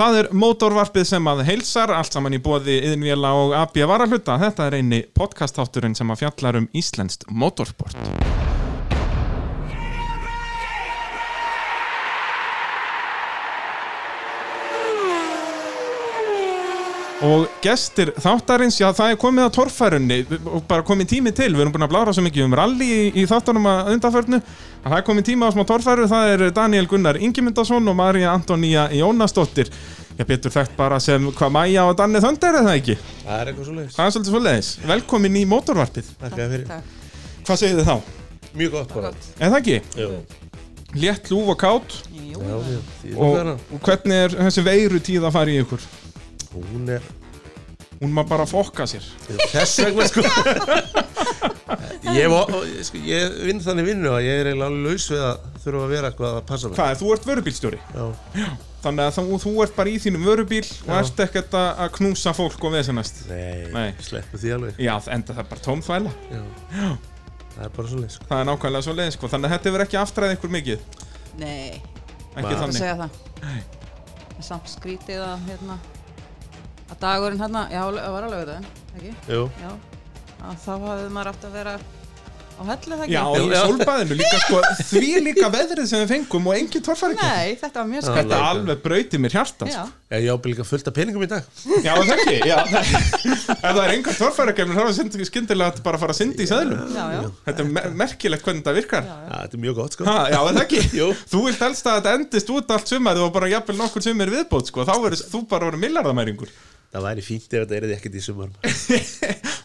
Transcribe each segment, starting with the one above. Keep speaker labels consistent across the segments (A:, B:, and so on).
A: Það er mótorvarpið sem að heilsar, allt saman í bóði yðinvjela og AB varahluta. Þetta er eini podcasthátturinn sem að fjallar um íslenskt mótorsport. Og gestir þáttarins, já það er komið að torfærunni og bara komið tími til, við erum búin að blára svo mikið um rally í, í þáttanum að undanförnu að það er komið tími á smá torfæru, það er Daniel Gunnar Ingimundarsson og Marja Antonía Jónasdóttir ég betur þekkt bara sem hvað Maja og Danni Þöndar er það ekki,
B: Það er eitthvað svo leiðis.
A: það er svolítið svoleiðis velkomin í mótorvarpið,
B: Takk fyrir.
C: Takk.
A: hvað segir þið þá?
B: Mjög gott bara.
A: Er það ekki?
B: Jú.
A: Létt lúf og kátt
C: Jú,
B: Já, já. Því er
A: og,
B: það
A: og hvernig er þessi veiru tíð að fara í ykkur?
B: Hún er,
A: Hún má bara fokka sér
B: þess vegna sko. ég, var- sko, ég vinn þannig vinnu að ég er eiginlega alveg laus við að þurfa að vera eitthvað að passa mig.
A: Hvað, þú ert vörubílstjóri?
B: Já.
A: Þannig að þú, þú ert bara í þínum vörubíl og ert ekkert að að knúsa fólk og vesenast.
B: Nei,
A: Nei.
B: sleppu því alveg.
A: Já, enda það er bara tóm þvæla.
B: Já. Það er bara svo leiðis. Sko.
A: Það er nákvæmlega svo leiðis, sko. Þannig að þetta hefur ekki aftræðið ykkur mikið.
C: nei,
A: Ekki
B: Nei.
C: það
A: þannig.
C: segja það En Samt skrítið að hérna að dagurinn hérna, já, það var alveg þetta ekki,
B: Jú.
C: já að þá hafði maður átt að vera á hellu það ekki
A: Já, og í
B: Já.
A: solbæðinu líka, sko, því líka veðrið sem við fengum og engin torfari ekki.
C: Nei, þetta var mjög
B: Já,
C: skrítið
A: Þetta
B: Alveg.
A: alveg brauti mér hjarta,
C: Já,
A: sko.
B: Ég, ég ábyrði líka fullt af peningum í dag.
A: Já, það ekki. Já, það, ef það er engar torfari ekki, þá er það skyndilega bara að fara að synda í seðlum.
C: já, já,
A: Þetta er me merkilegt hvernig þetta virkar.
C: já,
B: Já,
C: já.
B: þetta er mjög gott sko.
A: Ha, já, er það ekki?
B: Jú.
A: Þú vilt helst að þetta endist út allt sumarið og bara jafnvel nokkur sumir viðbót, sko. Þá verður þú bara voru millardamæringur.
B: Það væri fínt ef þetta erði ekkert í sumar.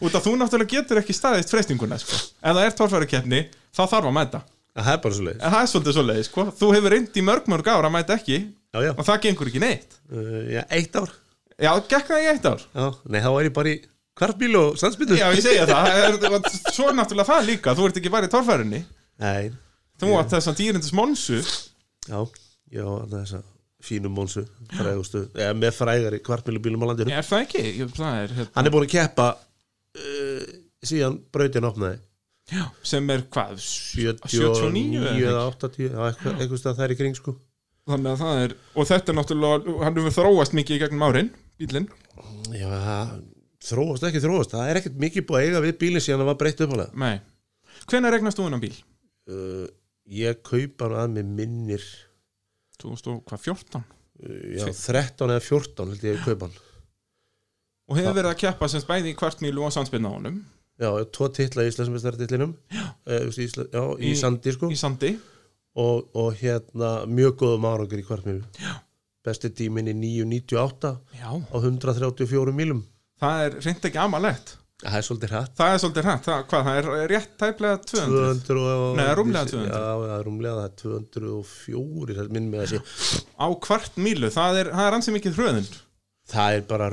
A: Út af þú náttúrulega getur ekki staðist freystinguna sko. Ef það er torfærukeppni, þá þarf að mæta
B: Það er bara svo leiðis.
A: En það er svolítið svoleiði, sko Þú hefur reynd í mörg mörg ára að mæta ekki
B: Já, já.
A: Og það gengur ekki neitt
B: Uh, já, eitt ár.
A: Já, gekk það í eitt ár
B: Já. Nei, þá væri ég bara í kvartbíl og sandsbyttu.
A: Já, ég segja það, það er, svo er náttúrulega það líka Þú ert ekki bara í torfærunni
B: Nei.
A: Þú átt þessan dýrindis monsu
B: Já, ég á þarna þessa fínu mónsu, frægustu, eða með frægari kvartmýlubílum á landinu.
A: Er það ekki? Jú, Það er, hérna,
B: Hann er búin að keppa uh, síðan brautin opnaði,
A: hérna, sem er hvað?
B: 79
A: eða
B: eða 80, já, eitthvað, eitthvað stað þær í kring sko.
A: Þannig að það er Og þetta er náttúrulega, hann hefur þróast mikið í gegnum árin Bílinn
B: Já, það þróast ekki þróast, það er ekkert mikið búið að eiga við bílinn síðan það var breytt uppalega.
A: Nei Hvenær regnast þú innan bíl?
B: Uh, ég kaupa hann að mig minnir,
A: 2014
B: uh, já, 13 eða 14 held ég að kaupa hann.
A: og hefur verið að keppa semst bæði í kvartmílu og sandspilna honum
B: Já, tvo titla í Íslandsmeistartillinum, uh, Ísla, já, í,
A: Í-
B: sandi sko.
A: í sandi
B: og, og hérna mjög góðum árangur í kvartmjölu besti tíminn í 9.98
A: já.
B: á 134 mílum
A: það er reynd ekki amalegt
B: það er svolítið hratt
A: það er svolítið hrætt, það, hvað, það er rétt tæplega 200
B: 200 og,
A: Nei, rúmlega 200.
B: já, já, rúmlega það er 204 það er minn með þessi
A: á kvartmílu, það er, það er ansi mikið hröðin
B: það er bara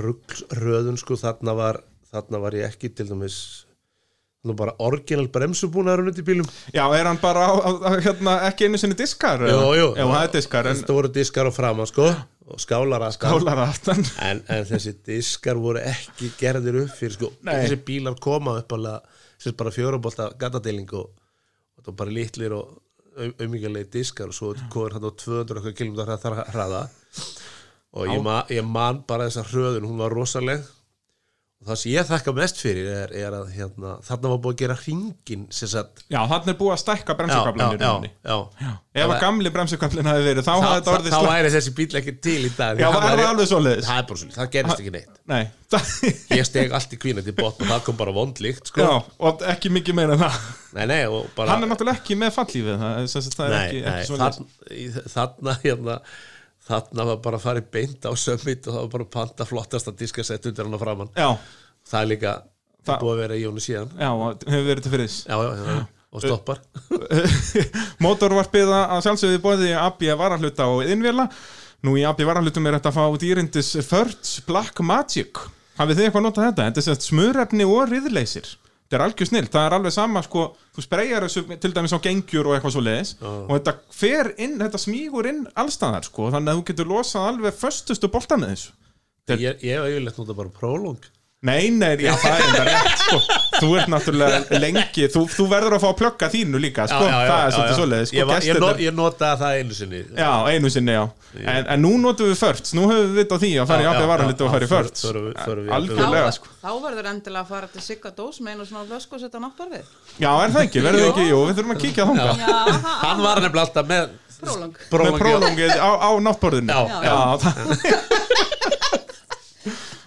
B: röðun sko þarna var, þarna var ég ekki til dæmis nú bara orginal bremsubúnaður undir bílum
A: já, er hann bara á, á, á, hérna, ekki einu sinni diskar
B: Jú, jú.
A: já, það er diskar en
B: þetta voru diskar á framan sko og skálar að
A: kálar aftan
B: en, en þessi diskar voru ekki gerðir upp fyrir sko
A: Nei.
B: þessi bílar koma upp alveg sem bara fjórabólta gattadeiling og, og það var bara litlir og auðmyggjulegi diskar og svo komur hann á 200 eitthvað kilómetra hraða, hraða og ég, ma, ég man bara þessa hröðun hún var rosaleg og það sem ég þakka mest fyrir er, er að hérna, þarna var búið að gera hringin sem sagt
A: já, þannig er búið að stækka
B: já,
A: bremsukablanir
B: já, já. Já.
A: ef að gamli bremsukablin hafi verið þá hafi
B: Það,
A: þetta
B: það,
A: orðið
B: það
A: slag
B: væri þessi bíl ekki til í dag
A: já,
B: Hann
A: það er
B: væri-
A: alveg svoleiðis
B: það er bara svolítið, það gerist ekki neitt
A: nei, það-
B: ég steg allt í kvínandi botn og það kom bara vondlíkt sko.
A: já, og ekki mikið meira en það
B: nei, nei, og bara
A: hann er náttúrulega ekki með fallífið það, er sem sagt, það er
B: nei,
A: ekki,
B: nei,
A: ekki svona
B: þarna, í- þarna hérna, þarna var bara að fara í beint á sömmit og það var bara að panta flottasta diskasett undir hann og framann
A: já,
B: það er líka
A: Það-
B: búið að vera í honum síðan
A: já, og hefur verið til fyrir
B: já, já, já, já, og stoppar
A: mótorvarpiða að sjálfsögðu bóði AB varahluta og innvila nú í AB varahlutum er þetta að fá dýrindis Förts Black Magic hafið þið eitthvað notað þetta, þetta er sett smurefni og riðleysir þetta er algjör snill, það er alveg sama sko, þú spreyjar þessu til dæmis á gengjur og eitthvað svo leiðis og þetta fer inn, þetta smýgur inn allstaðar sko, þannig að þú getur losað alveg föstustu bolta með þessu
B: ég, ég hef yfirleitt nota bara prólong
A: Nei, nei, já, það er enda rétt sko. Þú ert náttúrulega lengi þú, þú verður að fá að plugga þínu líka sko. Það er svolítið svoleiðis sko,
B: Ég, var, ég,
A: gestirnir-
B: not, ég notaði það einu sinni
A: Já, einu sinni, já En, en nú notum við förts, nú höfum við vitt á því að fara í
B: Já,
A: appi
B: já,
A: varalitu
B: já,
A: og fara í
B: já,
A: förts
B: þurfum við- þurfum við-
C: Þá,
A: Algjörlega,
C: ver-
A: sko
C: þá verður endilega að fara til Sigga Dós með einu svona flösku og setja náttbar við
A: Já, er það ekki, verður
C: Jú.
A: við ekki, jú, við þurfum að kíkja þánga
C: Já, ha,
B: Hann var nefnilega alltaf með
C: prólang
A: Með
B: prólongi og-
A: prólongið á, á náttborðinu
B: Já,
A: já, það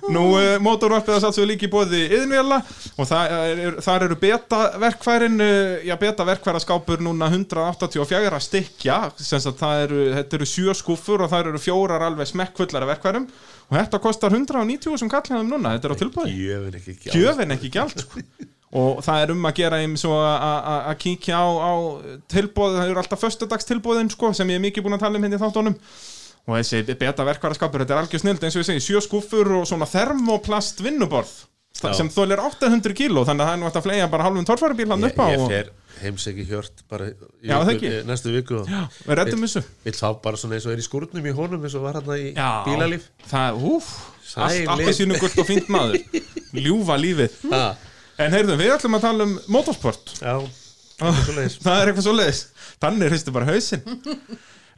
A: Nú, uh, mótorvarpið að satsa við líka í bóði yðinvela og það er, þar eru betaverkfærin, uh, já betaverkfæraskápur núna 184 að stykja, sem sagt það eru, þetta eru sjö skúfur og það eru fjórar alveg smekkfullari verkfærum og þetta kostar 190 sem kallið um núna, þetta er á tilbúði
B: Gjöfin ekki gjá
A: gjöfin ekki gjald sko. og það er um að gera þeim svo að- að að- að kíkja á, á tilbóð, það eru alltaf föstudags tilbóðin sko, sem ég er mikið búin að tala um hérna í þáttunum og þessi beta verkvaraskapur þetta er algjör snild, eins og ég segi, sjö skúfur og svona termoplast vinnuborð
B: Já.
A: sem þólir 800 kíló, þannig að það er nú hægt að flega bara hálfum torfarubíl hann upp á
B: Ég
A: og
B: fer heimsæki hjört bara í
A: Já, það
B: viku-
A: ekki.
B: í næstu viku og
A: við reddum þessu
B: vill fá bara svona eins og er í skúrnum í honum eins og var hann í
A: Já.
B: bílalíf
A: það, úf, allt
B: Sælir.
A: appisínu gult og fínt maður ljúfa lífið
B: Ha,
A: en heyrðum, við ætlum að tala um motorsport
B: Já, svoleiðis.
A: það er eitthvað svoleiðis Danni hristu bara hausinn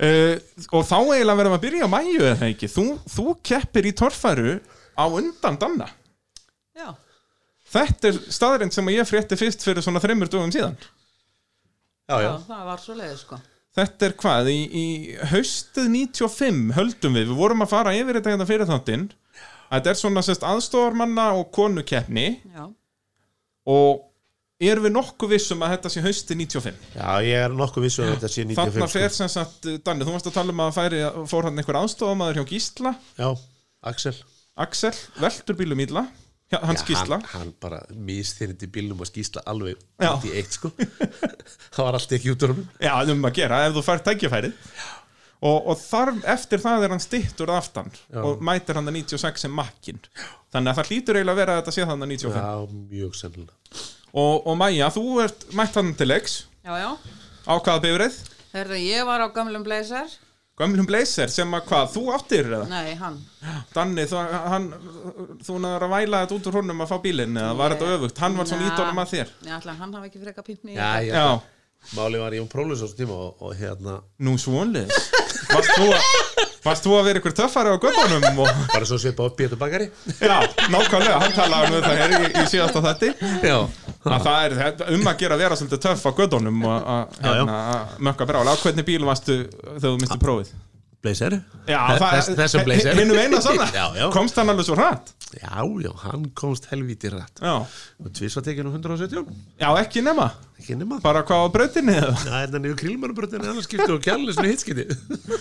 A: uh, og þá eiginlega verðum við að byrja á mæju eða ekki, þú, þú keppir í torfæru á undan Danna
C: Já,
A: þetta er staðrind sem ég frétti fyrst fyrir svona þreymur dögum síðan
B: já,
C: já,
B: já
C: það var svo leiði sko
A: þetta er hvað, í, í haustið 95 höldum við, við vorum að fara yfir þetta hérna fyrir þáttinn þetta er svona sérst aðstofarmanna og konukeppni
C: Já,
A: og erum við nokkuð vissum að þetta sé haustið 95
B: Já, ég er nokkuð vissu að þetta sé 95
A: Þarna
B: sko.
A: fer sem sagt, uh, Danni, þú varst að tala um að færi, fór hann einhver aðstofamaður hjá Gísla,
B: Já, Axel
A: Axel, veldur bílum íla, hjá- hans
B: Já,
A: Gísla.
B: hann, hann bara mistyrndi bílnum að skísla alveg
A: Já.
B: út í eitt sko það var allt ekki út úr honum
A: Já, það er um að gera, ef þú fær tækifærið. Og, og þar, eftir það er hann stittur að aftan og mætir hann að 96 sem makkinn. Þannig að það hlýtur eiginlega að vera að þetta sé þannig að 95.
B: já, mjög sennilega
A: Og, og Maja, þú ert mætt hann til leiks
C: já, já
A: á hvaða bifrið?
C: Herðu, ég var á gamlum blazer
A: Gömlum blazer sem að hvað, þú áttir eða?
C: Nei, hann
A: Danni, þú, hann, þú náður að væla þetta út úr honum að fá bílinn eða var þetta öfugt? Hann var svona
C: Na-
A: ídónum að þér.
C: Nei, alltaf hann hafi ekki freka pípni
B: já,
C: í þetta.
B: já,
A: Já,
B: máli var ég um prólis á þessum tíma og, og hérna,
A: nú svonleis Varst þú að Varst þú að vera ykkur töffari á göttunum og...
B: bara svo svipa á Pétur Bakari
A: Já, nákvæmlega, hann talaði um það hér í, í síðasta þetti
B: já,
A: að það er þetta- um að gera að vera svolítið töff á göttunum og að
B: Já, já.
A: hérna, að mökka brála Á hvernig bíl varstu þegar þú misti prófið?
B: blazer
A: Já,
B: Þess, þessum blazer
A: Hinnum eina sanna,
B: já, já.
A: komst hann alveg svo hratt
B: já, já, hann komst helvíti rætt
A: Já,
B: og tvís var tekinn um 117
A: já ekki nema,
B: ekki nema
A: bara hvað á brautinni eða
B: það er þannig við krílmörnbröndin annars skipti og kjærleysinu hitskipti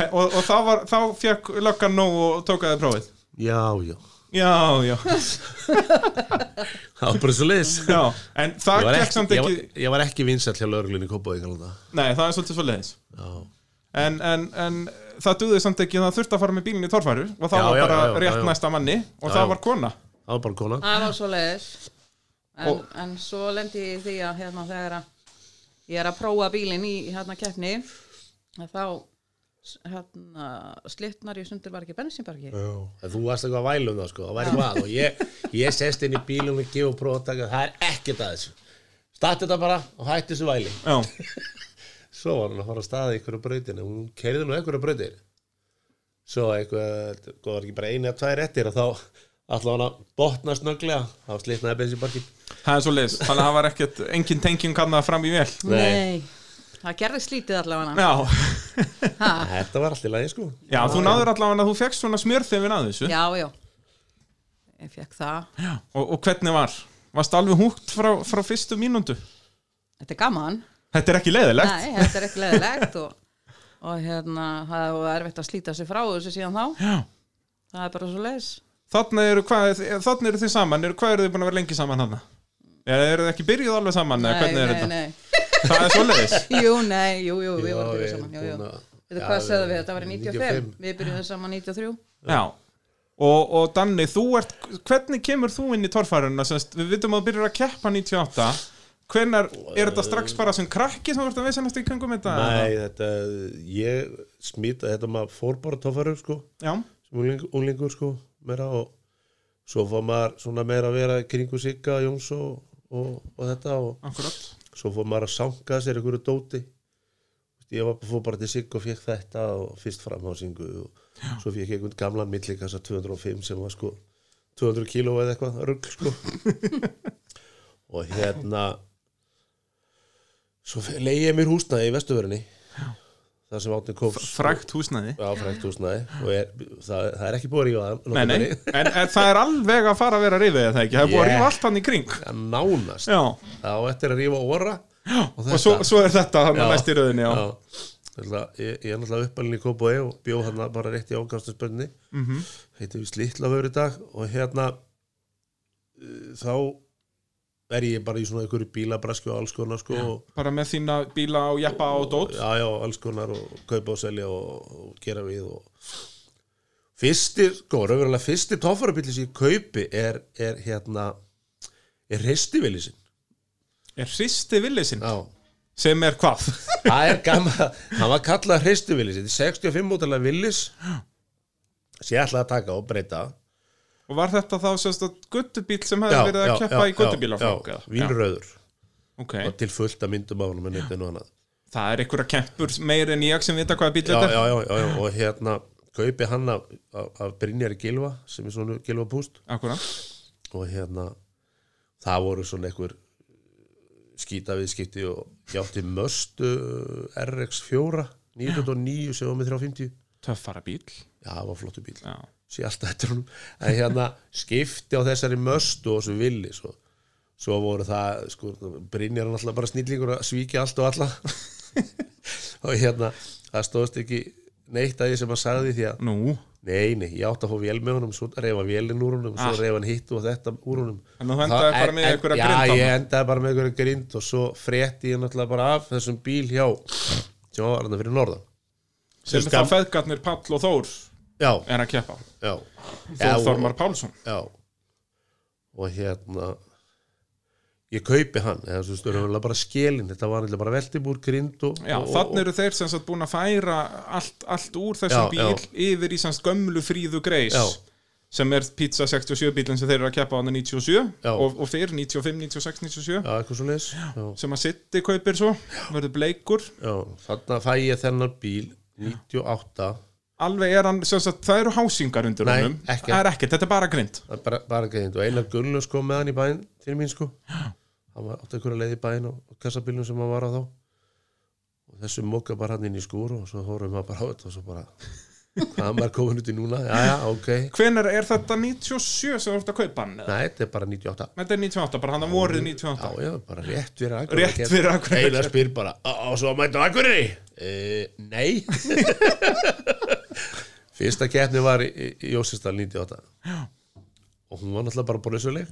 A: He- Og, og þá, var, þá fekk löggan nóg og tókaði prófið
B: já, já,
A: Já, já,
B: það var bara svo leis
A: já En
B: ég
A: það
B: var
A: gekk samt
B: ekki, ég
A: ekki
B: var, ég var ekki vinsall hjá lögreglunni í Kópavíkalanda
A: Nei, það er svolítið svo leiðis
B: já
A: en, en, en það duði samt ekki það þurfti að fara með bílinn í torfæru og það
B: Já,
A: var
B: já,
A: bara
B: já, já,
A: rétt
B: já, já.
A: næsta manni og
B: Já,
A: það
B: já.
A: var kona
B: Það var bara konan
C: Það var svo leiðis en,
A: Og-
C: en svo lendi ég í því að hérna þegar að ég er að prófa bílinn í hérna keppni að þá s- hérna, slitnar ég sundur var ekki bensinbarki
B: En Þú varst eitthvað að væla um það sko, það væri hvað og ég, ég sest inn í bílum og gefa próftak og það er ekkert að þessu Statti þetta bara og hætti þessu væli
A: já,
B: Svo var hann að fara að staða í einhverju brautinu og hún keirði nú einhverju brautir Svo eitthvað, það var ekki bara einu að tvær réttir og þá ætlaði hann að botna snögglega þá slitnaði bensinbarkin
A: það er svo leiðis þannig að það var ekkert, engin tenging kannað fram í vel
B: Nei.
C: Það gerði slítið allavega
A: já,
C: ha,
B: Þetta var allt í lagi sko
A: já þú náður allavega að þú fegst svona smjörþefin að þessu
C: Já, já Ég fekk það
A: Já. og, og hvernig var? Varst alveg húgt frá, frá fyrstu mínúndu?
C: Þetta er gaman
A: Þetta er ekki leiðilegt
C: Nei, þetta er ekki leðilegt og, og hérna, það var erfitt að slíta sig frá þessu síðan þá
A: Já.
C: Það er bara svo leiðis
A: Þarna eru, hvað, þarna eru þið saman eru, hvað eru þið búin að vera lengi saman hann? Eru þið ekki byrjuð alveg saman? eða
C: Nei,
A: hvernig er
C: nei,
A: þetta?
C: nei
A: Það er svo leiðis
C: Jú, nei, jú, jú, við
B: Já,
C: vorum að byrja
B: við erum
C: saman jú, jú.
B: búin að-
C: Veitu
B: Já,
C: hvað
B: við-
C: segðum við, þetta var í 95,
B: 95.
C: Við byrjuðum saman 93
A: Já Og, og Danni, þú ert, hvernig kemur þú inn í torfærunna? Semst, við vitum að þú byrjar að keppa 98 Hvenar, er þetta strax bara sem krakki sem þú ert að vissanast í kringum þetta?
B: Nei, þetta, ég smita þetta maður fór bara tófarur sko
A: Já,
B: sem ungling, unglingur sko meira og, svo fór maður svona meira að vera í kringu Sigga, Jóns og, og, og þetta og
A: akkurat
B: svo fór maður að sanga sér einhverju dóti ég var, fór bara til Sigga og fekk þetta og fyrst framhásingu og svo fekk ég einhvern gamlan millikassa 205 sem var sko 200 kíló eða eitthvað rugl sko og hérna svo leiði ég mér húsnaði í vestuverðinni þar sem átni kom
A: frækt húsnæði
B: Já, frækt húsnæði og er, það, það er ekki búið að rífa það
A: nei, nei. En, en það er alveg að fara að vera rifið eða ekki, það er búið að
B: Yeah.
A: rífa allt hann í kring
B: Ja, Nánast,
A: já,
B: þá eftir að rífa óra og
A: og svo, svo er þetta hann
B: Já.
A: að næst í rauðinni já.
B: Ætla, ég, ég er náttúrulega uppalinn í Kópói og bjó hann bara rétt í ákastaspönni mm
A: Mhm.
B: heiti við Slitlafur í dag og hérna uh, þá er ég bara í svona einhverju bílabraskju og alls konar sko og
A: bara með þína bíla og jeppa og dót
B: já, já, alls konar og kaupa og selja og, og gera við og fyrstir, sko, raunverulega fyrstir tóffarabíli sem ég kaupi er, er hérna er reistivili sinn
A: er hristi villisinn
B: já,
A: sem er hvað
B: það er gammal hann var kallað reistivili sinn 65 mótalega villis sem ég ætlaði að taka og breyta
A: og var þetta þá sérst að guttubíl sem hefði verið að keppa í guttubílaflokk
B: já,
A: eða?
B: vínröður
A: ok,
B: og til fullt að myndum á hann með neitt en og annað
A: það er einhverja keppur meir en ég sem vita hvaða bíl
B: já,
A: þetta er
B: já, já, já, já, og hérna kaupi hann af, af, af Brynjari Gilva sem er svona Gilva Púst
A: akkurat,
B: og hérna það voru svona einhver skýtaviðskipti og ég átti möstu RX4 909 sem var með 350
A: töffara bíl
B: já, það var flottu bíl,
A: já,
B: sé alltaf eftir honum en hérna skipti á þessari möstu og þessu villi svo, svo voru það, sko, Brynjar er náttúrulega bara snillingur að svíkja allt og alla og hérna það stóðst ekki neitt að ég sem að sagði því að
A: nú
B: Nei, nei, ég átti að fá vél með honum, svo reyfa vélinn úr honum, svo reyfa hann hitt og þetta úr honum.
A: Þannig að Ah. þú endaði
B: Það-
A: bara með
B: en-
A: einhverja
B: já,
A: grind á
B: Já, ég
A: honum.
B: endaði bara með einhverja grind og svo frétti ég náttúrulega bara af þessum bíl hjá, sem var hann fyrir norðan.
A: sem
B: Sem
A: þá
B: skam-
A: feðgarnir Pall og Þór
B: Já,
A: er að keppa
B: já. Já,
A: Þór
B: og-
A: Þormar Pálsson
B: Já. Og hérna, ég kaupi hann, eða svo stöðum bara skilin, þetta var náttúrulega bara veltibúr, grind og...
A: Já,
B: og,
A: þannig eru þeir sem sagt búin að færa allt, allt úr þessum
B: Já, já.
A: bíl yfir í semst gömlu fríðu greis
B: Já.
A: sem er pizza 67 bílinn sem þeir eru að keppa á hann 97
B: Já.
A: og, og fyrr 95, 96, 97
B: Já, eitthvað svo leis. Já.
A: sem að Sitti kaupir svo, verður bleikur
B: já, þannig að fæ ég þennan bíl, 98,
A: alveg er hann, sem sagt, það eru hásingar undir
B: Nei,
A: honum,
B: ekkert.
A: það er ekkert, þetta er bara grind
B: Það er bara, bara greind og Einar Gunnlaus kom með hann í bæinn til mín sko hann var átti einhverja leið í bæinn og, og kassabílnum sem hann var á þá og þessu mokka bara hann inn í skúr og svo horfum maður bara á þetta og svo bara hvað hann var komin út í núna, já já, ok
A: Hvenær er þetta 97 sem þú ert að kaupa hann? eða?
B: Nei, þetta er bara 98
A: Þetta er 98, bara hann að vorið 98
B: Já, já, bara rétt fyrir akkur
A: Rétt fyrir Akureyri.
B: Einar spyr bara, á, á, svo mættu akkurri e, Nei Fyrsta keppni var í, í- í Jósistal 98 Já Og hún var náttúrulega bara bröðsuleg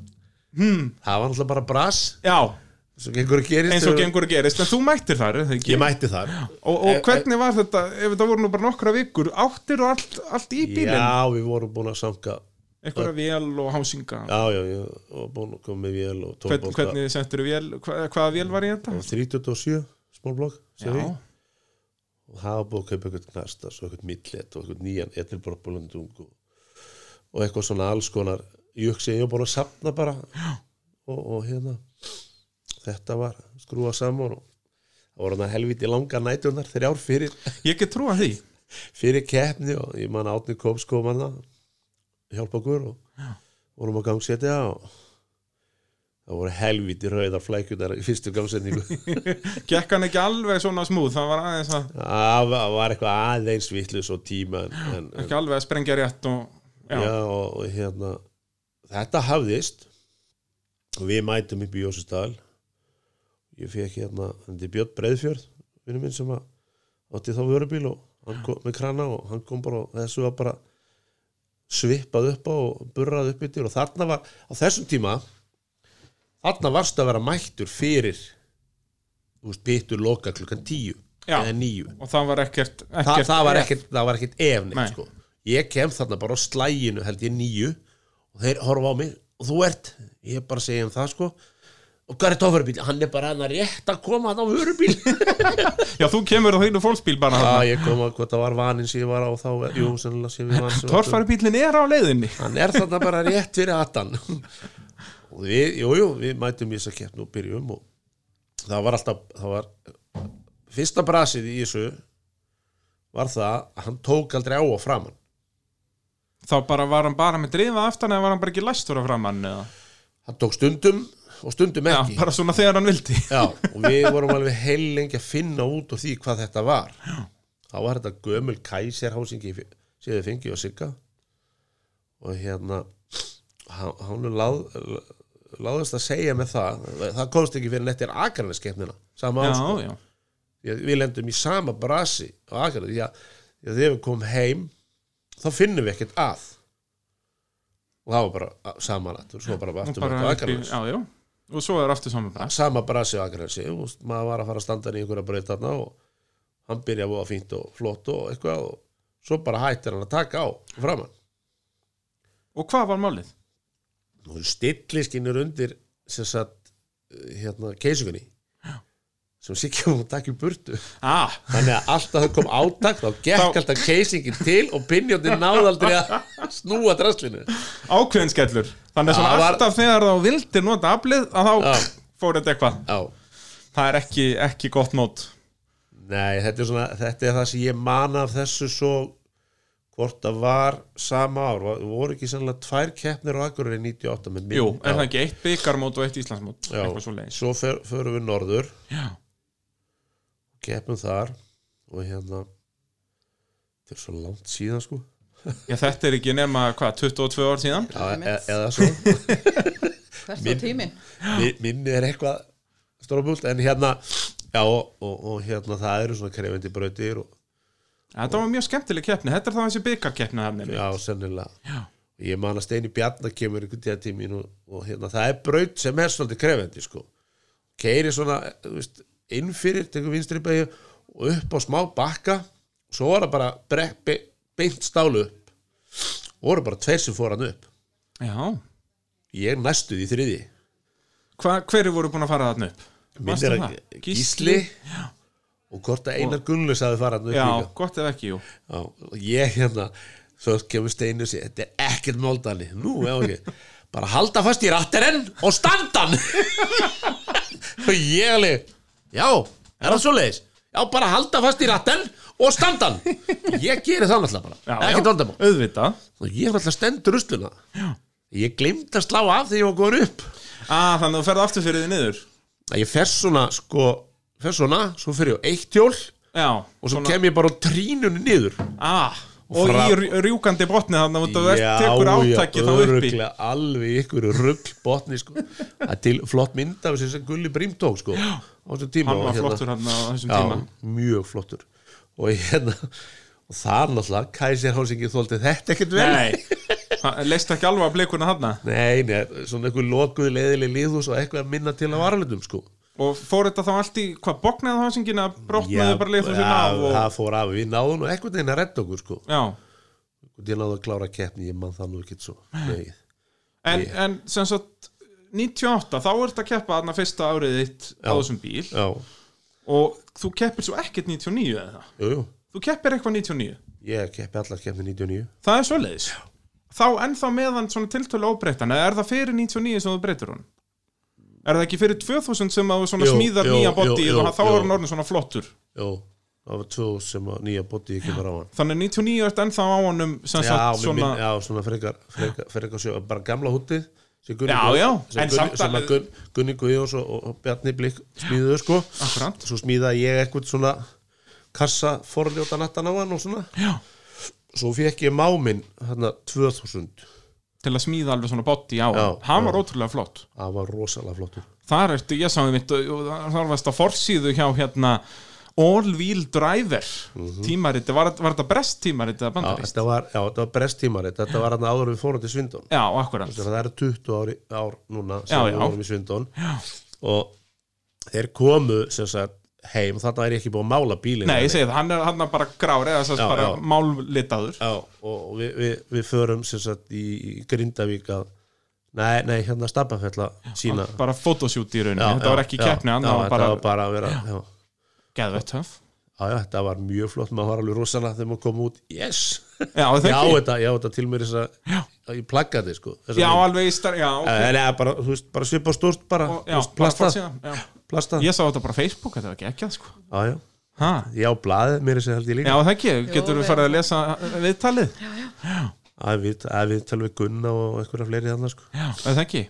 B: hmm. Það var náttúrulega bara brass
A: Já,
B: eins og gengur að gerist
A: eins og
B: þegar-
A: gengur að gerist, en þú mættir þar, eða ekki?
B: Ég Eh, mætti þar
A: Og, og hvernig var þetta, ef þetta voru nú bara nokkra vikur, áttir og allt, allt í bílinn?
B: Já, við vorum búin að sanga
A: Einhverja vél og hásinga?
B: Já, já, já, og búin að koma með vél og
A: Hvern,
B: tólbólka
A: hvernig sendur þú vél, hva, hvaða vél var í þetta?
B: 37, smálblokk
A: Já,
B: og það var búið að kaupa eitthvað knasta svo eitthvað millet og eitthvað nýjan etilborðbólundung og, og eitthvað svona alls konar jökk sem ég var búin að sapna bara og, og hérna þetta var skrúa saman og það voru hann helviti langa nætunar þrjár fyrir,
A: ég get trúa því.
B: fyrir keppni og ég man átni kom sko manna hjálpa okkur og vorum að gangsetja og það voru helviti rauðar flækjurnar í fyrstu gangsetningu
A: Gekk hann ekki alveg svona smúð, það var aðeins að,
B: það var eitthvað aðeins vittlus og tíma en, en, en
A: ekki alveg að sprengja rétt og, já,
B: já. og, og hérna þetta hafðist og við mætum upp í Jósustal ég fekk hérna þetta er Björn Breiðfjörð vinnu minn sem að átti þá vörubíl og hann kom með krana og hann kom bara og þessu var bara svipað upp á og burrað upp yfir og þarna var, á þessum tíma þarna varst að vera mættur fyrir þú veist, byttur loka klukkan tíu
A: Já.
B: eða níu
A: og það var ekkert,
B: Þa,
A: ekkert
B: það, var
A: rétt.
B: ekkert, það var ekkert efni
A: Nei.
B: sko. ég kem þarna bara á slæginu held ég nýju og þeir horfa á mig og þú ert, ég bara segi um það sko og hvað er tófurubíl? Hann er bara hann að rétt að koma hann á vörubíl
A: Já, þú kemur á þeirnum fólksbíl bara
B: Já,
A: hann
B: ég kom að hvað það var vaninn sem ég var á þá Jú, sennilega sem ég vann sem-
A: Torfarubílin er á leiðinni
B: Hann er þarna bara rétt fyrir atan og við, jú, jú, við mætum í þess að keppnu og byrjum og það var alltaf, það var fyrsta brasið í þessu var það að hann tók aldrei á og framan
A: Þá bara var hann bara með drifa aftan eða var hann bara ekki læstur á framann eða
B: hann tók stundum og stundum
A: Já,
B: ekki
A: bara svona þegar hann vildi
B: Já, og við vorum alveg heil lengi að finna út úr því hvað þetta var Já. þá var þetta gömul kæserhásingi sem við fengið og sigga og hérna hann hann láð, láðast að segja með það það komst ekki fyrir neitt er akarneskeppnina sama
A: Já,
B: ástæð
A: já,
B: Ég- við lendum í sama brasi á Akranes því að því að þegar við komum heim þá finnum við ekkert að og það var bara samanlætt og svo bara sko?
A: Og
B: aftur
A: bara
B: mætt á
A: upp í-
B: Akranes
A: já, já Og svo er aftur saman bara
B: sama brasi á Akranesi og maður var að fara að standa í einhverja braut þarna og hann byrjaði að fínt og flott og eitthvað og svo bara hættir hann að taka á framann
A: Og hvað var málið?
B: og stilliskinur undir sem sagt hérna keisugunni sem sikja hún takk í burtu
A: Ah,
B: þannig að alltaf það kom átak þá gekk
A: Þá-
B: alltaf keisingin til og pinjóttin náði aldrei að snúa draslinu
A: ákveðin skellur Þannig að
B: Já,
A: svona
B: var-
A: alltaf þegar þá vildi nota aflið að þá
B: Já.
A: fór þetta eitthvað
B: já,
A: Það er ekki, ekki gott mót
B: nei, þetta er svona þetta er það sem ég man af þessu svo hvort það var sama ár, Var- voru ekki sannlega tvær keppnir á Akureyri 98 með minn
A: Jú, er það ekki eitt byggarmót og eitt Íslandsmót
B: Já.
A: Eitthvað svo leiðis
B: svo fer, förum við norður
A: Já,
B: keppum þar og hérna þetta er svo langt síðan sko
A: Já, þetta er ekki nema, hvað, 22 ár síðan?
B: já, e
C: Einmitt.
B: eða svo
C: hvert
B: Minn-
C: var tíminn
B: Mi- minni er eitthvað stórabúlt en hérna já og, og, og hérna það eru svona krefindi brautir og
A: Þetta var mjög skemmtileg keppni, þetta er það þessi byggarkeppni þarna
B: já sennilega
A: Já.
B: ég man að Steini Bjarnar kemur einhvern tíða tímin og, og hérna það er braut sem er svolítið krefindi sko keiri svona þú veist, innfyrir tekur vinstri beigju og upp á smá bakka svo var það bara brek, be, beint stálu upp og voru bara tveir sem fór hann upp
A: Já,
B: ég næstuð í þriði
A: Hva, hverju voru búin að fara þarna upp? Varstu
B: Minn er
A: það?
B: að- Gísli og hvort að Einar Gunnlis hafi farað hann upp
A: Já,
B: líka
A: gott ef ekki, jú
B: Já, og ég hérna svo kemur steinu og sér, þetta er ekkert móldali nú, já ok, bara halda fast í ratterinn og standan og ég alveg já, er það svoleiðis já, bara halda fast í ratterinn og standan ég geri það náttúrulega
A: Já,
B: bara ekkert vandamál,
A: Auðvitað
B: og ég náttúrulega stendur rusluna já. ég glimt að slá af þegar ég var góður upp
A: ah, Þannig að þú ferð aftur fyrir þið niður
B: að ég fer svona, sko fer svona, svo fer ég á eitt hjól og
A: Já,
B: svo kem ég bara á trínunni niður
A: ah, Og
B: Fra-
A: í rj- rjúkandi botni þannig að þú ert-
B: Já,
A: tekur átaki þá upp í
B: örugglega, alveg í ykkur rugg botni sko. Það er til flott mynd af þess að Gulli Brím tók sko, á þessum tíma
A: Hann
B: og hérna-
A: var flottur hann á þessum tíma
B: já, mjög flottur og hérna og það er náttúrulega, Kæsir Hásingi þóldi þetta ekkert vel
A: Nei, hann- leist ekki alveg að blikuna þarna
B: nei, nei, svona einhver lokuð leiðileg líðhús og eitthvað að minna til á varalitum sko
A: Og fór þetta þá allt í, hvað, bóknaði þá syngina Brotnaði bara leið þú
B: já,
A: sinna á og,
B: það fór af, við náðum nú eitthvað neina að redda okkur sko
A: Já,
B: og ég náðu að klára keppni, ég mann það nú ekkert svo nei,
A: en, en sem sagt 98, þá ert að keppa þarna fyrsta árið þitt á þessum bíl
B: já,
A: og þú keppir svo ekkert 99 eða það
B: jú, jú
A: þú keppir eitthvað 99,
B: ég keppi allar keppni 99
A: það er svoleiðis þá ennþá meðan svona tiltölu óbreyttan eða er það fyrir 99 sem þú breytir hún er það ekki fyrir 2000 sem að þú svona
B: Jú,
A: smíðar
B: jú,
A: nýja
B: jú,
A: boddi
B: jú,
A: og þá er
B: jú.
A: hann orðin svona flottur
B: Jó, það var tvö sem að nýja bóti ég kemur á hann
A: þannig 99 ert ennþá á honum sem
B: Já,
A: sagt
B: svona,
A: svona
B: minn, já, svona frekar, frekar, frekar sjö, bara gamla hútið sem Gunni,
A: Já, já,
B: sem
A: en
B: Gunni,
A: samt
B: sem að
A: alveg-
B: Gunni, Gunni Guðjóns og, og Bjarni Blik smíðuðu sko
A: Akkúrat.
B: Svo smíðaði ég eitthvað svona kassa forljóta nattan á hann og svona
A: já,
B: Svo fekk ég máminn hérna 2000
A: til að smíða alveg svona boddi á
B: Já,
A: hann hann var ótrúlega flott
B: Það var rosalega flottur
A: þar ertu, ég sá einmitt og þar varst að forsýðu hjá hérna All Wheel Driver mm
B: Mhm.
A: tímariti, var, var þetta brest tímariti að
B: Já,
A: bandarist?
B: þetta var, já, þetta var bresttímarit Þetta var hann áður en við fórum til Svindon
A: Já, akkurat
B: Þannig að það eru 20 ári, ár núna sem
A: Já,
B: við
A: já.
B: vorum í Svindón og þeir komu sem sagt heim, þarna er ég ekki búið að mála bílinn
A: Nei, ég
B: Þannig.
A: segi það, hann er, hann er bara grár eða þess
B: Já,
A: að bara
B: já.
A: mállitaður
B: Já, og við, við, við förum sem sagt í, í Grindavík að Nei, nei, hérna stabbafella sína
A: bara fotoshoot í rauninni,
B: Já,
A: þetta
B: já,
A: var ekki
B: já,
A: keppni
B: já,
A: annað var
B: þetta
A: bara
B: var bara að vera já. Já,
A: geðvett höf
B: já, þetta var mjög flott, maður var alveg rosana þegar maður kom út Yes!
A: já, er það
B: Já,
A: ekki,
B: þetta, já, þetta til mér þess að ég plagga þig, sko þessa
A: já,
B: mynd.
A: alveg í star já, ok.
B: Nei, nei, bara, þú veist, bara svipa stórt bara,
A: Og-
B: þú
A: já,
B: veist,
A: plastað
B: plastað
A: síðan, já.
B: Plastað,
A: ég sá þetta bara á Facebook, þetta var ekki ekki sko.
B: já, já
A: ha,
B: Já, blaðið, mér þess að held ég
A: já,
B: líka
A: það ekki, getur við
C: vel.
A: farið að lesa viðtalið,
B: Að við, að við talum við Gunna og einhverja fleiri þannig, sko
A: já, er það ekki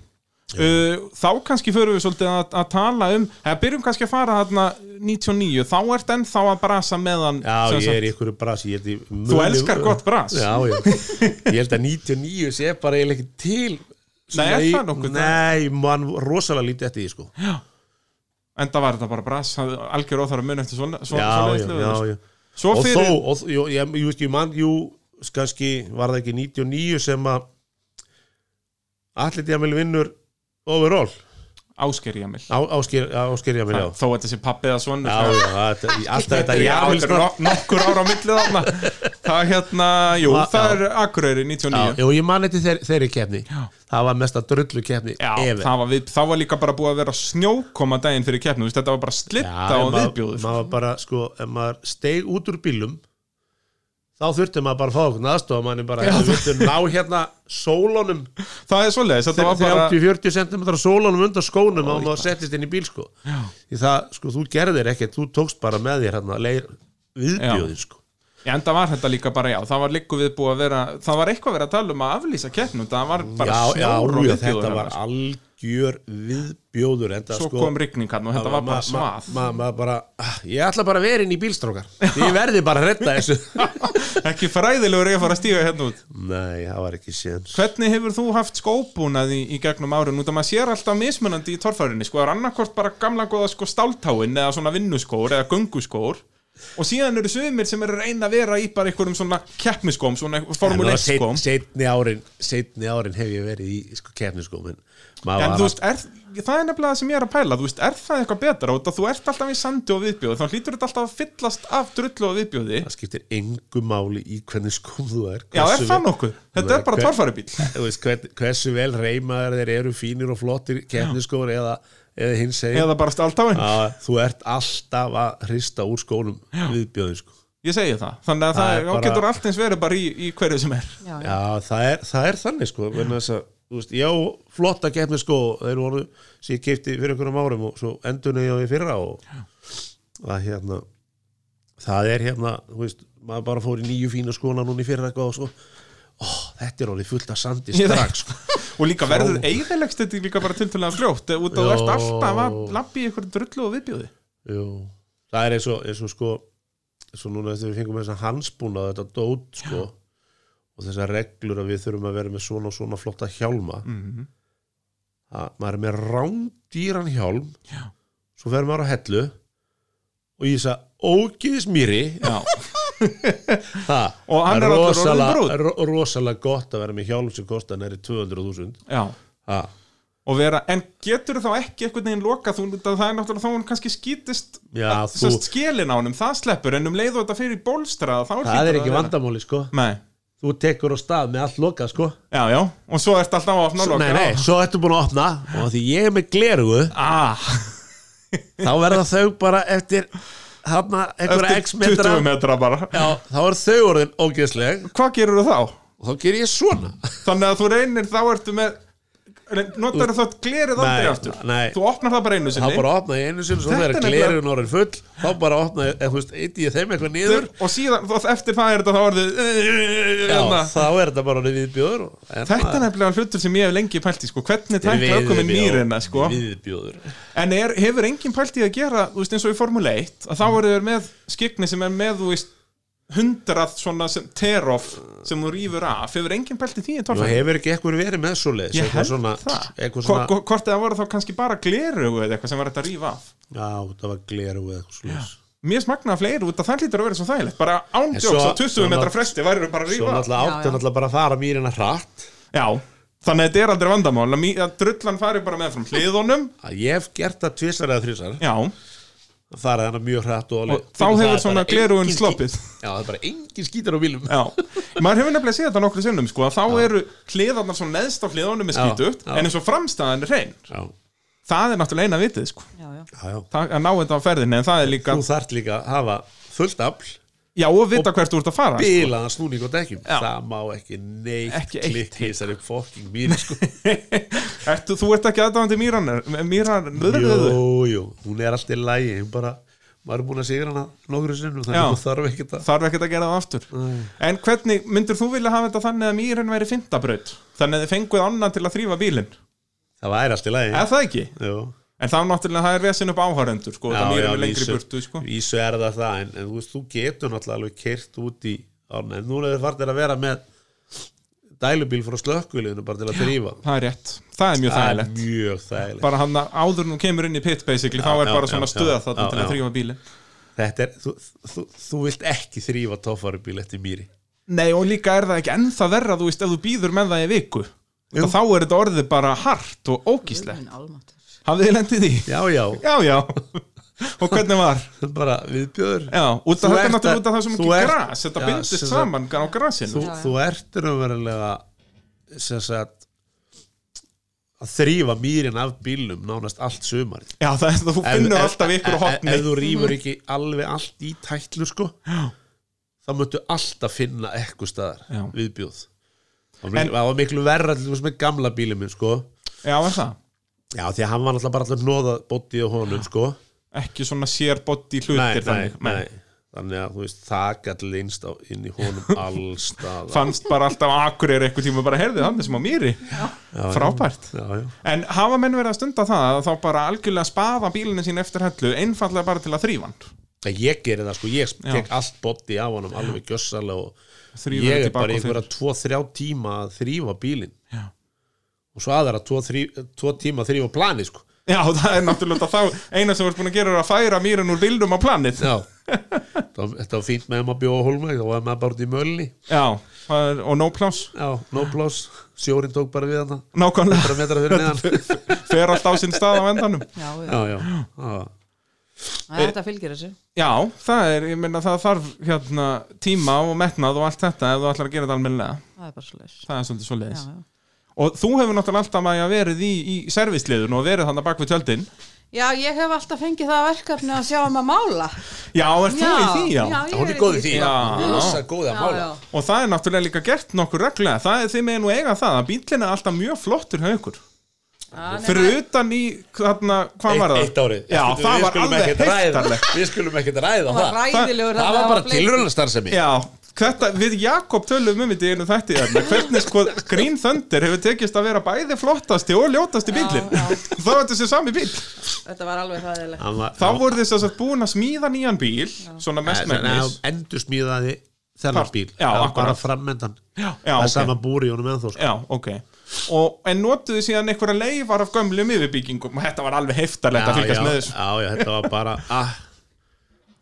A: Uh, þá kannski förum við svolítið að, að tala um eða byrjum kannski að fara þarna 99, þá ert ennþá að brasa meðan
B: Já,
A: sem
B: ég
A: sagt-
B: er í einhverju brasi ég held ég muni-
A: Þú elskar gott bras.
B: Já, já Ég held að 99 sé bara eiginlega ekki til svona
A: er
B: í-
A: það nokkuð?
B: Nei, mann rosalega lítið eftir því, sko Já,
A: enda var þetta bara bras það er algjör óþar að mun eftir svona, svona,
B: já,
A: svona
B: já, já
A: svo
B: Og
A: sko. fyrir
B: þó, og, þó- jú, ég, ég veist ekki, mann, jú kannski var það ekki 99 sem að Allir Jamil vinnur overall
A: Ásker Jamil
B: Á- Ásker Ásker Jamil, já
A: þó að þessi pappi eða svona
B: Já, já, þetta- í- alltaf þetta Jamil
A: er no- nokkur ára á milli þarna það er hérna, jú,
B: Já,
A: það
B: já.
A: er Akureyri 99 já,
B: Já, og ég man eftir þeir, þeirri keppni Það var mesta drullu keppni ever.
A: það var, við, það var líka bara búið að vera snjókoma daginn fyrir keppnum, þú veist, þetta var bara
B: Já,
A: slitta
B: ef
A: og
B: maður-
A: viðbjóður
B: maður var bara, sko, ef maður steig út úr bílum þá þurfti maður bara að fá okkur aðstofa manni bara,
A: Já.
B: við viltu ná hérna sólunum,
A: það er svoleiðis, þetta var bara
B: 30-40 cm sólunum undan skónum og maður settist inn í bíl, sko Já. því það, sko, þú gerðir ekkert þú tókst bara með þér hérna leir viðbjóðin, sko
A: Já, enda var þetta líka bara, já, það var líka við búið að vera það var eitthvað verið að tala um að aflýsa keppnum það var
B: Já,
A: bara
B: já,
A: snjór og
B: já,
A: viðbjóður
B: þetta
A: þarna,
B: var
A: sko.
B: algjör viðbjóður enda,
A: svo
B: sko,
A: kom rigningarn og þetta var bara svað
B: ma, ma, ma, bara, ah, Ég ætla bara að vera inn í bílstrókar Ég verði bara að redda þessu
A: ekki fræðilegur ég að fara að stíga hérna út
B: Nei, það var ekki séns
A: hvernig hefur þú haft skóbúnað í, í gegnum árun út að maður sér alltaf mismunandi í torfærinni sko, er annarkort bara gamla góða sko stáltáin eða svona vinnuskór eða gönguskór og síðan eru sumir sem eru að reyna að vera í bara einhverjum svona keppniskóm svona
B: En það
A: formuleikskóm
B: var seit- Seinni árin, seinni árin hef ég verið í sko, keppniskóm En maður
A: en
B: var
A: þú
B: að-
A: veist, er, það er nefnilega það sem ég er að pæla þú veist, er það eitthvað betra út að þú ert alltaf í sandi og viðbjóði, þá hlýtur þetta alltaf að fyllast af drullu og viðbjóði
B: Það skiptir engu máli í hvernig skóm þú er
A: já, er
B: hversu
A: það
B: vel-
A: nokkuð?
B: Nei,
A: þetta er bara
B: hver-
A: torfæribíl
B: Þú veist, hvern, Hversu vel reymaður þeir eru fínir og flottir keppniskór eða, eða hins segir
A: eða bara stáltáin,
B: Þú ert alltaf að hrista úr skónum viðbjóðin sko
A: ég segi það þannig að það,
B: Það
A: það
B: er bara-
A: getur allt eins verið bara í, í hverju sem er
C: já, já.
B: Já, það er, það er þannig sko vegna þess að, þú veist, já, flotta keppni sko, þeir voru sem ég keipti fyrir einhverjum árum og svo endurni ég á í fyrra og það hérna það er hérna, þú veist maður bara fór í nýju fína skona núna í fyrra eitthvað og svo, ó, þetta er orðið fullt af sandi
A: Ég-
B: strax sko
A: og líka verður eigðilegst þetta líka bara tiltölulega fljótt eh, út af þú
B: Já.
A: ert alltaf að lappi í einhverju drullu og viðbjóði
B: Jú, það er eins og, eins og sko eins og núna eftir við fengum þess að hansbúna þetta dót sko og þessar reglur að við þurfum að vera með svona og svona flotta hjálma
A: Mhm.
B: að maður er með rándýran hjálm
A: Já.
B: svo fer maður á hellu og í þess að ógiðismýri
A: já,
B: það
A: Og hann er
B: það
A: allur orðinn brúnn.
B: rosalega, ro- rosalega gott að vera með hjálm sem kostar næri 200.000
A: já
B: Ha.
A: og vera, en getur þá ekki einhvern veginn loka þú, það er náttúrulega þá hún kannski eh, skýtist
B: Já,
A: að-
B: þú-
A: sest, skilin á honum, það sleppur en um leið og þetta fyrir bólstra þá hlýtur
B: það er
A: að
B: ekki
A: vera-
B: vandamáli sko
A: nei,
B: þú tekur á stað með allt lokað sko
A: já, já, og svo ert alltaf að opna og
B: Svo-
A: loka
B: Nei, nei, svo ertu búin að opna og því ég er með glerugu
A: ah,
B: þá verða þau bara eftir hafna einhverja
A: eftir
B: x metra
A: 20 metra bara
B: já, þá er þau orðin ógeðsleg
A: hvað gerur þú þá?
B: og þá ger ég svona
A: þannig að þú reynir, þá ertu með notar það glerið aldrei
B: Nei,
A: aftur
B: nei.
A: þú opnar það bara einu
B: þá
A: sinni
B: bara opna ég einu sinni svo
A: Þetta er
B: þegar
A: nefnilega-
B: glerun orðin full þá bara opna ég, eða þú veist, eiti ég þeim eitthvað niður
A: og síðan, og eftir það er eh, þetta þá orðið
B: já,
A: hérna.
B: þá er þetta bara orðin viðbjóður og- en
A: Þetta er
B: maður-
A: nefnilega hlutur sem ég hef lengi pælt í sko. hvernig tækla
B: viðbjóður,
A: ökumin nýrina sko.
B: viðbjóður
A: en er, hefur enginn pælt í að gera þú veist, eins og í Formule 1 að þá eru þeir með skikni sem er með þú veist, hundrað svona sem terof sem þú rýfur af, hefur enginn pælt í því í
B: Nú
A: torfæri?
B: hefur ekki eitthvað verið með svo leiðis
A: Ég held
B: svona,
A: það
B: eitthvað svona
A: Hvo- Hvort það voru þá kannski bara gleru eða eitthvað sem var þetta að rýfa af
B: já, það var gleru eða eitthvað svo
A: Mér smaknaði fleiri út að það hlýtur að vera svo þægilegt bara
B: En
A: ándjóks
B: svo-
A: á 20
B: svo
A: metra
B: nátt-
A: fresti væri bara að
B: svo
A: rýfa af.
B: náttúrulega
C: Já,
B: átti
C: já.
B: náttúrulega bara að fara mýrina hratt
A: Já, þannig að þetta er aldrei vandamál að mí- að drullan fari bara með frá hliðunum
B: að ég hef gert það tvisar eða þrísar
A: Já,
B: það er hana mjög hrætt og,
A: Og
B: alveg-
A: þá
B: Það er
A: hefur
B: bara
A: svona
B: engin-
A: gleraugun sloppið.
B: já, það er bara engin skítur á bílum
A: Já, maður hefur nefnilega séð þetta nokkru sinnum sko, að þá eru hliðarnar svona neðst á hliðunum er
B: Já,
A: skítugt,
B: já.
A: en eins og framstæðan er hrein
B: já,
A: það er náttúrulega eina vitið sko.
C: já, já.
B: já, já.
A: Það- að ná þetta á ferðinni, en það er líka
B: þú þart líka að hafa fullt afl
A: já, og vita hvert þú ert að fara sko.
B: bilaðan snúning á dekkjum
A: Já.
B: það má ekki neitt
A: Ekki eitt
B: klikk í þessari fokking mýri sko
A: Ertu, þú ert ekki aðdáðandi mýranar mýrar,
B: jú, jú, hún er alltaf í lægi hún bara, maður er búin að sigra hana nokkru sinnum, þannig
A: Já.
B: að hún þarf ekkert að
A: þarf ekkert að gera það aftur en hvernig, myndir þú vilja hafa þetta þannig að mýrin væri fintabraut þannig að þið fenguð annan til að þrýfa bílinn
B: það væri alltaf í lægi
A: eða það ekki,
B: jú
A: en þá náttúrulega það er vesin upp áhærendur sko, það mýrin er lengri burtu sko.
B: Ísu er það það, en, en þú, veist, þú getur náttúrulega alveg kert út í ána, en núna er fartir að vera með dælubíl frá slökkviliðinu bara til að þrýfa
A: það er rétt, það er mjög
B: það er
A: þægilegt
B: mjög þægilegt
A: bara hann að áður nú kemur inn í pit basically, þá er
B: já,
A: bara
B: já,
A: svona
B: já,
A: stöð
B: já,
A: þarna
B: já,
A: til að
B: já.
A: þrýfa bílinn
B: þetta er, þú, þú, þú vilt ekki þrýfa tófarubíl eftir mýri
A: Nei, og líka er það ekki ennþa verra, þú veist, ef þú býður með það í viku Jú. þá er þetta orðið bara hart og ógíslegt.
C: Guðminn almáttugur.
A: Hafið þið lendið í? því?
B: já, já,
A: Já, já. og hvernig var?
B: bara viðbjöður
A: Já, út af
B: Þú
A: þetta er
B: ert
A: náttúrulega
B: að-
A: út af það sem
B: þú
A: ekki
B: ert-
A: gras, þetta
B: Já,
A: bindist
B: sem sagt-
A: saman á grasinu.
B: þú,
C: Já, já.
B: þú ert raunverulega sem sagt að þrýfa mýrin af bílum nánast allt sumarið
A: Já, það er það, þú
B: Ef-
A: finnur
B: ef-
A: alltaf ykkur á
B: ef-
A: hotni.
B: ef þú rýfur
A: Mhm.
B: ekki alveg allt í tætlu sko þá möttu alltaf finna eitthvað staðar
A: Já.
B: viðbjóð það var miklu- það var miklu verra til þess með gamla bílum minn sko
A: Já, er það?
B: já því að hann var náttúrulega bara alltaf nóða bóttið á honum sko
A: Ekki svona sér boddi hlutir
B: nei, nei,
A: þannig.
B: nei. þannig að þú veist það gætt linst á, inn í honum allstaðar
A: Fannst bara alltaf akureyri eitthvað tíma bara, heyrðu, hann er sem á mýri.
B: Já,
A: Frábært.
B: já, já.
A: En hafa menn verið að stunda það að þá bara algjörlega spaða bílinu sín eftir hellu einfallega bara til að þrývand?
B: En ég gerir það sko, ég
A: Já.
B: tek allt bóttið á honum alveg gjössalega og
A: Þrýfur
B: ég
A: þetta
B: er
A: í bak
B: bara í
A: og fyrir.
B: einhverja 2-3 tíma að þrýfa bílinn
A: Já.
B: og svo aðra 2 tíma að þrýfa planið sko
A: Já, það er náttúrulega þá eina sem þú ert búin að gera er að færa mýrin úr bildum á planið.
B: Já Þetta var- þetta var fínt með maður bjóða hólmæg þá var maður bara út í mölni
A: Já, það er, og no pláss,
B: Já, no pláss, sjórin tók bara við hana
A: nákvæmlega,
B: 100 metra fyrir neðan
A: fer allt á sinn stað á endanum.
C: Já, já.
B: Já, já, já.
C: Æ, Þetta fylgir þessu
A: Já, það er, ég meina það þarf hérna tíma og metnað og allt þetta ef þú ætlar að gera þetta almennilega,
C: Það er bara svo leys
A: það er svolítið svo leiðis.
C: já.
A: Og þú hefur náttúrulega alltaf maður verið í, í servisliðun og verið þannig bak við tjöldin.
C: já, ég hef alltaf fengið það verkefni að sjá um að mála
A: Já, er þú í því, já.
C: já ég
B: Hún
C: er
B: er góð í því
C: sko.
A: Já.
B: Rosa góð að
C: Já,
B: mála
C: já.
A: Og það er náttúrulega líka gert nokkur reglega, það er þið með nú eiga það að bíllinn er alltaf mjög flottur hjá ykkur.
C: Já, nema-
A: Fyrir utan í, hérna, hvað var það?
B: Eitt árið
A: Já,
B: Við
A: það var
B: skulum
A: alveg
B: ekkert ræða-
A: heiftarlegt
B: Við skulum ekkert ræða
C: Það var
B: það
C: ræðilegur
B: Það var bara tilröðnastarfsemi
A: Já, þetta, við Jakob tölum um þetta í einu þætti þarna Hvernig sko Green Thunder hefur tekist að vera bæði flottasti og ljótasti bílinn
C: já.
A: Það var þessi sami bíl
C: Þetta var alveg ræðilegt
A: Þá voru þess að búin að smíða nýjan bíl Svona mest megnis
B: Endur smíðaði þennan
A: Part-
B: bíl
A: Já,
B: Það var bara
A: akkurat.
B: frammendan
A: Já,
B: Það
A: ok.
B: er sama búri í honum ennþó sko.
A: Já, ok og, En notuðu síðan einhverja leifar af gömlum yfirbyggingum og Þetta var alveg heftarlegt að
B: já,
A: fylgjast
B: já,
A: með þessu
B: já, já, þetta var bara ah,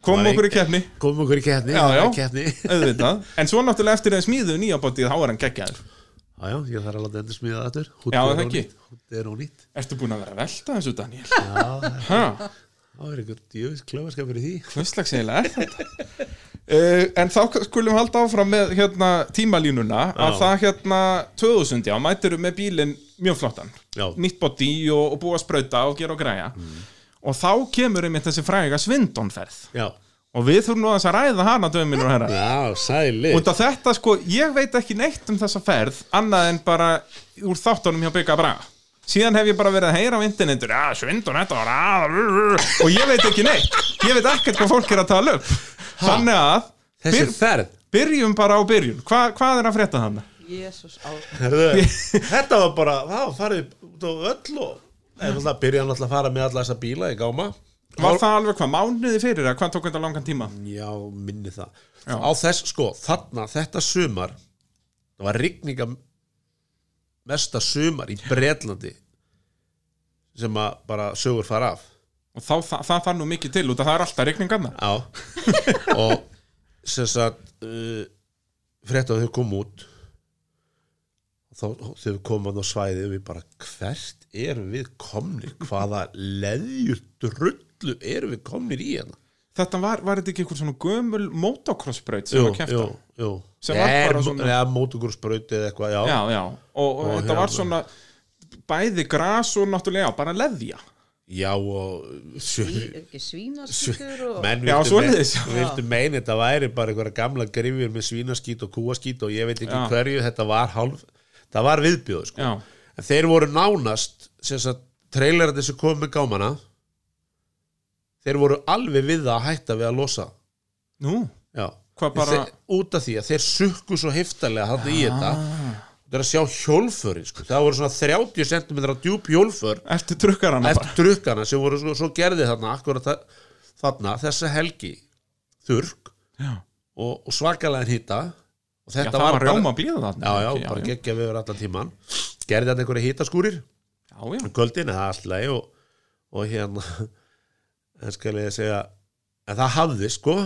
A: Komum
B: var
A: okkur í
B: ein-
A: keppni
B: Komum okkur í keppni
A: Já, já.
B: keppni.
A: Auðvitað En svo náttúrulega eftir þeim smíðu nýja bótið Þá er hann geggjaður
B: Já, já, ég þarf að láta endur smíða þetta
A: Já, er það ekki?
B: Hútt er ónýtt
A: Ertu búin að vera að velta þessu, Daniel?
B: Já,
A: Ha?
B: það er einhver djöfis klöfarskap fyrir því
A: Hvurslags eiginlega er þetta? Uh, en þá skulum halda áfram með hérna, tímalínuna að
B: Já.
A: það hérna 2000 já, mætirum með bílinn mjög flottan
B: Já. Mm.
A: nýtt body og, og búa að sprauta og gera og græja og þá kemur einmitt þessi fræga svindonferð
B: Já,
A: og við þurfum nú aðeins að ræða hana döfum mínur herra
B: já, sæli
A: og það þetta sko, ég veit ekki neitt um þessa ferð annað en bara úr þáttunum hjá Bygga Braga síðan hef ég bara verið að heyra á internetur að svindun þetta var að og ég veit ekki neitt, ég veit ekkert hvað fólk er að tala upp þannig að
B: Þessi
A: byr,
B: ferð
A: byrjum bara á byrjun Hva, hvað er að frétta þannig?
C: Jésús á
B: Herðu, Þetta var bara, það farið út á öll og En það byrjaði náttúrulega að fara með alla þessa bíla í gáma
A: Var það alveg hvað, mánuði fyrir að hvað tók þetta langan tíma?
B: Já, minni það
A: Já.
B: Á þess, sko, þarna, þetta sumar Það var rigninga mesta sumar í Bretlandi sem að bara sögur fara af
A: og þá, það, það þarf nú mikið til út að það er alltaf regningarna
B: Já Og sem sagt uh, Frétt að þau kom út þá, Þau komað á svæði og við bara Hvert erum við komni Hvaða leðjur drull drullu erum við komnir í hérna
A: Þetta var, var þetta ekki einhver svona gömul motocrossbraut sem var kæft á?
B: jú
A: Sem var bara
B: Er-
A: svona-
B: ja, mótugurssbraut eða eitthvað, já,
A: Já, já, og, og
B: Og
A: þetta var
B: hérna.
A: svona bæði gras og náttúrulega, já, bara leðja
B: já og sjö,
C: Sví- er ekki svínaskýtur og
B: menn
A: Já,
B: vildu
A: svoleiðis, já.
B: me- vildu meina þetta væri bara einhverja gamla grifjur með svínaskít og kúaskít og ég veit ekki
A: Já.
B: hverju þetta var hálf, það var viðbjóð sko.
A: Já,
B: en þeir voru nánast sem sagt, trailerandi sem kom með gámana þeir voru alveg við það að hætta við að losa
A: nú,
B: já
A: Hvað bara-
B: þeir, út af því að þeir sukku svo heftarlega hann í þetta
A: Ah,
B: það er að sjá hjólförin sko. það voru svona 30 cm djúb hjólför
A: ertu trukkar hana bara
B: eftir drukkana sem voru svo, svo gerði þarna akkurat þa- þarna þessa helgi þurrk
A: Já,
B: og, og svakalega hýta og
A: já
B: þetta
A: það var
B: bara,
A: rjóma að býða þarna
B: já, já,
A: ekki?
B: bara
A: já,
B: geggja við yfir allan tíman gerði þetta einhverja hýtaskúrir
A: já, já,
B: um kvöldin eða allt í lagi og, og hérna en skal ég segja en það hafði sko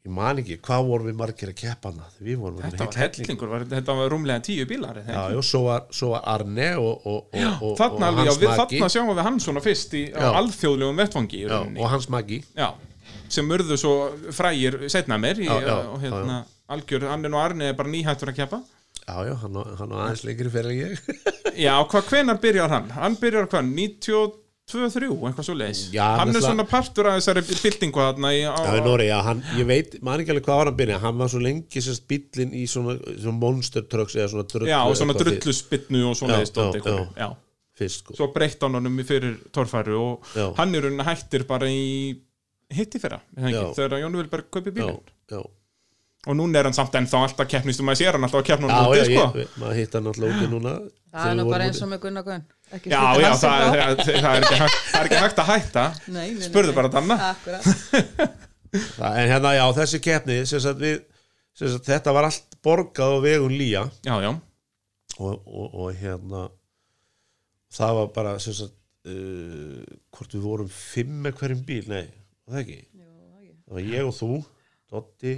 B: ég man ekki, hvað vorum við margir að keppa hana við vorum
A: þetta var hellingur, var, þetta var rúmlega tíu bílar eða
B: já,
A: ekki?
B: jú, svo, var, svo var Arne og, og, og,
A: Já,
B: og, og
A: þarna, alveg, já,
B: hans
A: við,
B: magi
A: þarna sjáum við hann svona fyrst í
B: Já.
A: alþjóðlegum vettvangi í
B: já,
A: rauninni.
B: og hans magi
A: já, sem urðu svo frægir setna mér í,
B: Já, já,
A: og hérna, algjör, hann er nú Arni er bara nýhættur að keppa
B: já, já, hann á hann á aðeins lengri fyrir en ég
A: Já, hvað, hvenar byrjar hann? Hann byrjar hvað, 92-3, eitthvað svo leiðis
B: Já,
A: Hann er
B: náttúrulega-
A: svona partur af þessari byltingu þarna í, á,
B: Já, í Nóri, já, hann, ég veit, maður ekki alveg hvað var hann byrja hann var svo lengi sérst bíllinn í svona, svona monster trucks eða svona drullu
A: já, og svona
B: eitthvað fyrir-
A: drulluspinnu og svona
B: Já,
A: leiðis dóti,
B: já,
A: já,
B: já. fyrst sko.
A: Svo breytt hann honum í fyrir torfæru og
B: Já.
A: hann er hann hættir bara í hitti fyrra, er það ekki,
B: Já.
A: þegar Jónu Vilberg kaupi
B: já,
A: bílinn
B: já
A: og núna er hann samt ennþá alltaf keppnist og maður sér hann alltaf að keppna hann
B: já,
A: úti,
B: já,
A: sko.
B: ég, maður hitt hann alltaf úti núna
C: það er nú bara eins og með Gunnar Gunn ekki
A: Já,
C: skipta
A: já,
C: hans
A: það,
C: frá.
A: það, það, er ekki, hægt- það er ekki hægt að hætta
C: Nei, nei, nei,
A: Spurðu
C: nei.
A: bara Danna.
C: Akkurat.
B: það, en hérna, já, þessi keppni sem sagt, við, sem sagt, þetta var allt borgað á vegum lía
A: Já, já,
B: og, og, og hérna það var bara sem sagt, uh, hvort við vorum fimm með hverjum bíl, nei, var það ekki
C: Jú, ég-
B: það var ég og þú, Dotti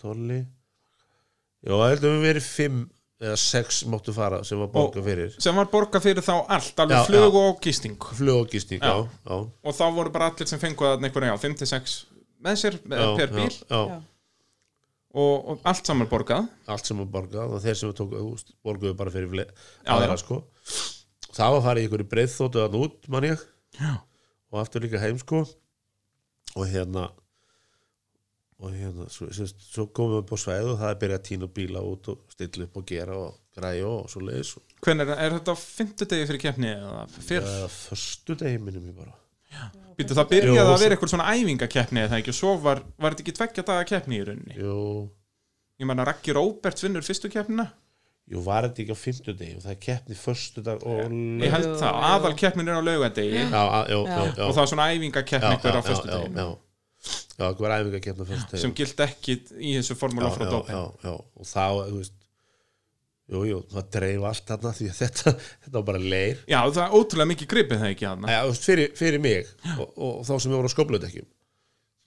B: Tolli já, það heldum við verið fimm eða sex máttu fara sem var borgað fyrir
A: sem var borga fyrir þá allt alveg
B: Já,
A: flug og gisting
B: flugogístík, já,
A: Já.
B: já,
A: og þá voru bara allir sem fengu að einhverja, já, 5-6 með sér
B: já,
A: já, per
B: já,
A: bíl
B: já,
C: já.
A: Og, og allt saman borgað
B: allt sem var borgað og þeir sem tóku húst borguðu bara fyrir fle-
A: Já,
B: aðra
A: já.
B: sko það var farið í einhverju breiðþóttu þann út man ég
A: Já.
B: og aftur líka heim sko og hérna og hérna svo, svo, svo komum við upp á svæðu og það er byrjað að tína bíla út og stilla upp og gera og græja og svo leiðis og
A: hvernig er, er þetta á fimmtudegi fyrir keppni eða fyrr,
B: það er förstu degi minnum ég bara
A: býttu það byrjaði
B: Jú,
A: að vera eitthvað svona æfingakeppni eða það ekki og svo var, var þetta ekki tveggja daga keppni í rauninni
B: jú,
A: ég menna Raggi Róberts vinnur fyrstu keppnina
B: jú var þetta ekki á fimmtu degi og það er keppni förstu dag og
A: ég held
C: Jú,
A: það,
C: jú.
A: aðal keppnin er á laugadegi
B: já, já, já, já, já.
A: og það er svona æfingakeppni einhver á fyrstu
B: já, já, já, já, það var æfingar keppna fyrstu degi
A: sem gilt ekki í þessu formúla frá
B: já,
A: dópin
B: já, já, og þá, þú veist jú, jú, það dreif allt þarna því að þetta, þetta var bara leir
A: já, það er ótrúlega mikið gripið það ekki hann
B: Æ, þú veist, fyrir, fyrir mig og, og, þá sem ég voru á skoblutekjum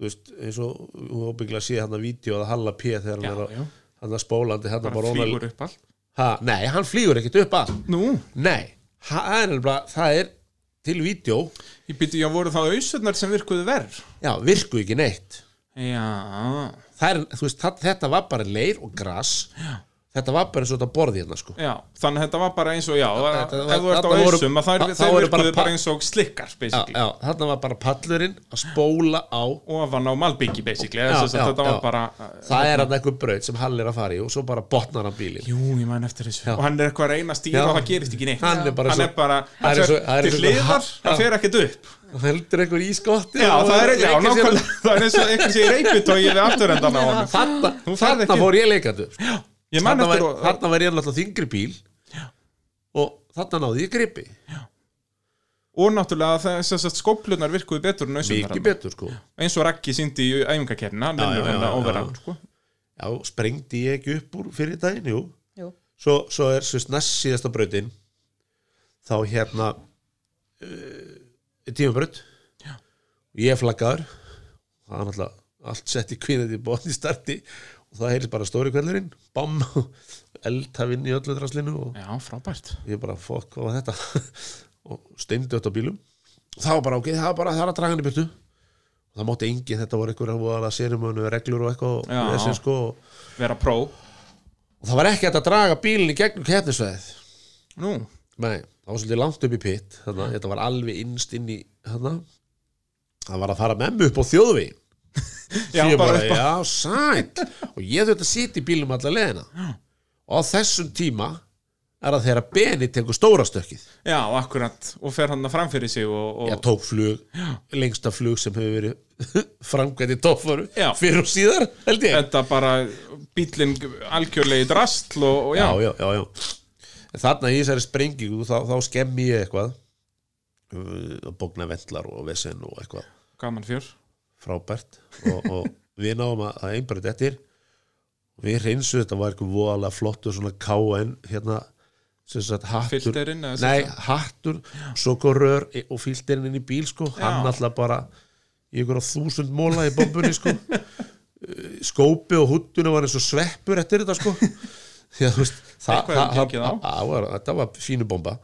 B: þú veist, eins og hún ábyggla sé hann að vídeo að Halla P þegar
A: já,
B: hann er
A: já,
B: á hann að spólandi, hann
A: bara
B: bara
A: flýgur upp allt
B: ha, nei, hann flýgur ekkit upp að
A: nú,
B: nei, ha, það er nefnilega, það er til vídeo,
A: ég býttu, já, voru þá auðsögnar sem virkuðu verð
B: já, virku ekki neitt
A: Já,
B: það er, þú veist, það, þetta var bara leir og gras já. þetta var bara eins og þetta borði hérna sko
A: já, þannig að þetta var bara eins og já,
B: þetta
A: ef þú ert
B: var-
A: á
B: þarna voru-
A: hausum að þær,
B: þá- þá
A: þeir
B: voru
A: virkuðu
B: bara
A: bara,
B: pa-
A: eins og slikkar
B: já,
A: basically,
B: já, þarna var bara pallurinn að spóla á
A: ofan á malbyggi basically,
B: Já,
A: þess að
B: já,
A: þetta var
B: já.
A: bara eh, hérna.
B: það er hann einhver braut sem Hall er að fara í og svo bara botnar hann bílinn
A: Jú, ég man eftir þessu og hann er eitthvað að reyna að stýra
B: Já.
A: og það gerist ekki neitt
B: Hann er bara
A: hann
B: svo-
A: er bara,
B: Það er
A: hann
B: svo- það er
A: fer til
B: svo-
A: hliðar,
B: Já.
A: hann fer ekkert upp
B: og heldur einhver í skotti
A: Já,
B: og
A: það er, já,
B: leikir sér-
A: nákvæmlega það er eins og einhvern sé í reyputói við afturrendan á honum
B: þarna,
A: Þú færð
B: þarna
A: ekki.
B: fór ég leikandi
A: Ég man
B: þarna
A: eftir
B: var,
A: og
B: þarna var ég alltaf þingri bíl og þarna náði ég gripi
A: og náttúrulega þess að skóplunar virkuðu betur en auðsögnar
B: mikið betur sko
A: eins og Raggi síndi í æfingakerna hann
B: Já,
A: vinnur
B: já,
A: hann að
B: já, já.
A: overall sko.
B: já, sprengdi ég ekki upp úr fyrir daginn jú.
C: Jú.
B: svo, svo er svo næst síðasta brautin þá hérna uh, tímabraut ég er flaggaður það er náttúrulega allt sett í kvíðandi bóðn í starti og það heyrðis bara stóri kvellurinn bam, eldhafinn í öllu draslinu og
A: Já, frábært
B: ég bara, fokk, hvað var þetta og steindi á bílum það var bara ok, það var bara, það var að draga hann í byrtu það mátti engin, þetta voru einhverjar voru að sérumönu reglur og eitthvað
A: Já.
B: og, þessi, sko,
A: vera pró
B: og það var ekki hægt að draga bílinn í gegnum keppnisveðið
A: nú,
B: Nei, það var svolítið langt upp í pitt þannig að þetta var alveg innst inn í þannig það var að fara með mig upp á þjóðvi
A: já,
B: ég
A: bara
B: bara,
A: upp á
B: já, sæll og ég þurfti að sitja í bílum alla leðina og á þessum tíma er það þegar Beni tekur stóra stökkið
A: já, akkurat, og fer hann að framfyrir sig og,
B: ég
A: og
B: tók flug, lengsta flug sem hefur verið framkvæmt í toppfóru
A: Já.
B: fyrir og síðar, held ég
A: þetta bara bílinn algjörlega í drastl og, og já,
B: já, já, já, já. En þarna í þessari sprengingu þá, þá skemmi ég eitthvað Uh, og bókna vellar og vesen og eitthvað
A: gaman fjör
B: frábært og, og við náum að, að einbært eftir við hreinsu þetta var eitthvað voðalega flottur svona KN hérna sem sagt hattur
A: Filterinn eða sem
B: nei, hattur, svo kom rör í- og filterinn inn í bíl sko, hann alltaf bara í einhverja þúsund móla í bombunni sko Eh, skópi og húttuna var eins og sveppur eftir þetta sko því að þú veist það,
A: Eitthvað hefur gengið á.
B: það var, þetta var fínu bomba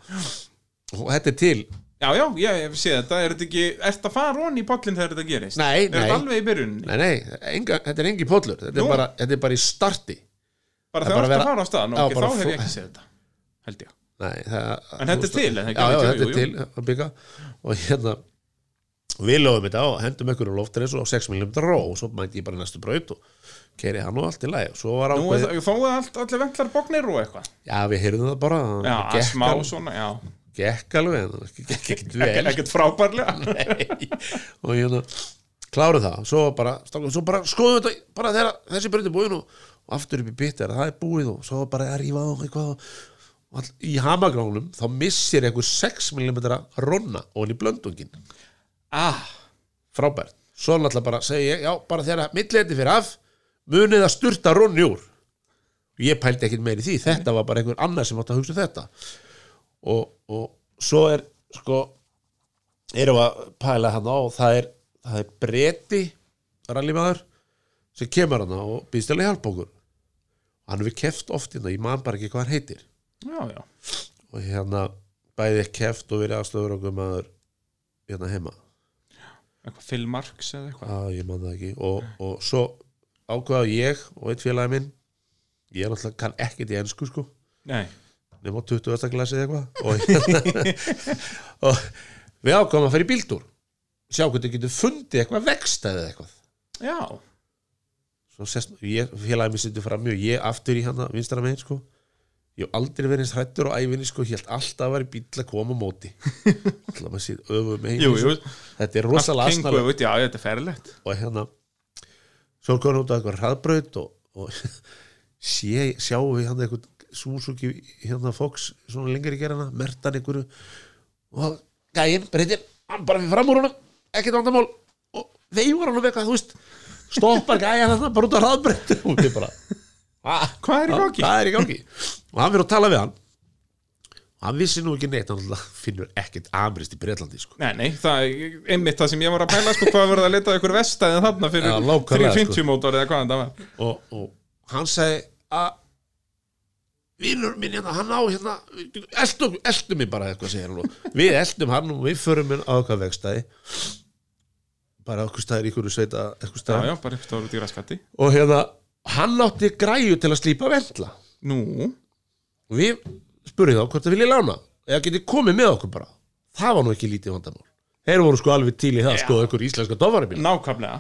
B: og þetta er til
A: já, já, ég hef séð þetta, er þetta ekki ert að fara onni í pollin þegar þetta gerist
B: Nei,
A: er þetta
B: nei.
A: alveg í byrjunni,
B: Nei, nei, enga, þetta er engi póllur þetta, er
A: Nú.
B: bara- þetta er bara í starti
A: bara þegar
B: það bara
A: ert að
B: vera-
A: fara á staðan
B: Já,
A: og þá
B: bara
A: hef
B: fó-
A: ég ekki séð þetta held ég,
B: Nei, það,
A: En þetta er
B: þú veist-
A: til, er það ekki?
B: Já, já,
A: Jú,
B: þetta
A: jú.
B: er til að bygga og hérna og við lögum þetta á, hendum ykkur á loftreis og á 6 mm ró og svo mæti ég bara í næstu braut og keri hann og allt í lagi og svo var
A: nú er
B: ákveðið,
A: það, þá er allt, allir ventlar bognir og eitthvað
B: já við heyrðum það bara
A: já,
B: það gekk
A: smá
B: alveg-
A: svona, já,
B: gekk alveg en það gekk ekkert vel
A: ekkert frábærlega
B: og hérna kláruð það, svo bara, strákum, svo bara skoðum þetta, bara þegar þessi breytir búin og, og aftur upp í bitar, það er búið og svo bara að rífa á eitthvað og, og all, í hamagránum þá missir einhver 6 mm ronna og hann í blöndungin
A: ah,
B: frábært, svo náttúrulega bara segi ég, já, bara þegar milleti fyrir af munið að sturta ronni úr ég pældi ekkert meir í því, þetta var bara einhver annar sem átt að hugsa um þetta og, og svo er sko, erum að pæla hann á, það er, það er breti rallimaður sem kemur hann og býðst alveg hjálp okkur hann hefur keft oft hérna, ég man bara ekki hvað hann heitir
A: já, já,
B: og hérna bæði keft og verið aðstofur okkur maður hérna heima
A: eitthvað Phil Marks eða eitthvað
B: Já, ég man það ekki og, og svo ákvaða ég og einn félagi minn ég er náttúrulega kann ekkert í ensku sko
A: nei,
B: nema 20. glasið eitthvað og, og við ákvaðum að fara í bíltúr sjá hvernig þú getur fundið eitthvað vegstæði eitthvað
A: já,
B: svo sest, ég, félagi minn sittur fram og ég aftur í hana vinstra megin sko ég hef aldrei verið eins hrættur á ævinni sko ég held alltaf að vera í bíl að koma á móti alltaf maður sér öfum megin sko.
A: jú, jú
B: þetta er
A: allt
B: rosalega asnalegt
A: kengu, já, þetta er ferlegt
B: og hérna svo er komin út á eitthvað hraðbraut og, og sé, sjáum við hann eitthvað Suzuki hérna Fox svona lengri gerina, mertan einhverju og gæinn breytir hann bara fyrir fram úr honum, ekkert vandamál og veifur hann um eitthvað, þú veist stoppar gæinn hann bara út á hraðbraut og við bara "Ha?"
A: Hvað er í gangi?
B: Já, Hvað er í gangi? og hann fyrir að tala við hann og hann vissi nú ekki neitt hann náttúrulega finnur ekkert amrist í Breitlandi sko.
A: Nei, nei, það er einmitt það sem ég var að pæla sko, hvað verður að leita að ykkur vestæði þarna fyrir
B: Já, nákvæmlega,
A: 350 sko. mótor eða hvað þetta var
B: og, og hann sagði að vinnur minn hérna, hann á hérna eldum, eldum mig bara eitthvað segir hann og við eldum hann og við förum minn á eitthvað vegstæði bara okkur staðir í hverju sveita
A: Já,
B: eitthvað staðir
A: já, bara uppstáður út í raskatti
B: og hérna, hann átti græju til að slípa vendla
A: Nú,
B: og við spurðum þá hvort það vilja lána eða getið komið með okkur bara það var nú ekki lítið vandamál þeir voru sko alveg til í það sko einhver íslenska dofarabíl
A: nákvæmlega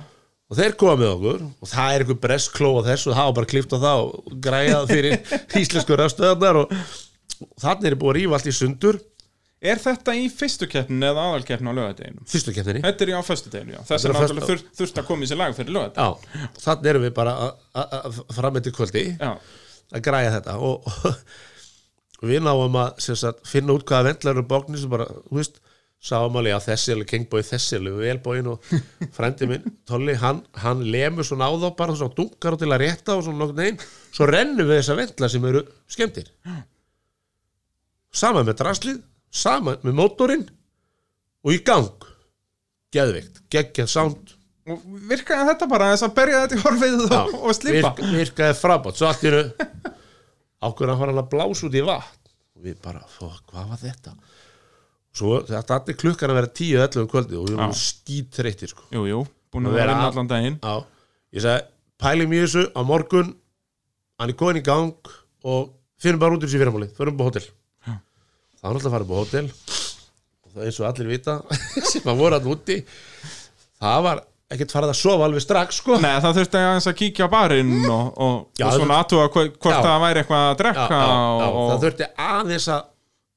B: og þeir koma með okkur og það er einhver breskló á þessu og það var bara klift á það og græjað fyrir íslensku rafstöðarnar og, og þannig er búið að rífa allt í sundur
A: Er þetta í fyrstu keppnin eða aðalkeppnin á lögadeginum?
B: fyrstu keppninni
A: Þetta er í á föstudeginu, já Þess
B: Þetta
A: er
B: er á
A: náttúrulega
B: föstu-
A: þur, þurft að koma í sér lag fyrir lögadegin
B: Já, þannig erum við bara að- að- að- fram eftir kvöldi
A: Já,
B: að græja þetta og, og við náum að sem sagt, finna út hvaða vendlar eru bóknir sem bara, þú veist, sáum alveg að þessi alveg kengbói þessi alveg velbóin og frendi minn, Tolli, hann, hann lemur svona á þá bara svona dunkar og til að rétta og svona nokkuð neginn, svo rennum við þessa vendlar sem eru skemmtir saman með draslið saman með mótorinn og í gang geðveikt, geggjað sound
A: og virkaði þetta bara þess að berja þetta í horfið
B: Já,
A: og, og slippa
B: virk, virkaði frábátt, svo allt í hennu ákveður hann var hann að blása út í vatn og við bara, "Fuck, hvað var þetta svo þetta allir klukkan að vera 10-11 um kvöldi og við erum
A: Já.
B: skýt þreyttir sko.
A: Jú, jú, búin
B: Nú
A: að vera
B: vera-
A: inn allan daginn
B: Já, ég sagði, pælum í þessu á morgun, hann er komin í gang og finnum bara út úr þessu fyrirmáli förum upp á hótel
A: Já.
B: Það var alltaf að fara upp á hótel og það er eins og allir vita sem að voru að úti það var ekkert farið að sofa alveg strax sko
A: Nei, það þurfti aðeins að kíkja á barinn og, og,
B: Já,
A: og svona aðtuga hvort
B: Já.
A: það væri eitthvað að
B: já,
A: drekka
B: já, já,
A: og, og
B: það þurfti aðeins að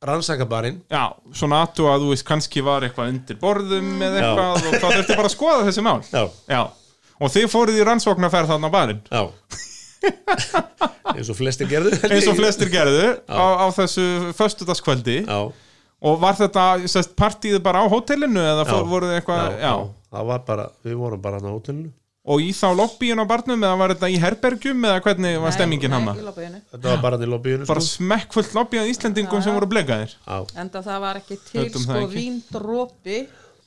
B: rannsaka barinn
A: já, svona aðtuga að þú veist kannski var eitthvað undir borðum eða eitthvað og það þurfti bara að skoða þessi mál
B: já,
A: og þið fóruð í rannsóknarferð þarna á barinn
B: já eins og flestir gerðu held
A: eins og
B: ég.
A: flestir gerðu á, á þessu föstudagskvöldi
B: já,
A: og var þetta sest, partíð bara á hótelinu eða fór, voruð þið
B: já,
A: eitthvað, já,
B: já, það var bara við vorum bara hann á hótelinu
A: og í þá lobbyin á barnum eða var þetta í herbergjum eða hvernig var stemmingin hann
C: enda
B: þetta var bara hann í lobbyinu
A: bara
B: sko.
A: smekkfullt lobby á Íslendingum sem voru blekaðir
B: Já.
C: það var ekki til
A: Höldum það
C: sko
A: ekki.
C: víndrópi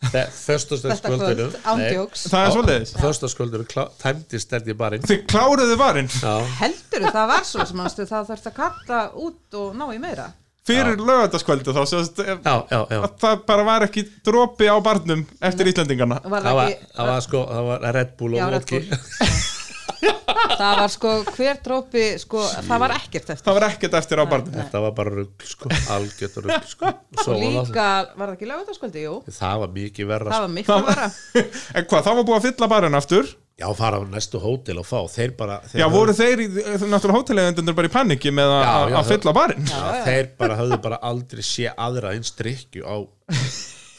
C: þetta
B: Föstaskvöldinu
C: kvöld ándjóks
A: það er svoleiðis
B: Föstaskvöldinu tæmdist held ég barinn
A: Þið kláruðu varinn
B: Já,
C: heldur það var svo sem mannstu það þurfti að kalla út og ná í meira
A: fyrir lögataskvöldu þá sest,
B: já, já, já
A: að það bara var ekki dropi á barnum eftir Íslendingana
C: var
B: Það
C: það,
B: var,
C: ekki,
B: það var sko, það var Red Bull
C: Já,
B: og
C: Red
B: vodki
C: Bull. það var sko hver drópi sko, það var ekkert eftir
A: það var ekkert eftir á barnum
B: Þetta var bara rugl sko, algjört rugl sko Og svo
C: og
B: var það-
C: líka, var það ekki lögutaskvöldi, jú
B: Það var mikið verra
C: það
B: sko.
C: var miklu vara
A: en hvað, það var búið að fylla barinn aftur
B: Já, fara á næstu hótel og fá Þeir bara þeir
A: já,
B: höfðu-
A: voru þeir í, náttúrulega hótelegundundur bara í paniki með að-
B: Já,
A: að að
B: já, það-
A: fylla barinn
B: Já, Þeir bara höfðu bara aldrei sé aðra eins drikju á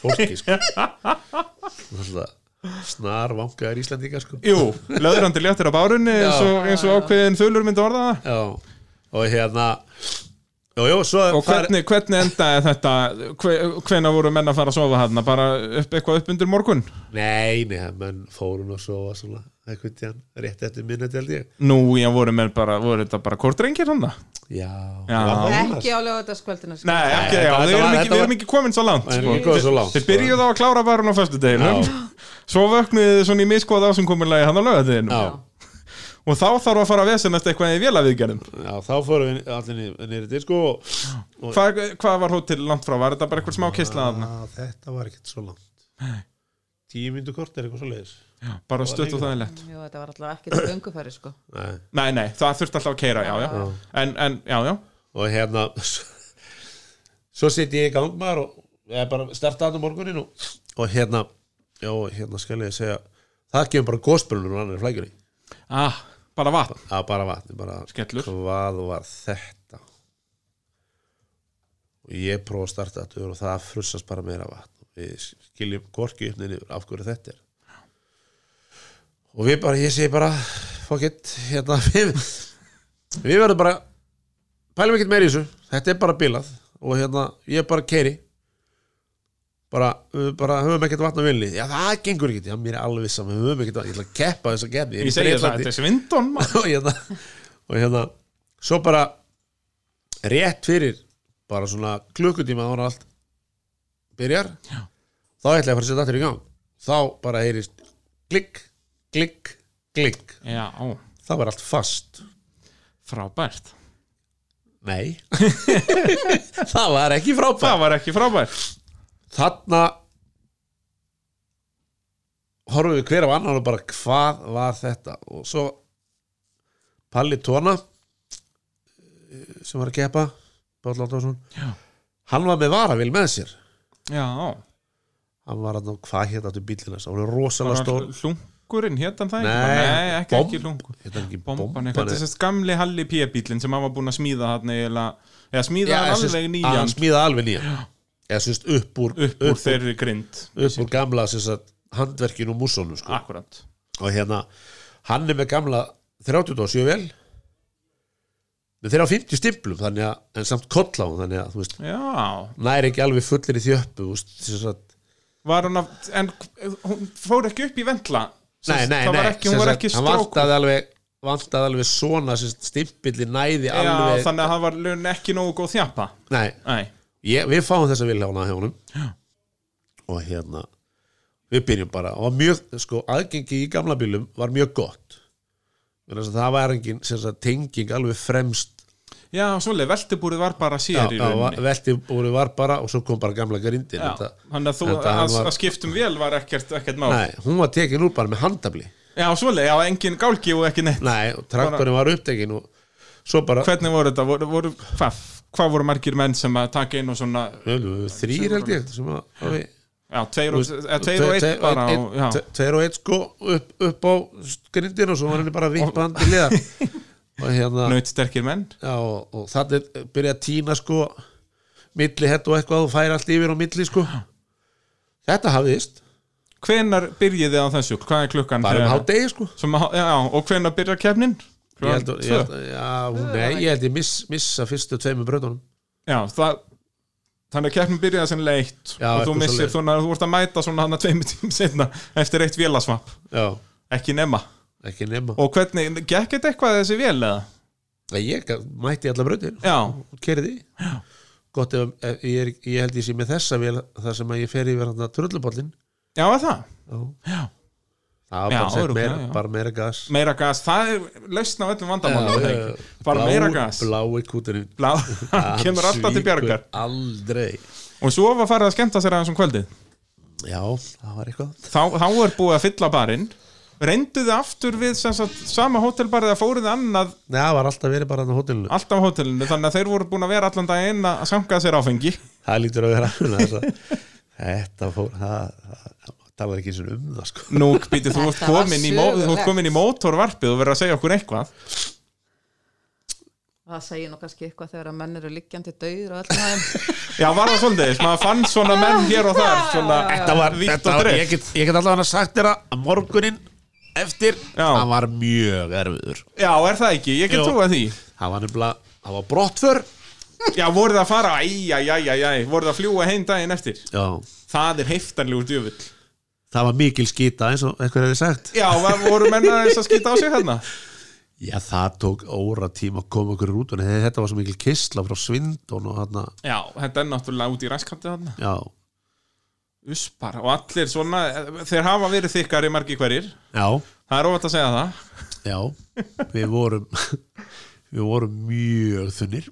B: fólki sko Snar vangaðar Íslandingar sko
A: jú, löðrandi léttir á bárunni eins og, eins og ákveðin þulur myndi orða það
B: Já, og hérna Jó, jó, svo
A: og hvernig, hvernig endaði þetta hve- hvenær voru menn að fara að sofa hann bara upp, eitthvað upp undir morgun
B: Nei, nei, menn fórun og sofa svona einhvern tíðan, rétt eftir minnet held ég
A: nú, já, voru menn bara, voru þetta bara kortrengir hann það
B: Já,
A: Já.
B: var það
C: ekki á lögutaskvöldinu sko.
A: Nei, ekki,
B: þetta-
A: já,
B: þetta
A: við erum ekki,
B: var-
A: við
B: þetta var-
A: erum ekki komin svo langt
B: Við erum ekki komin svo langt,
A: Þeir
B: sko.
A: byrjuðu á að klára barun á föstudeginum
B: Já.
A: Svo vöknuðu þið svona í miskoð ásunkumulagi hann á
B: Já,
A: lögadeginum Og þá þarf að fara að vesenast eitthvað í vélaviðgerðum
B: já, þá fórum við allir niður- niður í disko og Ah.
A: Hva, Hvað var hótel langt frá? Var þetta bara eitthvað smá kistla þarna?
B: að, þetta var ekkert svo langt Tíu myndu kort er eitthvað svo leiðis
A: Bara stutt og það er lett
C: Jú, þetta var alltaf ekki til göngufæri sko.
B: Nei.
A: Nei, nei, það þurfti alltaf að keira, já, já En, en já, já,
B: Og hérna Svo sitt ég í gang maður og ég er bara starta hann á morgunin og, og hérna, já, hérna skal ég segja Það kemur bara gósbrunur og annar í flækjunni
A: ah, bara vatn
B: Já, bara vatni, bara
A: Skellur.
B: Hvað var þetta? Og ég prófa að starta þetta og það frussast bara meira vatn Við skiljum gorki upp niður af hverju þetta er Og við bara, ég segi bara Fuck it, hérna Við, við verðum bara Pælum ekkert meira í þessu Þetta er bara bilað Og hérna, ég bara keiri bara, við bara höfum ekkert vatn á vilni já það gengur ekkert, já mér er alveg saman við höfum ekkert vatn, ég ætla að keppa þess að keppi
A: Ég segi það, þetta er svindon maður.
B: og hérna, og hérna svo bara rétt fyrir bara svona klukkutíma þá var allt byrjar Já. þá ætla ég að fara að setja aftur í gang þá bara heyrist klikk, klikk, klikk
A: Já, á,
B: þá var allt fast
A: frábært
B: nei það var ekki frábært
A: Það var ekki frábært
B: þarna horfum við hver af annan og bara hvað var þetta og svo Palli Tóna eh, sem var að keppa Páll Áttórsson
A: Já.
B: hann var með varavil með sér
A: Já, á
B: hann var að hvað hérna áttu bílina hann var rosalega stór
A: Hlungurinn, hétan það ekki?
B: Nei,
A: Nei ekki,
B: bomb-
A: ekki hlungur
B: hérna er ekki
A: Bomban
B: bomban
A: eitthvað,
B: eða-
A: þess að gamli Halli P-bílinn sem hann var búinn að smíða hann eiginlega, eða smíða
B: Já,
A: hann
B: sem sagt,
A: alveg
B: að hann
A: nýjan
B: smíða alveg nýjan eða sérst upp úr
A: upp úr þeirri grind
B: upp úr gamla sérst handverkinu og mússónu sko.
A: Akkurat
B: og hérna hann er með gamla 37 vel en þeir á 50 stimplum þannig að, en samt koll á hann þannig að, þú veist,
A: Já,
B: næri ekki alveg fullir í þjöppu, þú veist, þess að
A: var hún að en hún fór ekki upp í vendla Sem
B: nei,
A: sagt,
B: nei,
A: það
B: nei,
A: var ekki,
B: sem
A: hún var
B: sagt,
A: ekki
B: hann
A: strók
B: vantaði alveg vantaði alveg svona, sem sagt, stimpilli næði
A: Já,
B: alveg,
A: þannig að hann var laun ekki nógu góð þjapa
B: nei,
A: Nei,
B: ég, við fáum þessa viljána hjá honum
A: Já.
B: og hérna við byrjum bara, og mjög, sko aðgengi í gamla bílum var mjög gott Vegna þess að það var engin, sem sagt, tenging alveg fremst
A: já, svoleið, veltibúrið var bara
B: Já,
A: sér í
B: já,
A: rauninni
B: velti voru var bara og svo kom bara gamla grindin
A: Já,
B: þetta-
A: þannig að þú,
B: þetta hann
A: að,
B: var-
A: að skiptum vel var ekkert, ekkert mál
B: Nei, hún var tekin úr bara með handabli
A: Já, svoleið, já, engin gálgi og ekki neitt
B: Nei, og traktorinn var upptekin og svo bara
A: Hvernig voru þetta, voru, voru hvað, hvað voru margir menn sem að taka inn og svona
B: þrýr held ég sem að- að við-
A: Já, tveir og, eða tveir
B: Tve-
A: og
B: tve-
A: eitt bara
B: einn-
A: og, já.
B: tve- tveir og eitt sko upp, upp á grindin og svo var henni bara vippandi liðar og hérna
A: nautsterkir menn
B: já, og, og þannig byrja að týna sko milli hett og eitthvað og færa allt yfir á milli sko þetta hafðist
A: Hvenar byrjiði á þessu, hvað er klukkan
B: bara um
A: þegar-
B: hádegi sko
A: Sem að- já, og hvenar byrjar kefnin
B: ég held, að- ég held, að- já,
A: Ah,
B: hún, nei, ég held ég miss, missa fyrstu tveimur bröðunum
A: Já, það Þannig að keppnum byrjaði sem leitt
B: Já,
A: og þú
B: eitthvað
A: missir
B: svoleiðis.
A: svona að þú ert að mæta svona hann að tveimur tím setna eftir eitt vélasvamp,
B: já,
A: ekki nema
B: ekki nema
A: Og hvernig, gekk þetta eitthvað þessi vél eða?
B: Nei, ég gat- mætti alla bröðin
A: Já,
B: kerði já. gott ef, ef ég, er, ég held ég sé með þessa vel þar sem að ég fer yfir hann að trölluballin
A: já er það
B: já það
A: Já,
B: var bara, sett
A: örugglega,
B: meira,
A: já.
B: bara meira gas
A: Meira gas, það er lausn á öllum vandamálum er það
B: eh,
A: ekki? Bara meira gas
B: blái kúturinn
A: Blá, hann kemur alltaf til bjargar
B: aldrei
A: Og svo var farið að skemmta sér aðeins um kvöldið
B: já, það var eitthvað
A: Þá, þá er búið að fylla barinn Reynduðu aftur við sem sagt, sama hótelbarið að fóruðu annað
B: Nei, það var alltaf verið bara hann á hótelinu
A: alltaf hótelinu Þannig að þeir voru búin að vera allan daginn að sanga sér áfengi
B: það lítur að vera hann þetta fór það, það, það talar ekki eins og um það sko
A: Nú, býti, þú ert
C: Þetta var
A: komin, í mó- þú ert
C: sögulegt.
A: komin í mótorvarpið og verður að segja okkur eitthvað
C: það segir nú kannski eitthvað þegar að menn eru liggjandi dauður og allt það
A: Já, var það svolítið, maður fann svona menn hér og þar svona
B: þetta var,
A: vítt
B: þetta
A: og
B: var
A: dreift.
B: ég, get, ég get allavega sagt þér að morgunin eftir,
A: Já.
B: hann var mjög erfiður
A: Já, er það ekki, ég get
B: Jú.
A: trúið því
B: hann var nefnilega, hann var brottför
A: Já, voru það að fara, æjæjæjæj voru það að fljúa heim daginn eftir
B: já,
A: Það er heiftanlegur djöfull
B: það var mikil skýta eins og eitthvað hefði sagt
A: Já, var- voru menn aðeins að skýta á sig hérna
B: já, það tók óra tíma að koma okkur út en þetta var svo mikil kistla frá Svindon og hann
A: Já, þetta er náttúrulega út í ræskandi þarna
B: já,
A: Uspar og allir svona Þeir hafa verið þykkari margi hverjir
B: já,
A: Það er ofalt að segja það
B: já við vorum við vorum mjög þunnir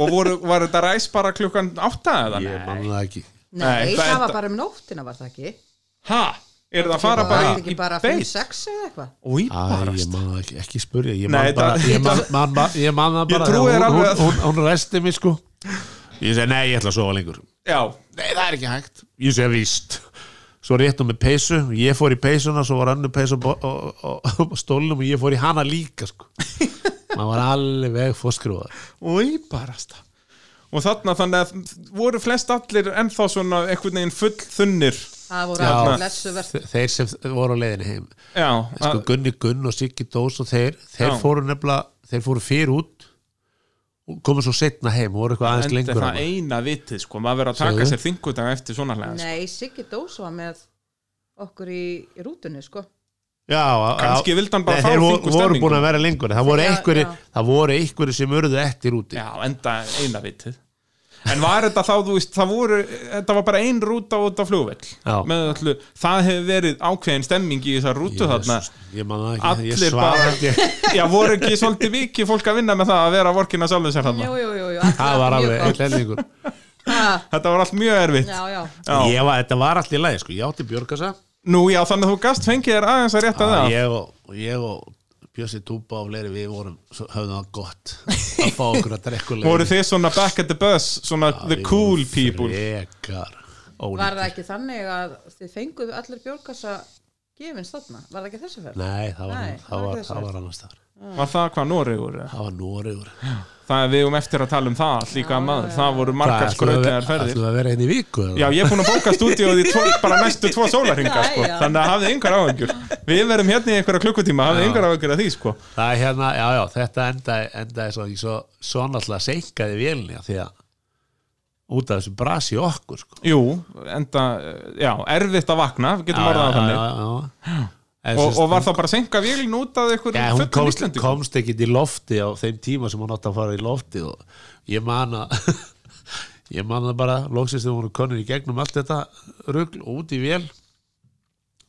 A: Og voru, var þetta ræs bara klukkan átta eða?
B: ég manna það ekki
A: Nei,
C: nei,
A: það
C: það
A: er-
C: var bara um nóttina var það ekki
A: Ha? Er það að fara
C: var
A: bara
C: þetta
A: í,
C: ekki bara
A: í
C: 5-6 eða eitthvað
A: Új,
B: Æ, ég man það ekki, ekki spurja ég
A: Nei,
B: man bara,
A: það-
B: ég man, man, man, ég man það
A: Ég
B: bara
A: trúi þér
B: hún,
A: alveg
B: hún,
A: að-
B: hún, hún resti mig sko ég segi, nei, ég ætla að sofa lengur
A: Já,
B: nei, það er ekki hægt, ég segi, víst svo réttum með peysu, ég fór í peysuna svo var annu peysu á- á- á- á stólnum og ég fór í hana líka sko maður var alveg fórskruðar
A: új, barasta Og þarna þannig að voru flest allir ennþá svona einhvern veginn full þunnir
C: það voru
B: Já.
C: alveg blessuvert
B: þeir sem voru á leiðinni heim
A: Já,
B: sko,
A: að-
B: Gunni Gunn og Siggi Dós og þeir, þeir
A: Ah. Já.
B: fóru nefnilega, þeir fóru fyrir út og komu svo setna heim og voru eitthvað aðeins
A: enda
B: lengur
A: það
B: heima.
A: eina vitið sko, maður verið að taka
B: Segðu.
A: sér þingudag eftir svona hlæða sko.
C: nei, Siggi Dós var með okkur í, í rútunni sko
B: Já, á- á-
A: Kannski vildi hann bara
B: Nei,
A: fá
B: þeir vo-
A: fingur
B: voru
A: stemningu.
B: búin að vera lengur það voru
C: Já,
B: einhverju,
C: já.
B: það voru einhverju sem urðu eftir úti
A: Já, enda eina vitið En var þetta þá, þú veist, það voru þetta var bara ein rúta út á flugvell
B: Já.
A: með öllu, það hefur verið ákveðin stemming í þessar rútu þarna
B: Jesus, ég man það ekki, ég
A: Allir
B: svara
A: bara-
B: ekki
A: Já, voru ekki svolítið vikið fólk að vinna með það að vera að vorkina sjálfum sér þarna
C: jú, jú, jú, jú,
B: það var
C: mjög
B: alveg
C: gott.
B: einn lengur
C: Ha,
A: Þetta var allt mjög erfitt
C: já, já,
A: Já.
B: ég var, þetta var allir læg, sko, ég átti björgasa
A: Nú, já, þannig að þú gast fengið þér aðeins að rétta það
B: ég og, og ég og Bjössi Túpa og fleiri við vorum, svo, höfðum það gott að fá okkur að drekkulega
A: Voru þið svona back at the bus svona the cool people
B: frekar
C: var það
B: ólíkir.
C: ekki þannig að þið fenguðu allir björgassa gefins þarna, var það ekki þessu ferð?
B: Nei, það var,
C: Nei,
B: það
C: var
B: var,
C: ekki
B: það
C: þessi.
B: var annars þar
A: Var það hvað Noregur? eða?
B: Það var Noregur
A: Það er við um eftir að tala um það allt líka maður, það voru margar skrautlegar ferðir
B: Það vera henni í viku eða?
A: Já, ég er búin að bóka stúdíóð í tvo, bara næstu tvo sólarhinga, sko,
C: Já, já.
A: þannig að hafið yngar áhengjur Við verðum hérna í einhverja klukkutíma, hafið yngar áhengjur að því, sko
B: Það er hérna, já, já, þetta endaði, endaði svo, svo, svo náttúrulega seinkaði vélni af því að út af þessu brasi okkur sko.
A: Jú, enda, eh, já, erfitt að vakna, við getum orðað að þannig
B: já, já. En
A: og,
B: sem sagt,
A: og var það bara senka vélin út að ykkur
B: Já, hún
A: fullum
B: komst,
A: Íslandi
B: komst ekki í lofti á þeim tíma sem hún átti að fara í lofti og ég man að ég man að bara loksist þegar hún er konin í gegnum allt þetta rugl og út í vél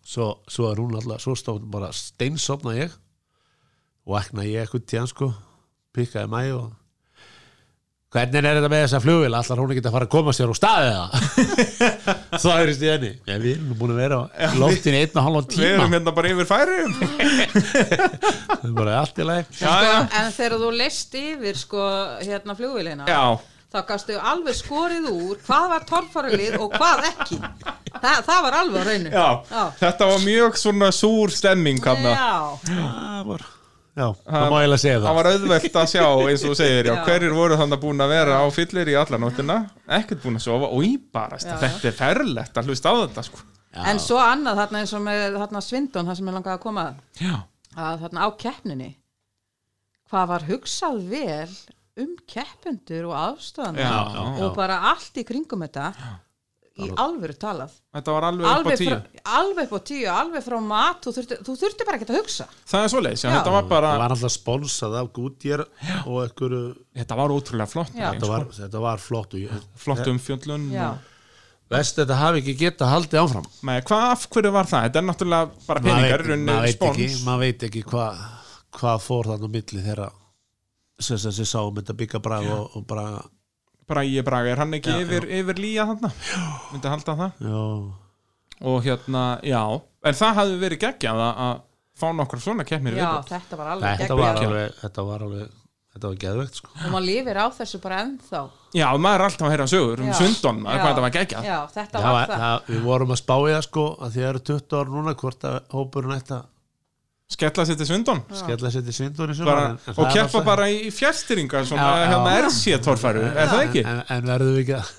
B: svo, svo er hún alltaf svo stóð bara steinsopna ég og ekna ég eitthvað tíðan sko pikkaði mæ og hvernig er þetta með þessa flugvil allar hún ekki að fara að koma sér úr staðið það það er í stíðinni ja, við erum nú búin að vera á loftin einn og halvan
A: Við
B: tíma
A: erum hérna bara yfir færum
B: það er bara allt í lagi
A: Já,
C: sko,
A: já.
C: en þegar þú leist yfir sko, hérna flugvilina
A: Já,
C: þá gastu alveg skorið úr hvað var torfarulið og hvað ekki Þa, það var alveg á reynu
A: já, þetta var mjög svona súr stemming hann
C: já.
B: það var já, það má ég að segja
A: Það
B: það
A: var auðvelt að sjá eins og þú segir, já,
C: Já.
A: hverjir voru þannig búin að vera á fyllir í alla nóttina ekkert búin að sofa og íbarast
C: Já, já.
A: þetta er ferlegt að hlusta á þetta sko.
C: en svo annað þarna eins og með þarna svindun það sem ég langaði að koma að,
A: Já,
C: að þarna á keppninni hvað var hugsað vel um keppendur og aðstöðan
A: já,
C: og bara allt í kringum þetta í alvöru talað
A: þetta var alveg upp á
C: alveg,
A: tíu
C: frá, alveg upp á tíu, alveg frá mat þú þurfti, þú þurfti bara ekki að hugsa
A: Það er svoleiðis, já,
C: Já.
A: þetta var bara
B: það var alltaf sponsað af Goodyear og ekkur
A: þetta var ótrúlega flott
C: Já.
A: þetta
B: þetta
A: var,
B: var, þetta var flott og ég,
A: flott umfjöndlun
C: já,
B: vest þetta hafi ekki geta haldið áfram
A: Nei, hvað af hverju var það? Þetta er náttúrulega bara peningar
B: veit,
A: runni
B: maður veit ekki,
A: spons
B: maður veit ekki hvað hva fór þannig á milli þeirra sem sem sem sáum þetta byggja brag og, og bara
A: Bragi Braga, er hann ekki yfir, yfir lía þarna? Myndi halda það
B: já,
A: Og hérna, já, en það hafði verið geggjað að, að fá nokkur svona keppnir í
C: já,
A: viðbót.
C: þetta var alveg
B: þetta
C: geggjað.
B: var alveg þetta var alveg, þetta var geðvegt sko.
C: og maður lifir á þessu bara ennþá
A: Já, maður er alltaf að heyra sögur um
C: Já.
A: sundon maður,
C: Já.
A: hvað þetta var geggjað
C: já, þetta
B: það
C: var
B: var,
C: það,
B: það, við vorum að spá í það sko að því það eru 20 ár núna hvort að hópurinn ætti að
A: Skella sér til sundon
B: skella sér til svindunni
A: bara, og keppa bara í fjærstyringa svona,
B: Já, já.
A: hérna er sér torfæru, er það ekki?
B: en, en verðum við ekki að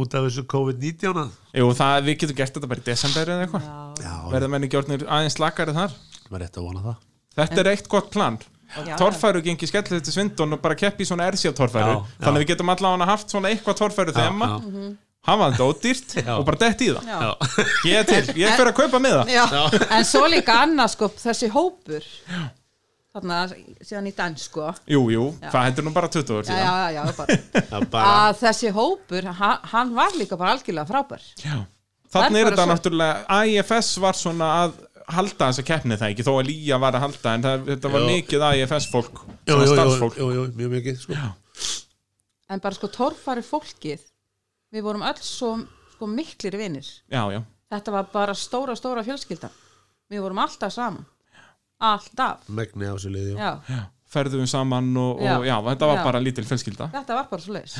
B: út af þessu COVID-19 að-
A: Jú, það, við getum gert þetta bara í desember eða eitthvað
B: já, verðum
A: Verða menni gjórnir aðeins slakari þar
B: við rétt að vona það
A: Þetta er eitt gott plan
C: Já.
A: Torfæru gengi skellið til svindun og bara keppi í svona RCA torfæru
B: Já, já.
A: Þannig að við getum allavega haft svona eitthvað torfæru þema
B: já.
A: Hafa þetta ódýrt
B: Já.
A: og bara dett í það
C: Mhm. Já.
A: Ég er til, ég fyrir að kaupa með það
C: Já. en svo líka annað sko þessi hópur þarna síðan í dans sko já,
A: Jú, jú, það hendur nú bara 20 úr
C: já,
A: síðan
C: já, já, bara.
B: Já, bara,
C: að þessi hópur, ha- hann var líka bara algjörlega frábær
A: Já.
C: Það
A: Þannig er
C: er bara
A: þetta
C: svo-
A: náttúrulega IFS var svona að halda þessa keppni það ekki, þó að Lía var að halda en það, þetta var
B: Jú.
A: mikið IFS fólk
B: jú,
A: svona
B: jú, jú,
A: starfsfólk
B: jú, jú, mjög mikið sko.
C: en bara sko torfari fólkið við vorum öll svo sko, miklir vinnir
A: Já, já,
C: þetta var bara stóra, stóra fjölskylda við vorum alltaf saman alltaf,
B: megni á þessu liði já.
C: já,
A: ferðum saman og,
C: Já.
A: og já, þetta var
C: Já.
A: bara lítil fjölskylda
C: þetta var bara svo leis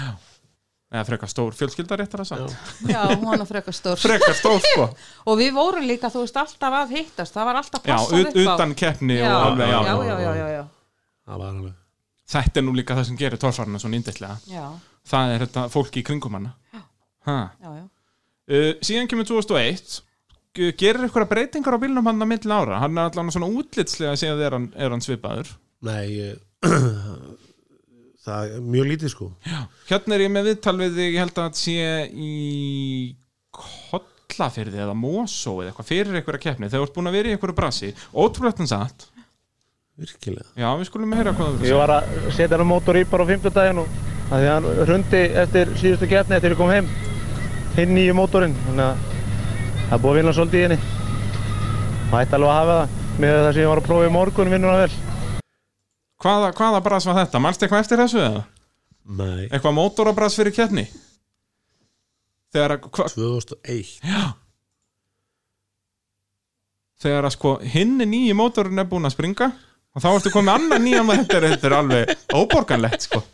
A: eða frekar stór fjölskylda réttar að sagt
C: já, hún var frekar stór
A: frekar stór sko
C: og við vorum líka, þú veist, alltaf að hittast það var alltaf
A: já,
C: passað
A: ut,
C: upp á
A: utan keppni
C: já,
A: og alveg, já,
C: já, já, já, já, já.
B: það var alveg
A: þetta er nú líka það sem gerir torfarna svona indislega
C: Já,
A: það er þetta fólki í kringum hana ha.
C: já, já.
A: uh, síðan kemur 2001 G- gerir ykkur breytingar á bílnum hann að milli ára hann er allan svona útlitslega séð er hann, er hann svipaður
B: Nei, ég, það er mjög lítið sko
A: hérna er ég með viðtal við þig, ég held að þetta sé í kollafyrði eða mósó eða eitthvað fyrir ykkur að keppni þegar þú ert búin að vera í ykkur brasi ótrúlega en satt
B: Virkilega
A: já, við skulum heyra hvað þú
D: Ég var að setja hann mótor í bara á fimmtudaginn og af því að hann hrundi eftir síðustu getni eftir ég kom heim hinn nýju mótorinn þannig að það er búið að vinna svolítið í henni og ætti alveg að hafa það með það sem ég var að prófa í morgun vinnur hann vel
A: hvaða, hvaða bras var þetta, mannst eitthvað eftir þessu eða?
B: Nei,
A: eitthvað mótorabras fyrir keppni þegar að hva,
B: 2001
A: þegar að sko hinn nýji mótorinn er búin að springa og þá ertu komið annar nýja maður þetta er, þetta er alveg óborganlegt sko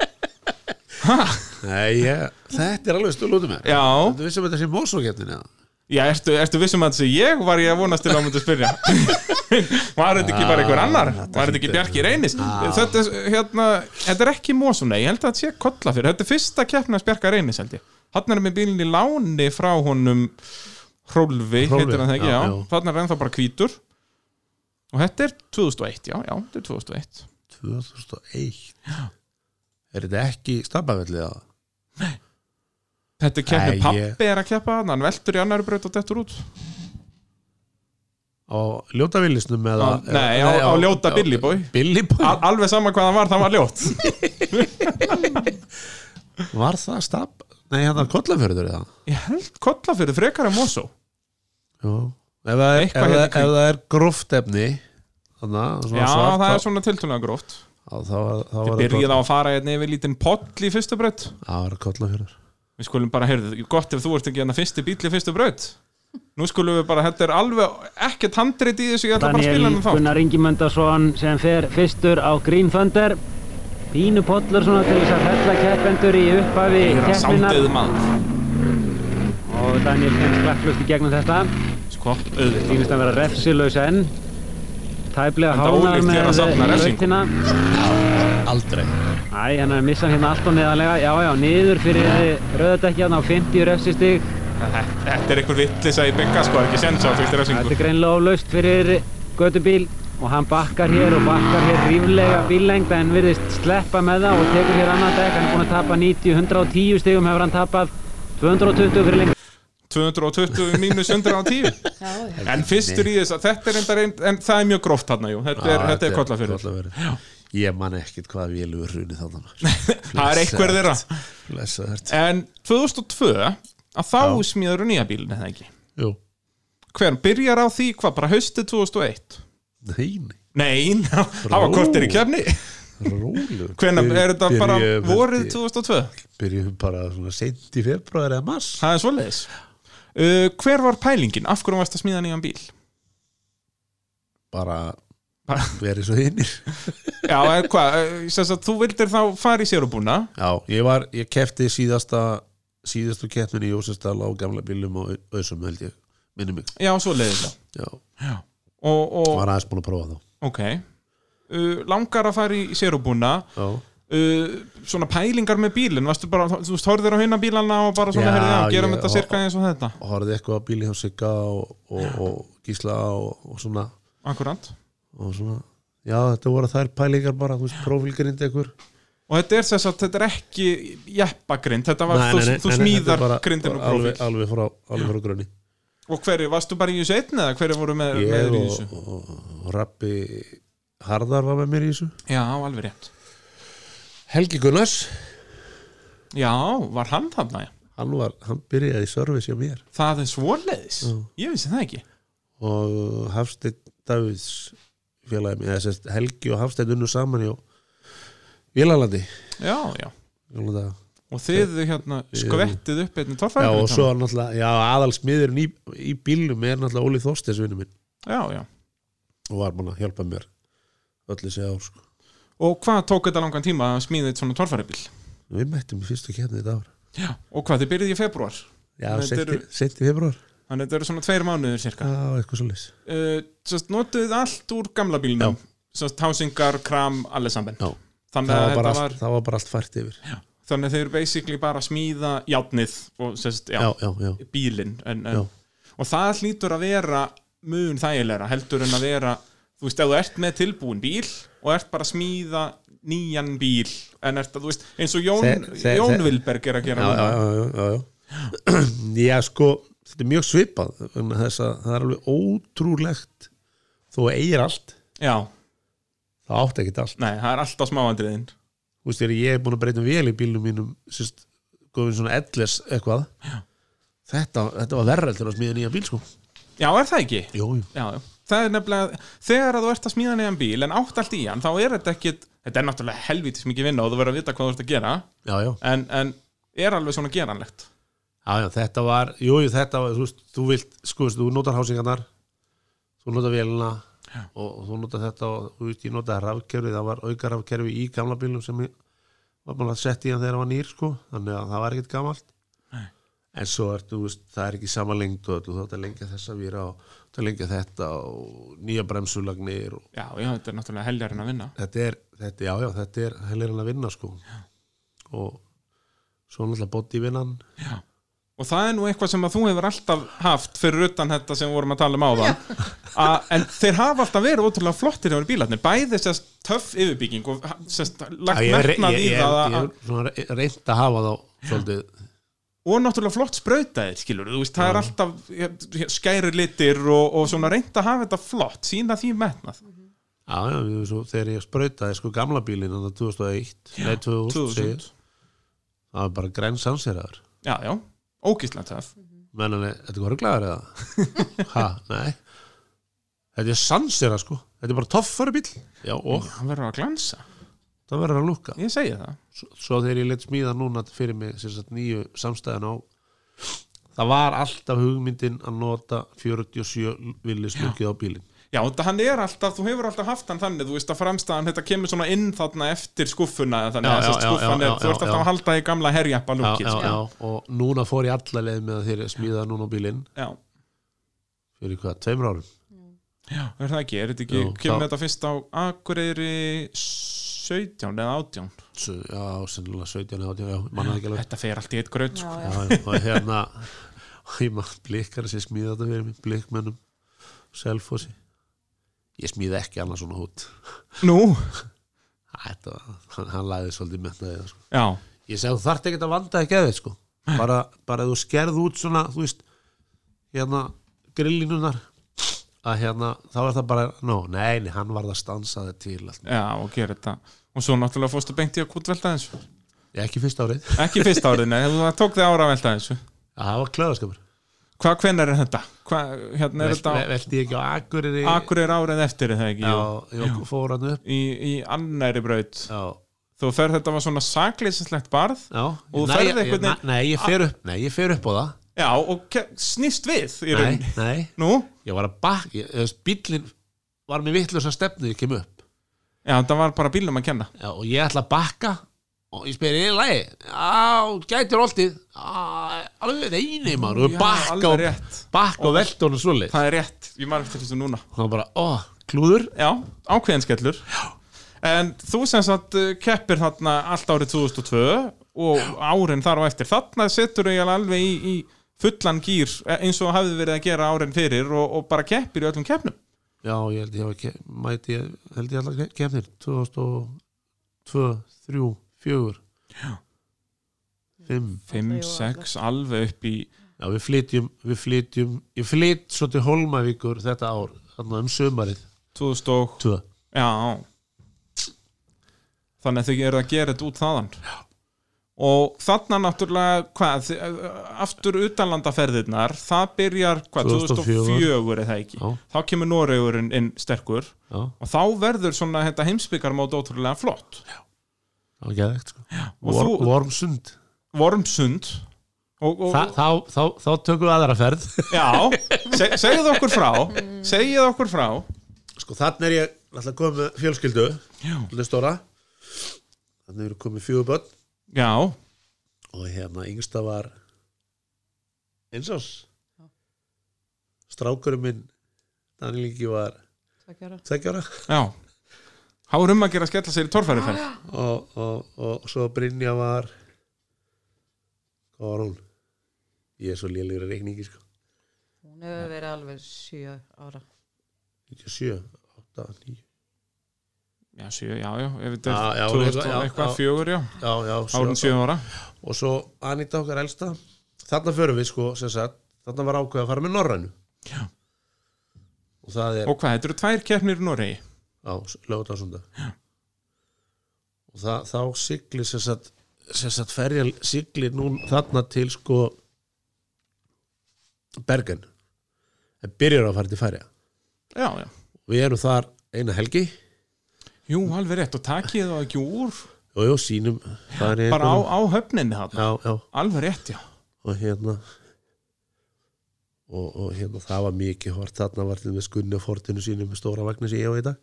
B: Nei, ég, þetta er alveg stölu út um mér
A: já,
B: Þú vissum þetta sem mósókettin eða?
A: já ertu, ertu vissum að þessi ég var ég að vonast til að hún myndi spyrja var þetta ekki bara einhver annar
B: Ah,
A: var
B: þetta
A: þetta ekki
B: hlýtur-
A: Bjarki Reynis
B: Ah.
A: þetta, er, hérna, þetta er ekki mósuna ég held að þetta sé kolla fyrir, þetta er fyrsta keppni að Bjarka Reynis held ég, hann er með bílinn í láni frá honum Hrólfi,
B: Hrólfi,
A: heitir hann það ekki,
B: já,
A: já,
B: já.
A: þannig er ennþá bara hvítur og þetta er 2001, já, já, þetta er 2001
B: 2001 Er þetta ekki stabbavellið eða?
A: Þetta er keppni
B: Nei,
A: pappi
B: ég-
A: er að keppa hann, hann veltur í annari braut og dettur út
B: Á ljótavillisnum eða?
A: Á- nei, á- á ljóta Billy Boy.
B: Billy Boy,
A: Al Alveg sama hvað hann var, það var ljótt
B: var það stabb? Nei, hann er kollafjörður eða?
A: Ég held kolla fyrir frekar en Mosó
B: Jú Ef það er, ef
A: Eitthvað
B: það,
A: hérna í
B: ef
A: kring.
B: það er gróft efni Þannig,
A: Já,
B: svart,
A: það er
B: þá-
A: svona tiltunlega gróft
B: Já, þá var þá var
A: Þið byrjið á að fara hérna yfir lítinn poll í fyrstu braut
B: Það var að kolla fyrir
A: Við skulum bara, heyrðu, gott ef þú ert ekki hérna fyrsti bíl í fyrstu braut Nú skulum við bara, þetta er alveg ekkert handrit í þessu, ég ætla bara að spila
E: Daniel
A: hann þá
E: Gunnar Ingimundarsson sem fer fyrstur á Green Thunder Pínu pollur svona til þess að fella keppendur í upphafi keppninar
A: Sándið um maður,
E: og Daniel kemst klakklust í gegnum þetta
A: sko, auðvitað
E: sínist að vera refsilaus enn tæplega
A: Enda
E: hánar
A: ólíkt þér að
E: með
A: safna refsingu.
E: lautina
B: Aldrei
E: Æ, hann er missan hérna allt og neðanlega já já, niður fyrir rauðadekkjan á 50 refsistig
A: Þetta er einhver vitlis að ég bygga, sko, er ekki sens á fyrstu
E: þetta
A: refsingu
E: er greinilega oflaust fyrir gödubíl og hann bakkar hér og bakkar hér ríflega bíllengda en virðist sleppa með það og tekur hér annað dekk, hann er búinn að tapa 90, 110 stigum hefur hann tapað 220 fyrir lengur
A: 220 mínus 110
C: Já, já.
A: En fyrstur í þess að þetta er enda reynd, en það er mjög gróft þarna, jú Þetta er, þetta er kolla fyrir
B: Ég man ekkert hvað við erum runið þannig
A: Það er einhver þeirra
B: Blessa þert
A: En 2002, að þá smíður nýja bílinn, eða ekki
B: Jú
A: Hver, byrjar á því, hvað, bara haustið 2001
B: Nein,
A: Nei, ná, það var kortir í kefni
B: rólu
A: Hvenær er þetta bara vorið 2002?
B: Byrjum bara svona sent í februar eða mars
A: Það er svoleiðis uh, Hver var pælingin? Af hverju varst að smíða nýjan bíl?
B: Bara
A: Bara-
B: verið svo hinnir
A: Já, en hvað, eh, sem sagt, þú vildir þá fara í sérubúna
B: Já, ég var, ég kefti síðasta síðastu keppnin í Jósestal á gamla bílum og auðsum held ég minnum mig,
A: Já, svoleiðis já.
B: já,
A: Og, og
B: var aðeins búin að prófa
A: ok uh, Langar að fara í sérubúna
B: þá Já,
A: uh, Svona pælingar með bílinn Varstu bara, þú veist, horfðir á hinna bílana og bara svona,
B: Já,
A: herði, já, gerum
B: ég-
A: þetta sirka eins og þetta
B: og horfði eitthvað á bíli hjá Sigga og, og, og Gísla og, og svona
A: Akkurant
B: og svona, já þetta voru þær pælingar bara, þú veist, prófílgrind ekkur
A: Og þetta er sem sagt, þetta er ekki jeppagrind, þetta var, þú, þú smíðar grindin og profil.
B: alveg, alveg frá, alveg frá grunni
A: Og hverju, varstu bara í þessu einn eða hverju voru með, með
B: ég
A: þér í
B: og,
A: þessu?
B: og, og Rappi Harðar var með mér í þessu
A: Já, alveg rétt.
B: Helgi Gunnars,
A: Já, var hann þarna? já.
B: hann var, hann byrjaði í service hjá mér
A: Það er svoleiðis. Ég vissi það ekki.
B: og Hafsteinn Davids félagi mér, þess að Helgi og Hafsteinn unnu saman hjá Vélalandi
A: Já, já.
B: Jónlega.
A: Og þið hérna skvettið upp einnig torfæður.
B: Já og svo náttúrulega, já aðal smiðurinn í, í bílnum er náttúrulega Óli Þorstins vinnu minn
A: Já, já.
B: og var búin að hjálpa mér öll þessi ár sko.
A: Og hvað tók þetta langan tíma að smíða eitt svona torfæribíl?
B: Við mættum í fyrstu kefni þetta ár
A: Já. Og hvað, þið byrjuð í februar?
B: Já,
A: Þetta
B: seint í-
A: eru-
B: seint í februar Já,
A: Þannig að þetta eru svona tveir mánuður cirka.
B: eitthvað svo leys
A: Uh, sérst, notuðið allt úr gamla bílnum. Sérst, hásingar, kram, allir saman.
B: Já,
A: Þannig
B: það
A: að
B: var, bara
A: þetta var...
B: allt, það var bara allt fært yfir Já,
A: þannig að þeir eru basically bara að smíða játnið og sérst, já,
B: já, já, já,
A: bílinn en,
B: Já.
A: en, og það hlýtur að vera mun þægilegra heldur en að vera þú veist, ef þú ert með tilbúin bíl og ert bara að smíða nýjan bíl en ert að, þú veist, eins og Jón,
B: Þe- þe-
A: Jón
B: þe-
A: Vilberg er að gera
B: já,
A: núna.
B: já, já, já, já. Já, sko, þetta er mjög svipað vegna þess að það er alveg ótrúlegt þó að eigir allt
A: já,
B: það átti ekkert allt
A: nei, það er alltaf smáandriðin
B: Þú veist, þegar ég er búin að breyta um vél í bílnum mínum sérst, góðum svona ellis eitthvað þetta, þetta var verra til að smíða nýja bíl sko
A: já, er það ekki?
B: Jú, jú.
A: Já, já. það er nefnilega, þegar að þú ert að smíða nýjan bíl en átt allt í hann, þá er þetta ekkit þetta er náttúrulega helvitis mikið vinna og þú verður að vita hvað þú ert að gera
B: Já, já.
A: en, en er alveg svona geranlegt
B: Já, já, þetta var, jú, jú, þetta var þú, veist, þú vilt, sko, veist, þú notar hásingarnar þú notar vélina og, og þú notar þetta og þú veist, ég notaði rafkerfi, það var auka rafkerfi í gamla bílnum sem ég var búin að setja í hann þegar hann var nýr, sko, þannig að það var ekkert gamalt Nei. en svo er, þú veist, það er ekki sama lengt og þú þátt að lengja þessa víra og þú þátt að lengja þetta og nýja bremsulagnir og
A: Já, já, þetta er náttúrulega heljarinn að vinna
B: þetta er, þetta, já, já, þetta er heilir hann að vinna, sko já. og svo náttúrulega bodyvinnan
A: Og það er nú eitthvað sem að þú hefur alltaf haft fyrir utan þetta sem við vorum að tala um áðan A, En þeir hafa alltaf verið ótrúlega flottir hefur bílarnir Bæði sérst töff yfirbygging og ha- sérst lagt
B: Já, ég,
A: merknað
B: ég,
A: í
B: ég,
A: það
B: ég,
A: að,
B: ég svona re- reynt að hafa þá svolítið
A: Og náttúrulega flott sprautaðir, skilur Þú veist, það er alltaf ég- ég- skæri litir og, og svona reynd að hafa þetta flott Sýna því metnað
B: Já, já, ég, svo, þegar ég sprautaði sko gamla bílinn þannig 2001, nei 2000, 2000.
A: 2000
B: það var bara græn sanseraður
A: Já, já, ógislega töff
B: menn hann, er þetta var glæður eða? ha, nei þetta er sansera sko, þetta er bara toffari bíl já, og
A: Hann verður að glansa
B: það verður að lukka
A: ég segi það
B: svo, svo þegar ég leitt smíða núna fyrir mig sem sagt, nýju samstæðan á það var alltaf hugmyndin að nota 47 villislukið á bílinn
A: Já, þetta- hann er alltaf, þú hefur alltaf haft hann þannig, þú veist að framstæðan, þetta kemur svona inn þarna eftir skuffuna, eða þannig
B: Já,
A: að
B: já,
A: þessi
B: já,
A: skuffan
B: já,
A: er,
B: já,
A: þú ert alltaf
B: já.
A: að halda í gamla herjappa
B: já,
A: lúkið,
B: já,
A: sko.
B: já. og núna fór ég alla leið með að þeirri smíða núna á bílinn
A: Já,
B: fyrir hvað, tveimur árum
A: já, er það ekki, er þetta ekki,
B: Jú,
A: kemur
B: þá-
A: þetta fyrst á Akureyri 17 eða 18?
B: Svo- já, sennilega 17 eða 18 já, mannaði ekki alveg
A: Þetta fer allt í eitt gröð, sko.
C: já, já.
B: já, já, og hérna og ég maður blikkar sem smíða þetta fyrir mig blikkmönnum, selfossi ég smíða ekki annað svona hút
A: Nú,
B: þetta, var- hann, hann lagði svolítið metnaði sko.
A: já,
B: ég segi þú þarft ekki að vanda ekki að þið sko. bara, bara þú skerð út svona þú veist hérna, grillinunar að hérna, þá er það bara, no, nei, nei hann varð að stansa það til allt.
A: já, og gera þetta. Og svo náttúrulega fórstu beint í að kútvelta þessu.
B: ekki fyrst árið,
A: Ekki fyrst árið, nei, þú tók þig ára að velta þessu.
B: það var klöðaskapur
A: Hvað, hvenar er þetta? Hvað, hérna er þetta á
B: veldi ég ekki á Akureyri
A: Akureyri árið eftir, er það ekki?
B: já, ég fór hann upp
A: Í, í annæri braut.
B: já,
A: þú fer þetta var svona sakleysislegt barð
B: Já,
A: Og þú
B: nei,
A: ferð
B: ég-
A: einhvern veginn-
B: ég- Nei, ég fer upp, nei, ég fer upp á það
A: já og ke- snýst við í
B: Nei,
A: raun
B: nei,
A: nú,
B: ég var að bak ég- þú veist, Bíllinn var með vitlaus að stefnu Ég kem upp
A: já það var bara bílum að kenna
B: já, Og ég ætla að bakka Og ég spyr, er í lagi? Já, gætir oltið Já, Alveg reyni maður Og
A: Já,
B: bakka
A: alveg
B: og,
A: rétt.
B: bakka og veldónu svoleið
A: það er rétt, ég maður eftir þessu núna
B: Og það bara, ó, klúður
A: já, ákveðin skellur já. en þú sem sagt uh, keppir þarna allt árið 2002 og árin þar og eftir þarna setur þau alveg í, í fullan gýr eins og hafði verið að gera árin fyrir og, og bara keppir í öllum keppnum
B: Já, ég held ég hafa ke- mæti ég, held ég allar kemnir 2002, 3, 4 Já 5
A: 5, 6, alveg upp í
B: Já, við flytjum, við flytjum ég flyt svo til Holmavíkur þetta ár, þannig um sömarið
A: 2000 og
B: tvö.
A: Já Þannig að þau eru að gera þetta út þaðan Já. Og þarna náttúrulega hvað, þi- eh, aftur utanlandaferðirnar það byrjar hvað,
B: 2004
A: 2004 eða ekki,
B: Já.
A: þá kemur Noregurinn inn sterkur
B: Já,
A: og þá verður svona þetta heimsbyggarmót ótrúlega flott
B: það var geðvegt sko.
A: og
B: Vor,
A: þú-
B: Vormsund
A: Vormsund og, og,
B: Þa, þá, þá, þá tökum við aðra ferð
A: Já, seg, segið okkur frá segið okkur frá
B: Sko, þannig er ég alltaf komið með fjölskyldu Þannig stóra Þannig eru komið fjögur börn
A: Já,
B: og hérna yngsta var eins og strákurinn minn Daniel Ingi var
C: Tveggja ára.
B: tveggjara
A: já Há er um að gera að skella sér í torfæriferð
B: og, og, og svo Brynja var hvað var hún? ég er svo lélegur að reikningi sko
C: hún hefur verið alveg sjö ára
B: 97, 8, 9
A: Já, sjö, já, já, ef þetta
B: Já, já,
A: er
B: hún er
A: 2000
B: eitthvað- já,
A: eitthvað,
B: já.
A: fjögur, já
B: já, já,
A: árun
B: svo,
A: 7 ára
B: og svo Anita okkar elsta þarna förum við sko sem sagt, þarna var ákveð að fara með Norrænu
A: Já.
B: og það er
A: og hvað, þetta eru tvær keppnir í Noregi
B: á lögutarsunda og það, þá sigli sem sagt, sem sagt ferja sigli nú þarna til sko Bergen en byrjar að fara til ferja
A: já, já,
B: við erum þar eina helgi
A: jú, alveg rétt og takið það ekki úr
B: og jú, sínum bara
A: bara á, á höfninni þarna,
B: já, já,
A: alveg rétt, já
B: og hérna og, og hérna það var mikið hort þarna var til með skunni á fortinu sínu með stóra vagnu sem ég á í dag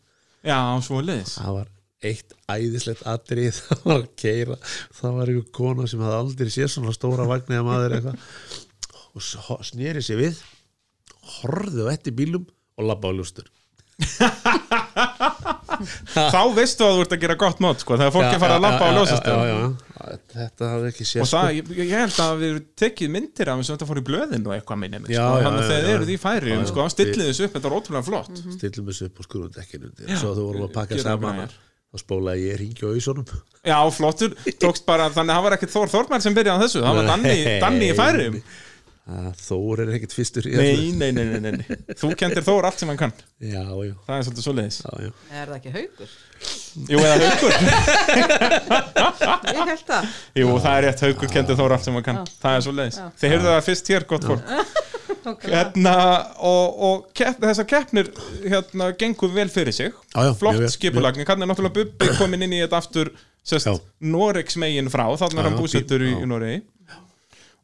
A: já, svo leiðis,
B: það var eitt æðislegt atrið það var að keira það var einhver kona sem hafði aldrei séð svona stóra vagnu eða maður eitthvað og s- ho- sneri sér við horfðu á eftir bílum og labba á ljústur
A: þá veistu að þú ert að gera gott mót, sko, þegar fólk er farið að lappa á ljósastöðum
B: ljósastöð þetta hafði ekki séð sko.
A: og það, ég, ég held að við erum tekið myndir af þess að þetta fór í blöðin og eitthvað minni
B: Já,
A: sko,
B: já,
A: þannig að
B: já,
A: þegar
B: já.
A: eru því færi,
B: Já,
A: sko,
B: já.
A: stillið þessu upp þetta er ótrúlega flott,
B: stillum þessu upp og skrúfum dekkinu undir svo þú vorum að pakka
A: gerum
B: saman
A: græjar.
B: þá spólaði ég ringi á auðsónum
A: já, flottur tókst bara, þannig að það var ekki Þór Þormar sem byrjaði á þessu, það var Danni, Danni í færum
B: Þór er ekkert fyrstur í
A: Nei, nei, nei, nei, nei, nei. Þú kendir Þór allt sem hann kann
B: öllu. já, já,
A: Það er svolítið svoleiðis
B: já, já.
C: er það ekki haugur?
A: Jú, eða haukur
C: ég held það
A: Jú, það er rétt, haukur kendir Þór allt sem hann kann Það er svoleiðis
C: Já.
A: Þið heyrðu það fyrst hér, gott fólk
C: nákvæmlega.
A: hérna, og, og kepp, þessar keppnir hérna, gengur vel fyrir sig
B: Já, já, mjög
A: flott
B: vel,
A: skipulagning, hann er náttúrulega Bubbi komin inn í þetta aftur sest,
B: Já.
A: Noregs megin frá, þannig
B: Já,
A: er hann
B: já,
A: búsettur í,
B: já.
A: í Noregi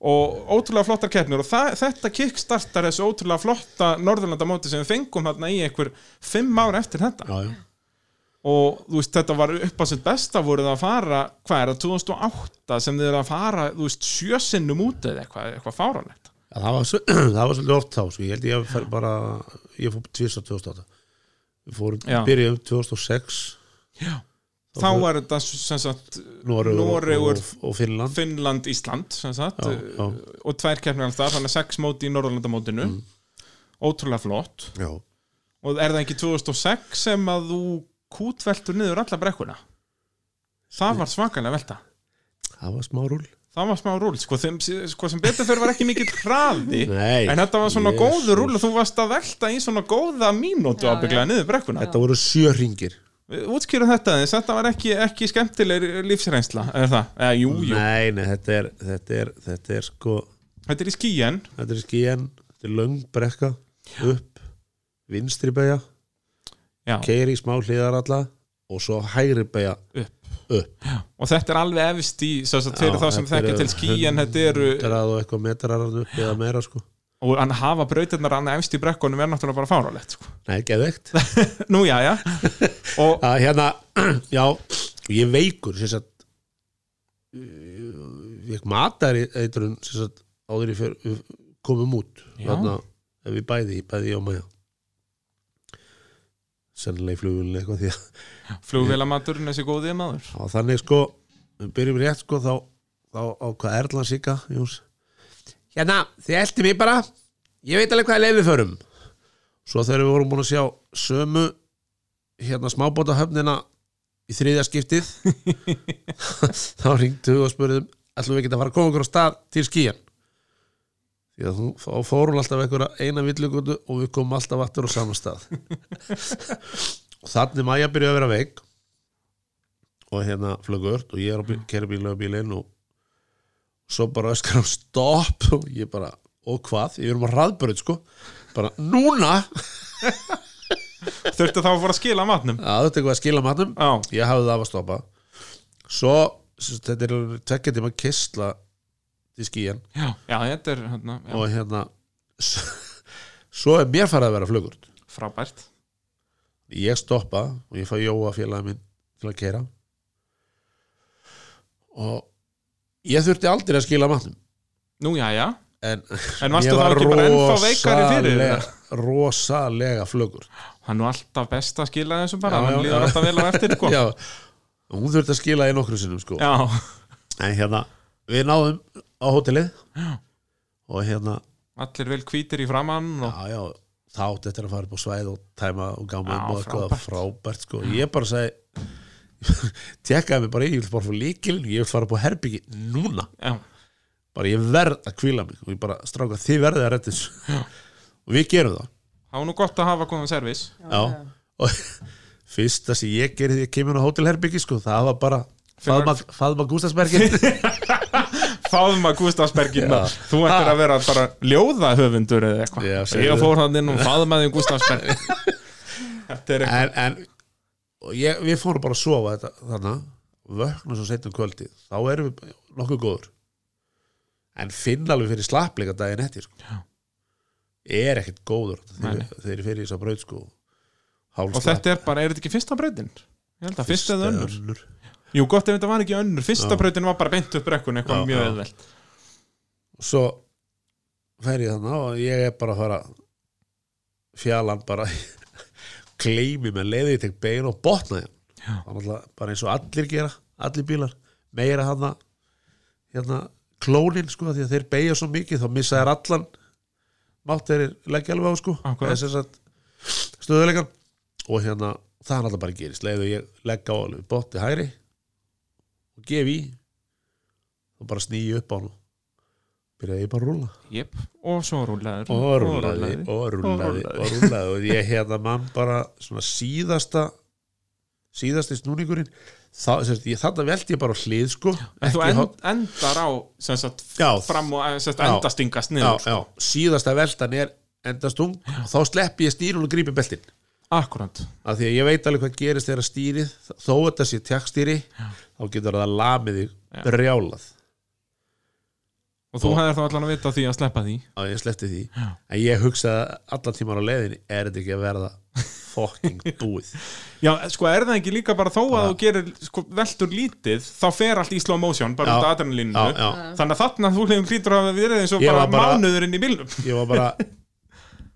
A: og ótrúlega flottar keppnir og það, þetta kickstartar þessu ótrúlega flotta Norðurlandamóti sem við fengum hérna í einhver fimm ár eftir þetta
B: já, já,
A: og þú veist þetta var upp að sitt besta voru það að fara, hvað er það 2008 sem þið eru að fara, þú veist sjösinnum út eða eitthvað, eitthvað fáranlegt
B: Já, það var, svo- það var svolítið oft þá sko. ég held ég að fer bara ég fór tvisar 2008 við fórum,
A: Já.
B: byrjuðum 2006
A: já. þá var þetta sem sagt
B: Noregur,
A: Noregur,
B: og, og Finnland
A: Finnland, Ísland sem sagt, eh,
B: já, já,
A: og tvær keppnir alls það, þannig að sex móti í Norðurlandamótinu
B: Mm.
A: ótrúlega flott
B: já.
A: og er það ekki 2006 sem að þú kútveltur niður alla brekkuna það var svakalega velta
B: það var smá rúl
A: það var smá rúl, sko, þeim, sko sem betur fyrir var ekki mikill hraði
B: Nei,
A: En þetta var svona
B: Jesus.
A: góður rúl og þú varst að velta í svona góða mínútu
C: Já,
A: ábygglega niður brekkuna.
B: þetta voru sjö ringir
A: Útskýra þetta aðeins, þetta var ekki, ekki skemmtileg lífsreynsla, er það? Eða, jú, jú,
B: nei, nei, þetta er þetta er, þetta er sko
A: þetta er í skíen,
B: þetta er skíen, þetta er löng brekka upp, vinstri beigja
A: já,
B: keiri smá hliðar alla og svo hægri beigja
A: upp.
B: upp
A: Og þetta er alveg efist í, svo að fyrir
B: Já,
A: þá sem
B: þetta
A: þekkja
B: eru
A: til skíen, þetta eru,
B: grað og eitthvað metrar þarna upp eða meira sko
A: og hann hafa brautirnar hann efist í brekkunum er náttúrulega bara fárálegt, sko.
B: nei, geðveikt
A: Nú, já, já, og
B: að hérna, já ég er veikur sem sagt ég matar eitrun sem sagt áður í fyrr við komum um út
A: Já.
B: þarna, ef við bæði, ég bæði ég og maður sennilega í flugulun eitthvað því að
A: flugvélamaturinn þessi góðið maður.
B: Já, þannig sko, við byrjum rétt sko þá, þá ákvað Erlan Sika Jóns Hérna, þið eldi mig bara ég veit alveg hvaða leið við förum Svo þegar við vorum búin að sjá sömu hérna smábóta höfnina í þriðja skiptið þá ringdu og spurðum ætlum við ekki að fara að koma okkur á stað til skíjan því að þú- þá fórum alltaf einhverja eina villugutu og við komum alltaf aftur á saman stað og þannig maður byrjuði að vera veik og hérna flögur og ég er að kæra bílinn á bílinn og svo bara öskar hann stopp og ég bara, og hvað, ég erum að hraðbörð sko, bara núna
A: Þurfti þá að fara að skila matnum.
B: að þetta eitthvað að skila matnum
A: Já,
B: ég hafði það af að stoppa svo, sem sagt, þetta er tekja tíma kistla til skíjan
A: já, já, þetta er, hérna, já,
B: og hérna s- svo er mér farið að vera flögur
A: frábært.
B: ég stoppa og ég fæ Jóa félagið minn til að keira og ég þurfti aldrei að skila matnum
A: Nú, já, já.
B: en
A: En varstu þá ekki bara ennþá veikari fyrir það?
B: rosalega- rosalega flögur
A: Hann er nú alltaf best að skila þessu bara,
B: Já,
A: hann
B: já,
A: líður
B: já.
A: alltaf vel á eftir, sko.
B: já, hún þurfti að skila í nokkru sinnum sko.
A: Já,
B: en hérna, við náðum á hótelið
A: Já.
B: og hérna
A: allir vel hvítir í framann og...
B: já, já, þá átti eftir að fara upp á svæð og tæma og
A: Já,
B: gáma um og eitthvað
A: frábært.
B: frábært sko. ég bara segi tekkaði mig bara í, ég vil bara fá líkilin ég vil fara upp á herbyggi núna
A: Já,
B: bara ég verð að kvíla mig og ég bara stráka þið verðið að redda þessu og við gerum það
A: það var nú gott að hafa góðan servis.
B: já, og fyrsta sem ég gerði því að kemur á hótelherbyggi sko, það var bara faðma, faðma Gústafsbergin
A: Fáðum að Gustafsbergin
B: Já.
A: þú ættir að vera bara ljóðahöfundur eða eitthvað.
B: Já, segðu.
A: Ég fór hann inn og faðmaði Gustafsberg. Þetta er eitthvað.
B: en, en og ég, við fórum bara að sofa þetta, þannig vöknum svo seinna um kvöldi þá erum við nokkuð góður en finna alveg fyrir slappleika daginn eftir sko.
A: Já.
B: er ekkert góður
A: Nei,
B: þegar þegar ég fyrir í þess að braut sko,
A: Og þetta er bara, er þetta ekki fyrsta breytin? Ég held að fyrsta eða önnur.
B: önnur
A: Jú, gott ef þetta var ekki önnur. Fyrsta
B: Já.
A: breytin var bara beint upp brekkun eitthvað
B: Já,
A: mjög
B: já.
A: auðvelt.
B: og svo fer ég þannig og ég er bara að fara fjalan bara kleimi með leiði, ég tek bein og botna hérna. þeim
A: Já.
B: alltaf, bara eins og allir gera allir bílar, meira hana hérna klónin sko, því að þeir beigja svo mikið, þá missa þær allan mátt þeir leggja alveg á sko
A: Akkúrat.
B: Eða sem sagt stöðulegan og hérna, það er alltaf bara gerist leiði og ég legg á alveg botni hægri og gef í og bara snýi upp á hann byrjaði ég bara að rúla
A: Jep. Og svo rúlaður.
B: og rúlaði og rúlaði
A: Og
B: og rúlaði og ég hérna mann bara svona síðasta síðasti snúningurinn þá, sérst, ég, þarna veldi ég bara á hlið sko
A: En þú
B: Ekki
A: end,
B: horn-
A: endar á sem sagt,
B: Já.
A: fram og eh, sem sagt,
B: Já.
A: endastingast
B: já,
A: niður sko.
B: já, síðasta veltan er endastung og þá sleppi ég stýrun og grípi beltin
A: Akkurant
B: af því að ég veit alveg hvað gerist þegar stýrið þó þetta sé tjakkstýri þá getur það lamið þig brjálað
A: Og þú
B: Og-
A: hefðir þá allan að vita því að sleppa því
B: að ég sleppti því
A: Já.
B: en ég hugsaði allan tíman á leiðinni er þetta ekki að verða fucking búið
A: Já, sko, er það ekki líka bara þó að
B: Já.
A: þú gerir sko, veldur lítið, þá fer allt í slow motion bara
B: Já.
A: út af adrenalinu
B: já, já.
A: Þannig að þarna þú hljóðum hlýtur að við erum eins og
B: Ég
A: bara,
B: var bara-
A: mánuðurinn í bílnum
B: ég var bara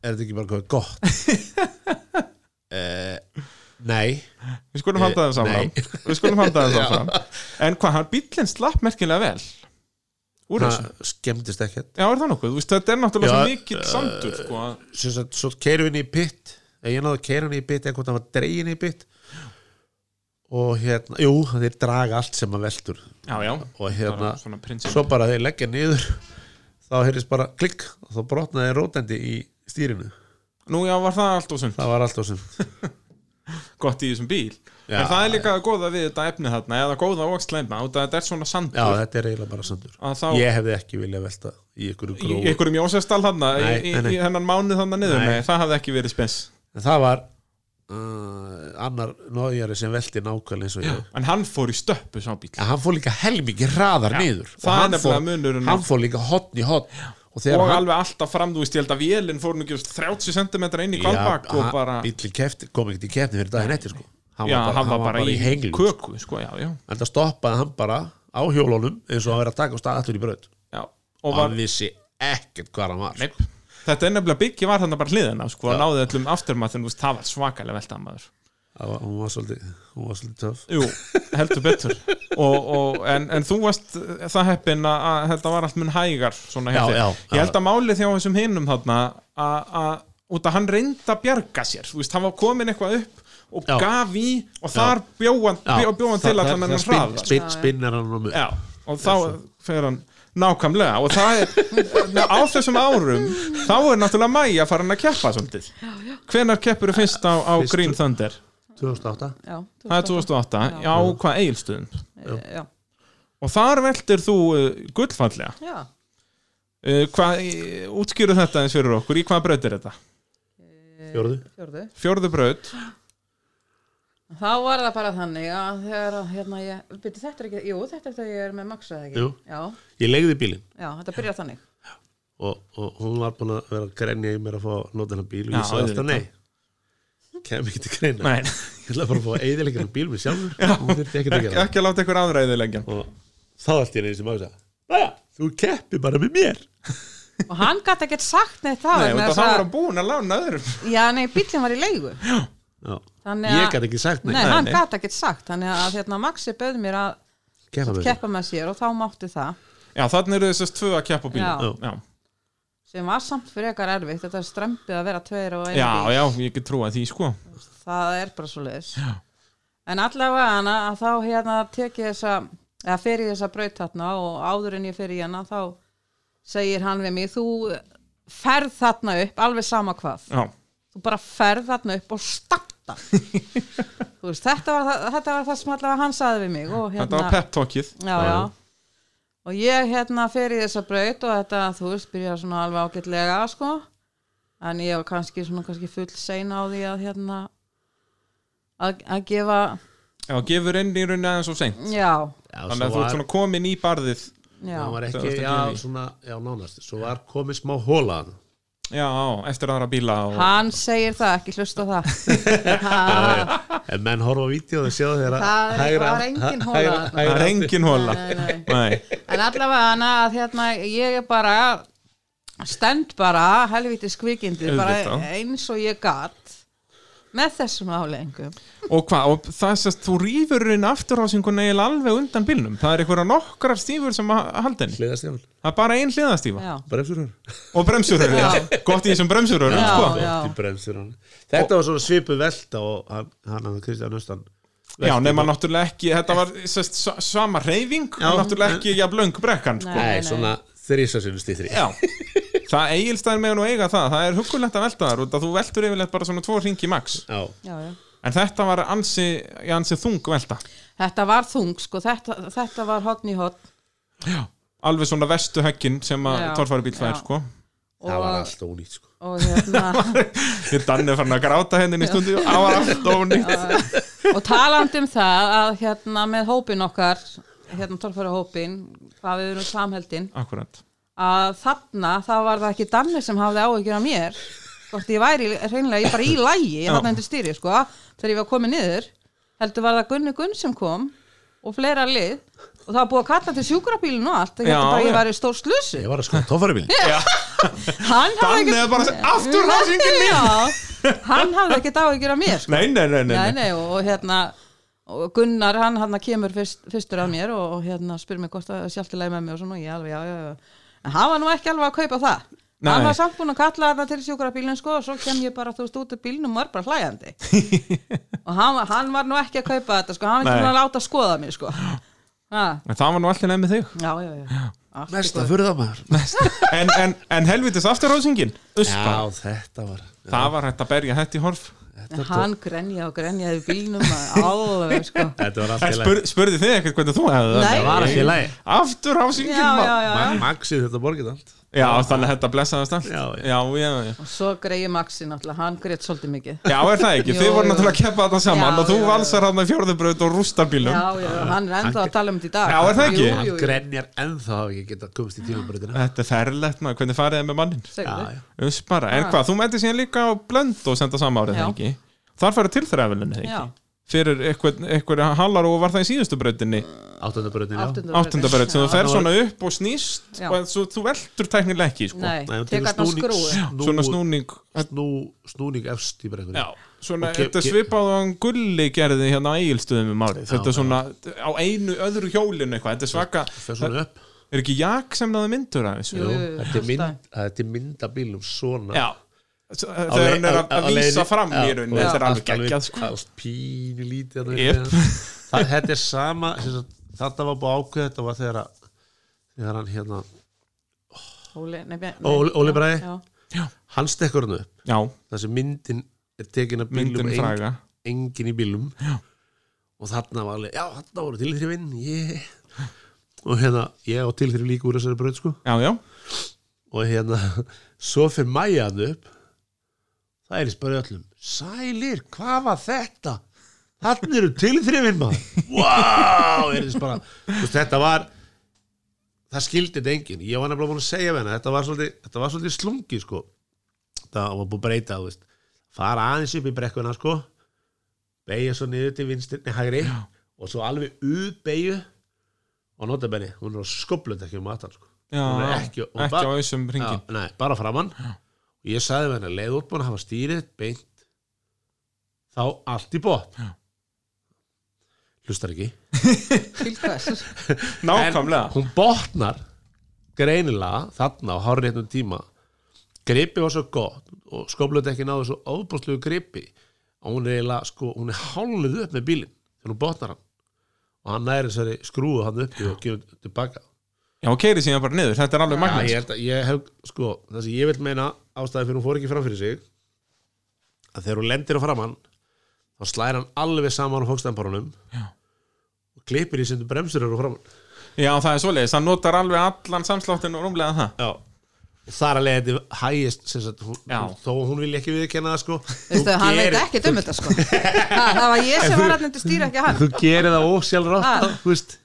B: er þetta ekki bara komið gott uh, nei
A: Við skulum halda það
B: nei.
A: saman Við skulum halda það saman En hvað, hann bíllinn slapp merkilega vel Úr þessu
B: það skemmtist ekkert
A: Já, er það nokkuð? Þú veist, þetta er náttúrulega
B: Já,
A: svo mikill
B: eh,
A: sandur sko. að-
B: sem sagt, svo keirum við inn í pitt ég náðu að keira hann í pitt eða hvort hann var dregin í pitt og hérna, jú, þeir draga allt sem að veltur
A: Já, já
B: og hérna,
A: Bara Svona prinsip
B: svo bara þeir leggja niður þá heyrðist bara klikk og þá brotnaði rótendi í stýrinu
A: Nú, já, var það allt og sund
B: það var alltaf sem
A: Gott í þessum bíl
B: Já.
A: En það er líka góða við þetta efni þarna Eða góða og slemma Út að þetta er svona sandur
B: já, eh. þetta er eiginlega bara sandur
A: Að þá
B: ég hefði ekki viljað velta í einhverju
A: Í
B: gróðu
A: einhverjum Jósefsdal þarna í,
B: Nei,
A: í,
B: nei, nei.
A: í hennan mánuð þarna niður
B: Nei.
A: Nei, það hafði ekki verið spens
B: en það var uh, annar nójari sem velti nákvæmlega eins og ég
A: En hann fór í stöppu sá bíl
B: en hann fór líka helmingi hraðar niður og
A: það er
B: hann
A: nefnilega
B: fór,
A: munurinn
B: hann fór líka hotn í hotn og þegar
A: Og
B: hann
A: alveg alltaf fram, þú veist, ég held að vélinn fór nú ekki 30 cm inn í kvalbak og bara
B: bíli kefti, kom ekkert í kefni fyrir daginn eftir sko. hann,
A: Já, hann var bara
B: í
A: í
B: henglu en
A: köku, sko, já, já
B: það stoppaði hann bara á hjólunum eins og að vera að taka á stað allur í braut
A: Já, og
B: og
A: var
B: hann vissi ekkert hvað hann var
A: Nei, þetta er nefnilega byggi var þarna bara hliðina sko, og náði öllum afturmatt en það var svakalega veltað maður
B: Það var- hún var svolítið, hún var svolítið töff
A: Jú, heldur betur og, og, en, en þú varst það heppin að, að þetta var allt mun hægar svona hjá
B: Já,
A: þér.
B: já,
A: Ég
B: já.
A: held að málið þjá þessum hinum þarna að að- út að hann reyndi að bjarga sér þú veist, hann var komin eitthvað upp og
B: Já.
A: gaf í og þar bjóðan bjó, bjóðan til
B: það-
A: allan
B: það-
A: hennan
B: spinn-
A: hraða
B: spinn- Spinnar hann á mig
A: Já, og þá fer hann nákvæmlega og það er, na- á þessum árum þá er náttúrulega Maja farin að keppa svolítið. Hvenar keppur þú fyrst á, á
B: Fyrst-
A: Green Thunder?
B: 2008
C: já,
A: Það er 2008, já, á hvað eigilstöðum
C: já,
A: og þar veldir þú uh, gullfallega
C: já,
A: uh, hvað, uh, útskýru þetta eins fyrir okkur í hvað braut er þetta?
B: Fjórðu
C: fjörðu
A: Fjórðu braut
C: Þá var það bara þannig að þegar að, hérna ég, byrju þetta er ekki, jú þetta er þegar ég er með maksaði ekki.
B: Jú.
C: Já,
B: Ég legði bílinn
C: já, þetta byrjar þannig.
B: og, og hún var búin að vera að grenja í mér að fá að nota hennar bíl og
A: Já,
B: ég sagði alltaf
A: auðvitað.
B: nei Kem ekki til greina
A: Nei,
B: Ég ætla bara að fá að eiðilega hennar bíl með sjálfur Hún þurfti ekki að
A: ekki,
B: gera
A: ekki að láta ykkur aðra eða lengjan
B: það Og þá allt ég neins sem ása Bæja, þú keppi bara með mér
C: Og hann gæti ekkert sagt neitt það.
A: Nei,
C: vegna
A: þetta
C: þess
A: þá
C: að-
A: var hann búin að lána öðrum
C: Já, nei, bílinn var í leigu.
B: Já.
C: Þannig að-
B: Ég gæti ekki sagt
C: Nei,
B: nei,
C: hann
A: nei.
C: gæti ekkert sagt. Þannig að hérna Maxi bauð mér að
B: keppa með mér
C: keppa með sér og þá mátti það.
A: Já, þannig eru þessast tvö að keppa á bílum Já,
C: Sem var samt frekar erfitt. Þetta er strempið að vera tveir og einu
A: já,
C: bíl.
A: já, ég get trúað því sko
C: það er bara svo leiðis en allavega hana að þá hérna tek ég þessa eða fer ég þessa braut þarna og áður en ég fer í hana þá segir hann við mig þú ferð þarna upp alveg sama hvað
A: Já,
C: þú bara ferð þarna upp og starta þú veist þetta var, það- þetta var það sem allavega hann saði við mig og
A: þetta
C: hérna
A: var pep-talkið
C: já, já. og ég hérna fer í þessa braut og þetta, þú veist, byrja svona alveg ágætlega sko, en ég var kannski svona kannski full sein á því að hérna að, að gefa
A: Já, gefur inn í rauninni aðeins og seint
C: já,
B: Já,
A: Þannig að þú
B: svo
A: ert
B: var-
A: svona komin í barðið
B: Það
C: já,
B: var
A: Það
B: ekki,
A: varstu
B: já,
A: ekki í.
B: svona, já, nánast Svo var komið smá hólaðan
A: Já, eftir aðra bíla og...
C: hann segir það ekki hlusta á það Ha,
B: En menn horfa á vídeo og sjá þeirra
C: Það er-
B: hægra-
C: það er engin
B: hæ-
C: hola
B: hægra-
C: þarna.
A: Það
B: hægra-
A: er engin hóla
C: Nei, nei, nei.
A: Nei,
C: en allavega hana að hérna ég er bara stend bara helviti skvikindi bara
A: Auðvitað.
C: eins og ég gat með þessum áleggingum
A: Og hvað, og það sést, þú rýfur inn afturhásingun eiginlega alveg undan bílnum Það er einhverja nokkrar stífur sem að halda henni
B: Hliðarstefan,
A: Það er bara ein hliðastífa
C: já,
B: bremsur hann
A: Og bremsuröru,
C: Já.
A: gott í þessum bremsuröru
C: Já,
A: sko.
C: já.
B: Í bremsur hann Þetta var svona svipu velta og hann, hann hann Kristján Östan
A: Já, nema náttúrulega ekki, þetta var sest, sama reyfing
B: Já.
A: og náttúrulega ekki jafnlöng brekkan sko.
C: Nei,
B: Nei,
C: nei.
B: svona þrísa sinni stýttri
A: Já, það eigilstæðir með nú eiga það það er huggulegt að velta þar út að þú veltur yfirleitt bara svona tvo ringi max
B: Já,
C: já, já
A: en þetta var ansi, í ansi þung velta
C: þetta var þung sko, þetta, þetta var hotn í hotn
A: alveg svona vestu höggin sem að
C: Já,
A: torfari bíl fær
C: já.
A: sko
B: það var
C: og,
B: allt ónýtt sko.
C: og hérna
A: Ég danni fann að gráta henni í stundu Það var allt ónýtt
C: og talandi um það að hérna með hópin okkar hérna torfæra hópin hvað við erum samheldin
A: Akkurat
C: að þarna þá var það ekki Danni sem hafði áhyggjur af mér hvort ég væri reynilega, ég bara í lægi
A: Já.
C: þarna undir stýri sko, þegar ég var komið niður heldur var það Gunni Gunn sem kom og fleira lið og það var búið að kalla til sjúkrabílinu og allt ég
A: Já,
C: heldur bara að
A: já.
C: ég væri stór slusi
B: ég var að sko tófarabíl
C: hann hafði
A: Danni er bara aftur hásingin mín
C: Já, hann hafði ekkert áhyggjur af mér sko.
A: Nei, nei, nei, nei,
C: nei,
A: nei.
C: nei, og, og hérna og Gunnar, hann hann kemur fyrst, fyrstur að mér og, og hérna spyr mig hvort það sjálftilega með mig og svona, og ég alveg, já, já, já en hann var nú ekki alveg að kaupa það
A: Nei.
C: hann var samt búin að kalla þetta til sjúkrabílinn sko, og svo kem ég bara, þú veist, út af bílnum og var bara hlæjandi og hann, var- hann var nú ekki að kaupa þetta sko, hann var
A: Nei.
C: ekki búin að láta skoða mig sko ha,
A: En það var nú allir nefn með þig
C: já, já, já, Allt í
B: næsta
C: góðu.
B: furðamæður
A: En, en, en helvitis afturhásingin
B: já þetta var
A: Það var hægt að berja þetta í horf
C: En hann grenja og grenjaði bílnum maður, alveg sko
B: þetta
A: En
B: var allt í
A: spur, spurði þið ekkert hvernig þú hefði
C: Nei.
B: Það var allt í lagi
A: Afturhásingin
C: já, já, já, já.
B: Maxi þetta borgið allt
A: já, þannig að þetta blessaðast allt
B: Já, já.
A: já, já, já.
C: og svo greiði Maxi náttúrulega, hann greið svolítið mikið
A: Já, er það ekki? Þið
C: Jú,
A: voru
C: jú.
A: náttúrulega að keppa þetta saman
C: Já,
A: og þú
C: já, já.
A: valsar hann í fjórðubraut og rústar bílum
C: Já, já, hann er ennþá að tala um þetta í dag
A: Já, er það ekki?
C: Jú, jú, jú,
B: grenjar ennþá hafa ekki geta komist í tímabröðina
A: Þetta er ferlegt maður, hvernig farið þið með mannin?
C: segðu
B: já.
C: þið
A: Uss bara, en hvað, þú mætti síðan líka á blönd og senda sama árið,
C: Ah. Já.
A: eða ekki? Þar færa tilþræðvelinu, ekki?
C: Já,
A: Fyrir eitthvað, eitthvað hallar og var það í síðustu brautinni,
B: áttundabröðina já
C: áttundabraut.
A: áttundabraut, sem þú
C: Já.
A: fer svona upp og snýst
C: Já.
A: og svo, þú veldur tæknilega ekki, sko.
C: Nei,
B: Nei, hún
C: tek
B: tekur
C: hann
B: snúning-
C: skrúi
B: Já. Nú-
A: Svona snúning,
B: snú, snúning efst í brekkunni
A: já, svona,
B: Og ge-
A: þetta
B: ge-
A: svipað og hann gulli gerði hérna á eigilstöðum um árið.
B: Já,
A: Þetta er svona á einu öðru hjólinu eitthvað, þetta er svaka,
B: fer svona upp
A: er ekki jak sem það myndur af þessu?
C: Jú, jú, jú,
B: þetta er mynd-
C: alltaf.
B: þetta er mynda bílum svona
A: Já. S- Þegar hann er að, að vísa fram í rauninni, þetta er alveg geggjað, sko.
B: allt pínu lítið þarna
A: Jep.
B: upp við hann. Það- þetta er sama sem sagt, þetta var búið ákveð þetta var þegar að þegar hann hérna
C: Óli, nei, nei,
B: Óli- Óli Bragi?
C: Já,
B: hann stekkur hann upp
A: Já,
B: þar sem myndin er tekin af bílum
A: myndin
B: en-
A: fræga.
B: engin í bílum já. og þarna var alveg já þarna voru tilþrifinn yeah. og hérna ég og tilþrif líka úr þessari braut sko
A: Já, já.
B: og hérna svo fyrir mæjan upp það er spara öllum sælir, hvað var þetta? þannig eru tilþrifin maður wow, er þess bara Þú veist, þetta var það skildi þetta enginn, ég var nefnilega búin að segja við hana þetta var svolítið, þetta var svolítið slungi sko það var búin að breyta þú veist. fara aðeins upp í brekkuna sko beigja svo niður til vinstinni hægri og svo alveg ubeigju og notabenni, hún er á skoblut ekki um aðtal sko
A: Já,
B: Hún er
A: já.
B: ekki- hún
A: ekki
B: bara-
A: á þessum ringin
B: Já, nei, bara framann og ég sagði með henni að leið útbúin að hafa stýrið beint þá allt í bótt hlustar ekki
C: til hvers
A: Nákvæmlega
B: hún botnar greinilega þarna á hárréttum tíma gripi var svo gott og skoblut ekki náðu svo ofbústlegu gripi og hún er eiginlega sko, hún er hálfið upp með bílinn þegar hún botnar hann og hann næri þessari skrúðu hann upp í og gefur hann tilbaka
A: Já, og keiri síðan bara niður, þetta er alveg
B: Já, ég
A: magnað
B: held að ég hef, sko, það sem ég vil meina ástæði fyrir hún fór ekki fram fyrir sig að þegar hún lendir á framann þá slæðir hann alveg saman á fókstæmparunum og klippir í sindu bremsur eru framann
A: Já, það er svoleiðis, hann notar alveg allan samsláttin og rúmlega það
B: Já og þar að leiða þetta hægist sem sagt, hún,
A: Já.
B: þó að hún vilja ekki viðkenna það sko
C: Veistu,
B: þú
C: hann veit
B: gerir-
C: ekkert um þetta sko Ha, Það var ég sem var alltaf undir stýra ekki hann
B: þú gerir það ósjálfrátt
C: Ha.
B: þú veist,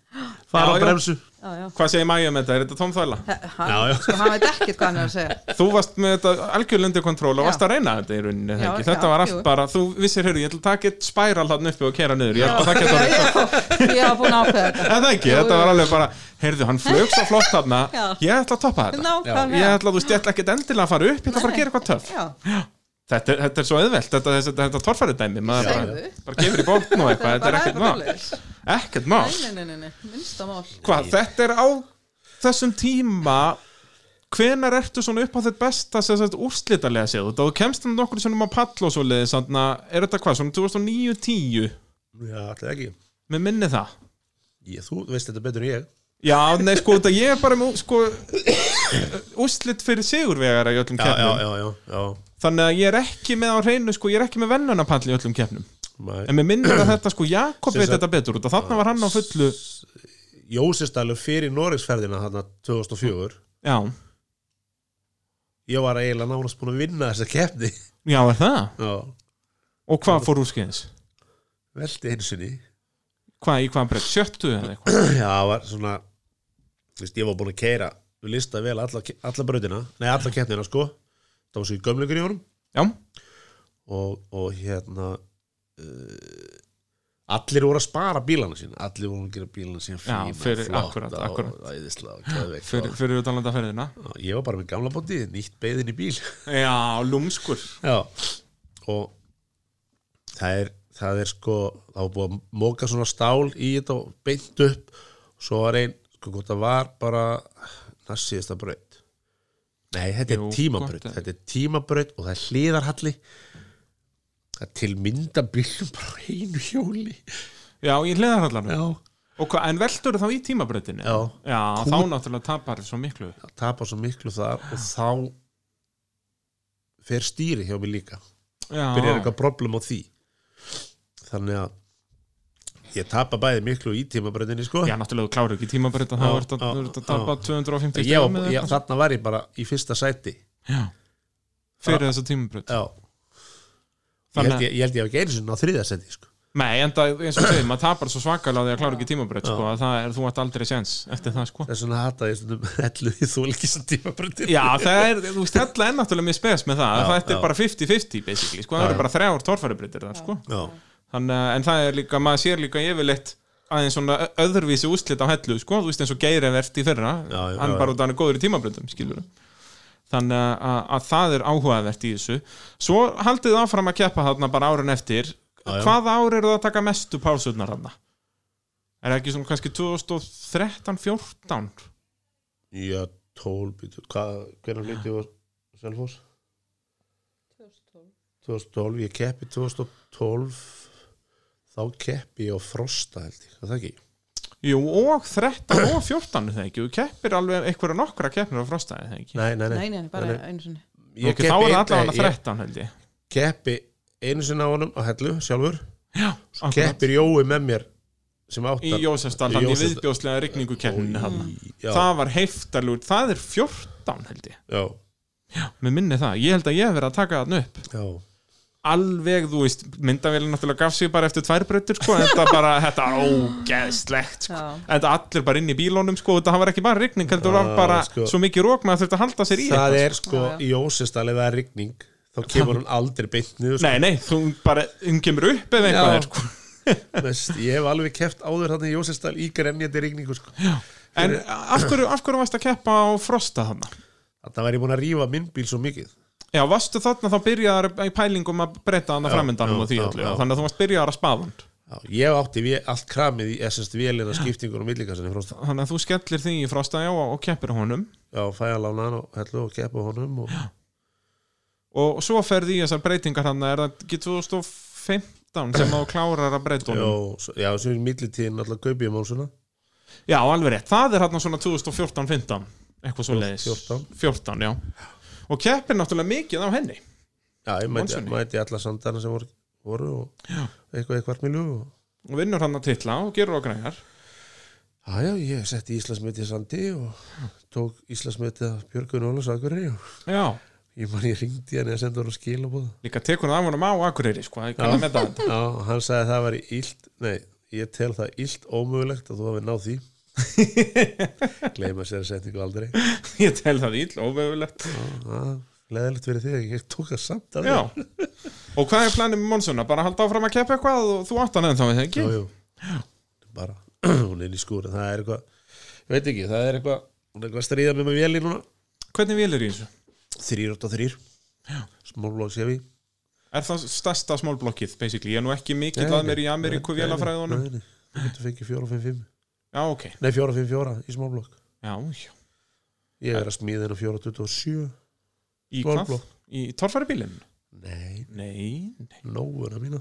B: fara
A: Já,
B: á
A: já.
B: bremsu
C: Já, já
A: Hvað segir Mæja með þetta, er þetta tómþvæla?
B: Já,
C: Hann-
B: já.
C: Sko, hann veit ekkert hvað hann er að segja
A: Þú varst með þetta algjörlundi kontról og varst að reyna þetta í rauninni
C: Já,
A: já,
C: já,
A: Þetta var allt
C: jú.
A: bara, þú vissir, heyrðu, ég ætla að taka eitt spæral hann uppi og kera niður Ég held að það geta
C: Já,
A: orðið
C: já, Ég hafa búin að ákveða þetta
A: En það ekki, þetta var alveg bara, heyrðu, hann flög svo flott hann
C: Já.
A: Ég ætla að toppa þetta Ég
C: Nákvæmlega
A: ætla, þú veist, ég ætla ekkit endilega að fara upp, ég ætla bara að gera eitthvað töff
C: Já,
A: Þetta, er- þetta er svo auðvelt, þetta, þetta, þetta torfæri dæmi maður bara,
C: Segðu.
A: bara gefur í bókn og eitthvað, þetta er
C: bara-
A: ekkert
C: bara
A: mál
C: svoleiðis.
A: ekkert mál
C: Nei, nei, nei, nei, minnsta mál
A: Hvað, þetta er á þessum tíma hvenar ertu svona upp á þitt besta sem sagt úrslitalega séð út og þú kemst hann nokkur sem á pall og svo leiðis er þetta hvað, svona 2009-10
B: já, alltaf ekki
A: með minni það
B: ég, þú veist þetta betur en ég
A: Já, nei, sko, þetta ég er bara með sko, úrslit fyrir sigurvegara í öllum keppnum
B: já, já, já.
A: þannig að ég er ekki með á hreinu, sko, ég er ekki með vennunapall í öllum keppnum
B: Nei.
A: en mér minnir að þetta sko Jakob
B: Sem
A: veit
B: sagt-
A: þetta betur út og þarna var hann á fullu
B: Jósistælur fyrir Noregsferðina þarna 2004
A: já,
B: ég var eiginlega nánast búin að vinna þessa keppni
A: já er það
B: Já,
A: og hvað fór úrskeiðis?
B: velti einu sinni
A: Hvað í hvað breytt? Sjöttu eða eitthvað?
B: Já, það var svona þú veist, ég var búin að keira við lista vel alla, alla brautina nei, alla keppnina sko það var svo í gömlingur í honum
A: Já,
B: og, og hérna uh, allir voru að spara bílana sín allir voru að gera bílana sín fína,
A: Já, fyrir-
B: flotta
A: akkurat,
B: og
A: akkurat.
B: æðislega og geðveikt
A: fyrir, fyrir utanlanda ferðina
B: og- ég var bara með gamla bóti, nýtt beðin í bíl
A: Já, lúmskur
B: já og það er, það er sko það var búið að móka svona stál í þetta og beint upp og svo var einn, sko hvort það var bara það síðasta braut nei, þetta
A: Jú,
B: er tímabraut
A: gott, en-
B: þetta er tímabraut og það er hliðarhalli það er til mynda bílum bara á einu hjóli
A: Já, í hliðarhallarnu
B: já,
A: Og hvað, en veldur þá í tímabreytinu?
B: Já.
A: Já, þá náttúrulega tapar svo miklu
B: það tapar svo miklu þar og þá fer stýri hjá mig líka
A: Já,
B: byrjar eitthvað problem á því þannig að ég tapa bæði miklu í tímabröndinni sko
A: já náttúrulega þú kláru ekki tímabreyta þá
B: Já,
A: er þetta
B: já,
A: þú ert að tapa 250
B: ég,
A: stigum
B: var-
A: eða
B: ég,
A: eitthvað.
B: þarna var ég bara í fyrsta sæti
A: Já, fyrir þessa tímabreyt
B: já, ég
A: Þannig að-
B: held ég, ég held ég hef ekki einu sinni á þriða sæti sko.
A: Nei, en það, eins og segir, maður tapar svo svakalega því að klára ekki tímabreyt, sko, að það er, þú ætti aldrei séns eftir það, sko.
B: þess vegna hataði ég stundum ellu því þú ekki sem tímabröndin
A: Já, það er, þú veist, hella er náttúrulega mjög spes með það, það þetta er bara 50-50, basically, sko, það eru bara þrjár torfæribreytir þar, sko.
B: já,
A: Þannig, að- en það er líka, maður sér líka yfirleitt aðeins svona ö- öðruvísi úslit á hellu, sko, þú veist, eins og geirivert í fyrra,
B: Já, já,
A: hann
B: já.
A: bara út að hann er góður í tímabreytum, skilur Þannig að, að, að það er áhugavert í þessu. Svo haldið þið áfram að keppa þarna bara árun eftir.
B: já.
A: Hvaða ár eru það að taka mestu pásuðnar þarna? Er það ekki svona kannski 2013-14?
B: já tólbítur hvernig flytti ég á Selfoss 2012, ég keppi 2012 þá keppi ég á Frosta held ég, er það ekki
A: Jú, og 13 og 14 er það ekki, þú keppir alveg einhverja nokkra keppnir á frostaði er það ekki
B: nei, nei, nei,
C: Nei, nei, bara einu sinni
A: Ég okay, Þá er það
B: keppi einn-
A: allavega
B: nei, ég-
A: 13 held ég
B: keppi einu sinna á honum á hellu sjálfur
A: Já, akkurat.
B: keppir Jói með mér sem
A: Í
B: áttar
A: Jósefstallan, í
B: Jósefsdal.
A: viðbjóðslega rigningukeppninu hann
B: já,
A: Það var heiftarlúr, það er 14 held ég
B: já,
A: Mér minni það, ég held að ég hef verið að taka þarna upp
B: já,
A: Alveg, þú veist, myndavélin náttúrulega gaf sig bara eftir tvær brautir sko, en þetta bara, þetta er ógeðslegt sko.
C: Já.
A: En þetta allir bara inn í bílónum sko, þetta var ekki bara rigning, heldur var
B: Já,
A: bara
B: sko.
A: svo mikið rók maður þurfti að halda sér í
B: það
A: eitthvað,
B: er sko
C: Já, já.
B: í Jósestal ef það er rigning þá kemur hún aldrei beint niður sko.
A: Nei, nei, þú bara, hún kemur upp eða eitthvað er, sko.
B: Veist, ég hef alveg keppt áður þannig í Jósestal í grenjandi rigningu sko.
A: En af hverju, af hverju varst að keppa á frosta þarna?
B: þannig var ég búin að rífa minn bíl svo mikið
A: Já, varstu þarna þá byrjaðar í pælingum að breyta hana framöndanum
B: já,
A: og því
B: já,
A: öllu
B: já.
A: Þannig að þú varst byrjaðar að spaðan
B: já, ég átti vé, allt kramið í SS vélina skiptingur og millikassinni frósta
A: Þannig að þú skellir því í frosta já og, og keppir á honum
B: já, fæ að lána hann og hellu og keppa honum og,
A: Og svo ferði í þessar breytingar hann Er það ekki 2015 sem þú klárar að breyta
B: já,
A: honum?
B: svo- já, sem er millitíðin alltaf kaupið um svona
A: Já, alveg rétt, það er hann svona 2014-15 Eitthvað svo leiðis
B: 14.
A: 14, já Og keppir náttúrulega mikið á henni
B: Já, ég mæti,
A: Monsunni.
B: mæti alla sandana sem voru, voru og eitthvað eitthvað miljú og...
A: Og vinnur hann að titla og gerur á græjar
B: Já, já, ég setti Íslandsmetið sandi og tók Íslandsmetið að Björgun Ólafs Akureyri og
A: Já,
B: ég man ég ringdi hann eða sendi hann að skila búða.
A: líka tekur hann af honum á Akureyri sko, það er ekki að meta þetta
B: Já, og hann sagði að það væri illt, nei, ég tel það illt ómögulegt að þú hafi náð því. Gleima sér að setja ykkur aldrei.
A: Ég tel það ill, óvegulegt
B: Leðilegt verið þig, ég tók það samt að
A: Já, og hvað er planið með Monsuna? Bara halda áfram að keppa eitthvað og þú átt hann ennþá við þengi?
B: Jú, jú. Bara, hún er inn í skúrin, það er eitthvað, ég veit ekki, það er eitthvað, hún er eitthvað stríðan um að véli núna.
A: Hvernig vil er í þessu?
B: 383 smólblóks hefi
A: Er það stærsta smálblokkið, basically? Ég er nú ekki mikill að mér í Ameríku vélafræðunum
B: Þetta fengi 455
A: Já, ok,
B: Nei, 454 í smólblokk
A: já, já
B: Ég er að smíða hérna 427
A: Í hvað?
B: Smallblokk.
A: Í torfæribílinn?
B: Nei,
A: Nei, nei
B: nóvuna mína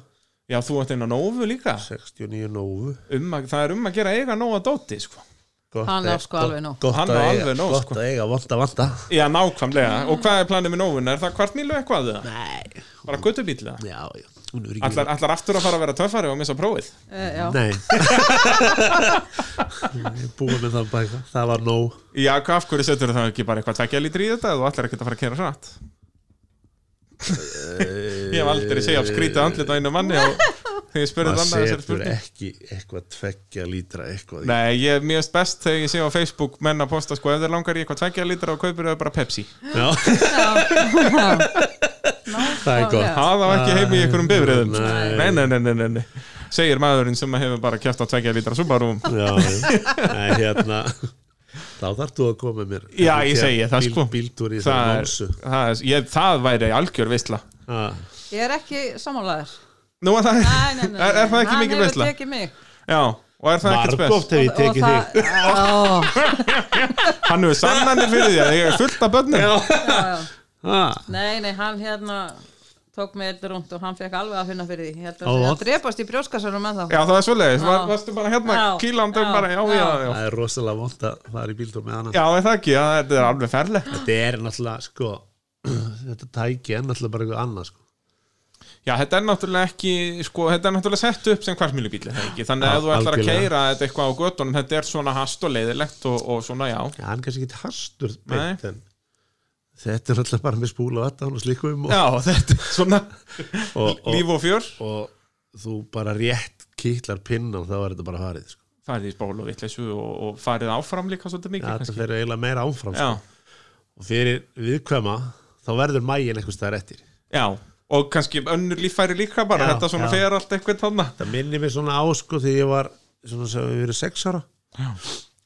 A: Já, þú átt einn að nófu líka
B: 69 nóvu
A: um að, Það er um að gera eiga nóga dóti, sko
B: Gott
C: Hann
B: að-
C: á sko alveg nóg.
B: Gott
A: Hann
B: að
A: á
B: eiga-
A: alveg nóg,
B: Gott
A: sko.
B: að eiga, vanda, vanda
A: Já, nákvæmlega Og hvað er planið með nófuna? Er það hvart eitthvað? eða?
B: Nei,
A: Bara guttubíl, eða?
B: já, já Hún er ekki-
A: Allar, allar aftur að fara að vera töffari og missa prófið
C: uh, já,
B: Nei Ég búið með það bæka Það var nóg
A: Já, hvað af hverju setur það ekki bara eitthvað tvekja lítri í þetta og allar ekki að fara að kera hratt Ég hef aldrei segjað skrítið andlit á einu manni og þegar ég spurði
B: Það
A: þannig að þessari
B: Eh, setur
A: spurning
B: ekki eitthvað tveggja lítra eitthvað í-
A: Nei, ég er mjög best þegar ég sé á Facebook menn að posta sko ef þeir langar í eitthvað tvekja lítra og kaupir þau bara Pepsi
B: Já, það er gott
A: Það var ekki heim í einhverjum bifriðum sko.
B: Nei.
A: nei, nei, nei, nei, nei, nei Segir maðurinn sem hefur bara kjæft á tvekja lítra Subaru
B: Já, nei, hérna Þá þarf þú að koma með mér
A: Já, ég segi það,
B: Bíl-
A: sko.
B: Bíltúr í það
A: það, er,
B: lónsu
A: það, er, ég, það væri algjör veistla
C: ég er ekki sammálaður
A: Nú að það
C: Nei, nei, nei, nei,
A: er, er það ekki
C: hann
A: mikil
C: hefur
A: veistla?
C: tekið mig
A: Já, og er það ekkert spes?
B: Margóft hef ég tekið þig
C: það, þig
A: Hann hefur sannanir fyrir því að ég er fullt af börnum
C: já, já, já.
B: Ha,
C: Nei, nei, hann hérna tók mig eitthvað rúnt og hann fekk alveg að finna fyrir því Ég held að
B: Á,
C: það sé
B: what?
C: að drepast í brjóskasunum með þá
A: Já, það er svoleiðis, Var,
C: Já.
A: varstu bara hérna
C: Já.
A: kýlandum
C: Já.
A: bara, já, já, já
B: Það er rosalega vond að fara í bíltúr með hana
A: Já, er það ekki, já, þetta er alveg ferlegt
B: Þetta er náttúrulega, sko Þetta tæki er náttúrulega bara eitthvað annað, sko
A: Já, þetta er náttúrulega ekki, sko, þetta er náttúrulega sett upp sem kvartmýlubíl, það ekki Þannig að
B: Já,
A: ef þú ætlar að
B: algjörlega.
A: keira þetta eitthvað á göttunum, þetta er svona hast og leiðilegt og, og svona, já
B: Já, hann kannski ekki hastur
A: Nei.
B: beint, en Þetta er náttúrulega bara með spúla og þetta og slíkum og,
A: Já, þetta er svona
B: og, og,
A: líf og fjör
B: og þú bara rétt kýtlar pinnan þá er þetta bara farið sko.
A: Farið í spól og vitleysu og, og farið áfram líka svolítið
B: Já,
A: mikið,
B: Þetta
A: kannski
B: fer eiginlega meira áfram
A: Já,
B: sko. og fyrir viðkvæma þá verður mægin eitthvað staðar eftir
A: já, og kannski önnur líffæri líka bara,
B: Já,
A: þetta svona
B: já.
A: fer allt eitthvað þannig
B: Það minnir mig svona á sko þegar ég var svona sem við verið sex ára
A: Já.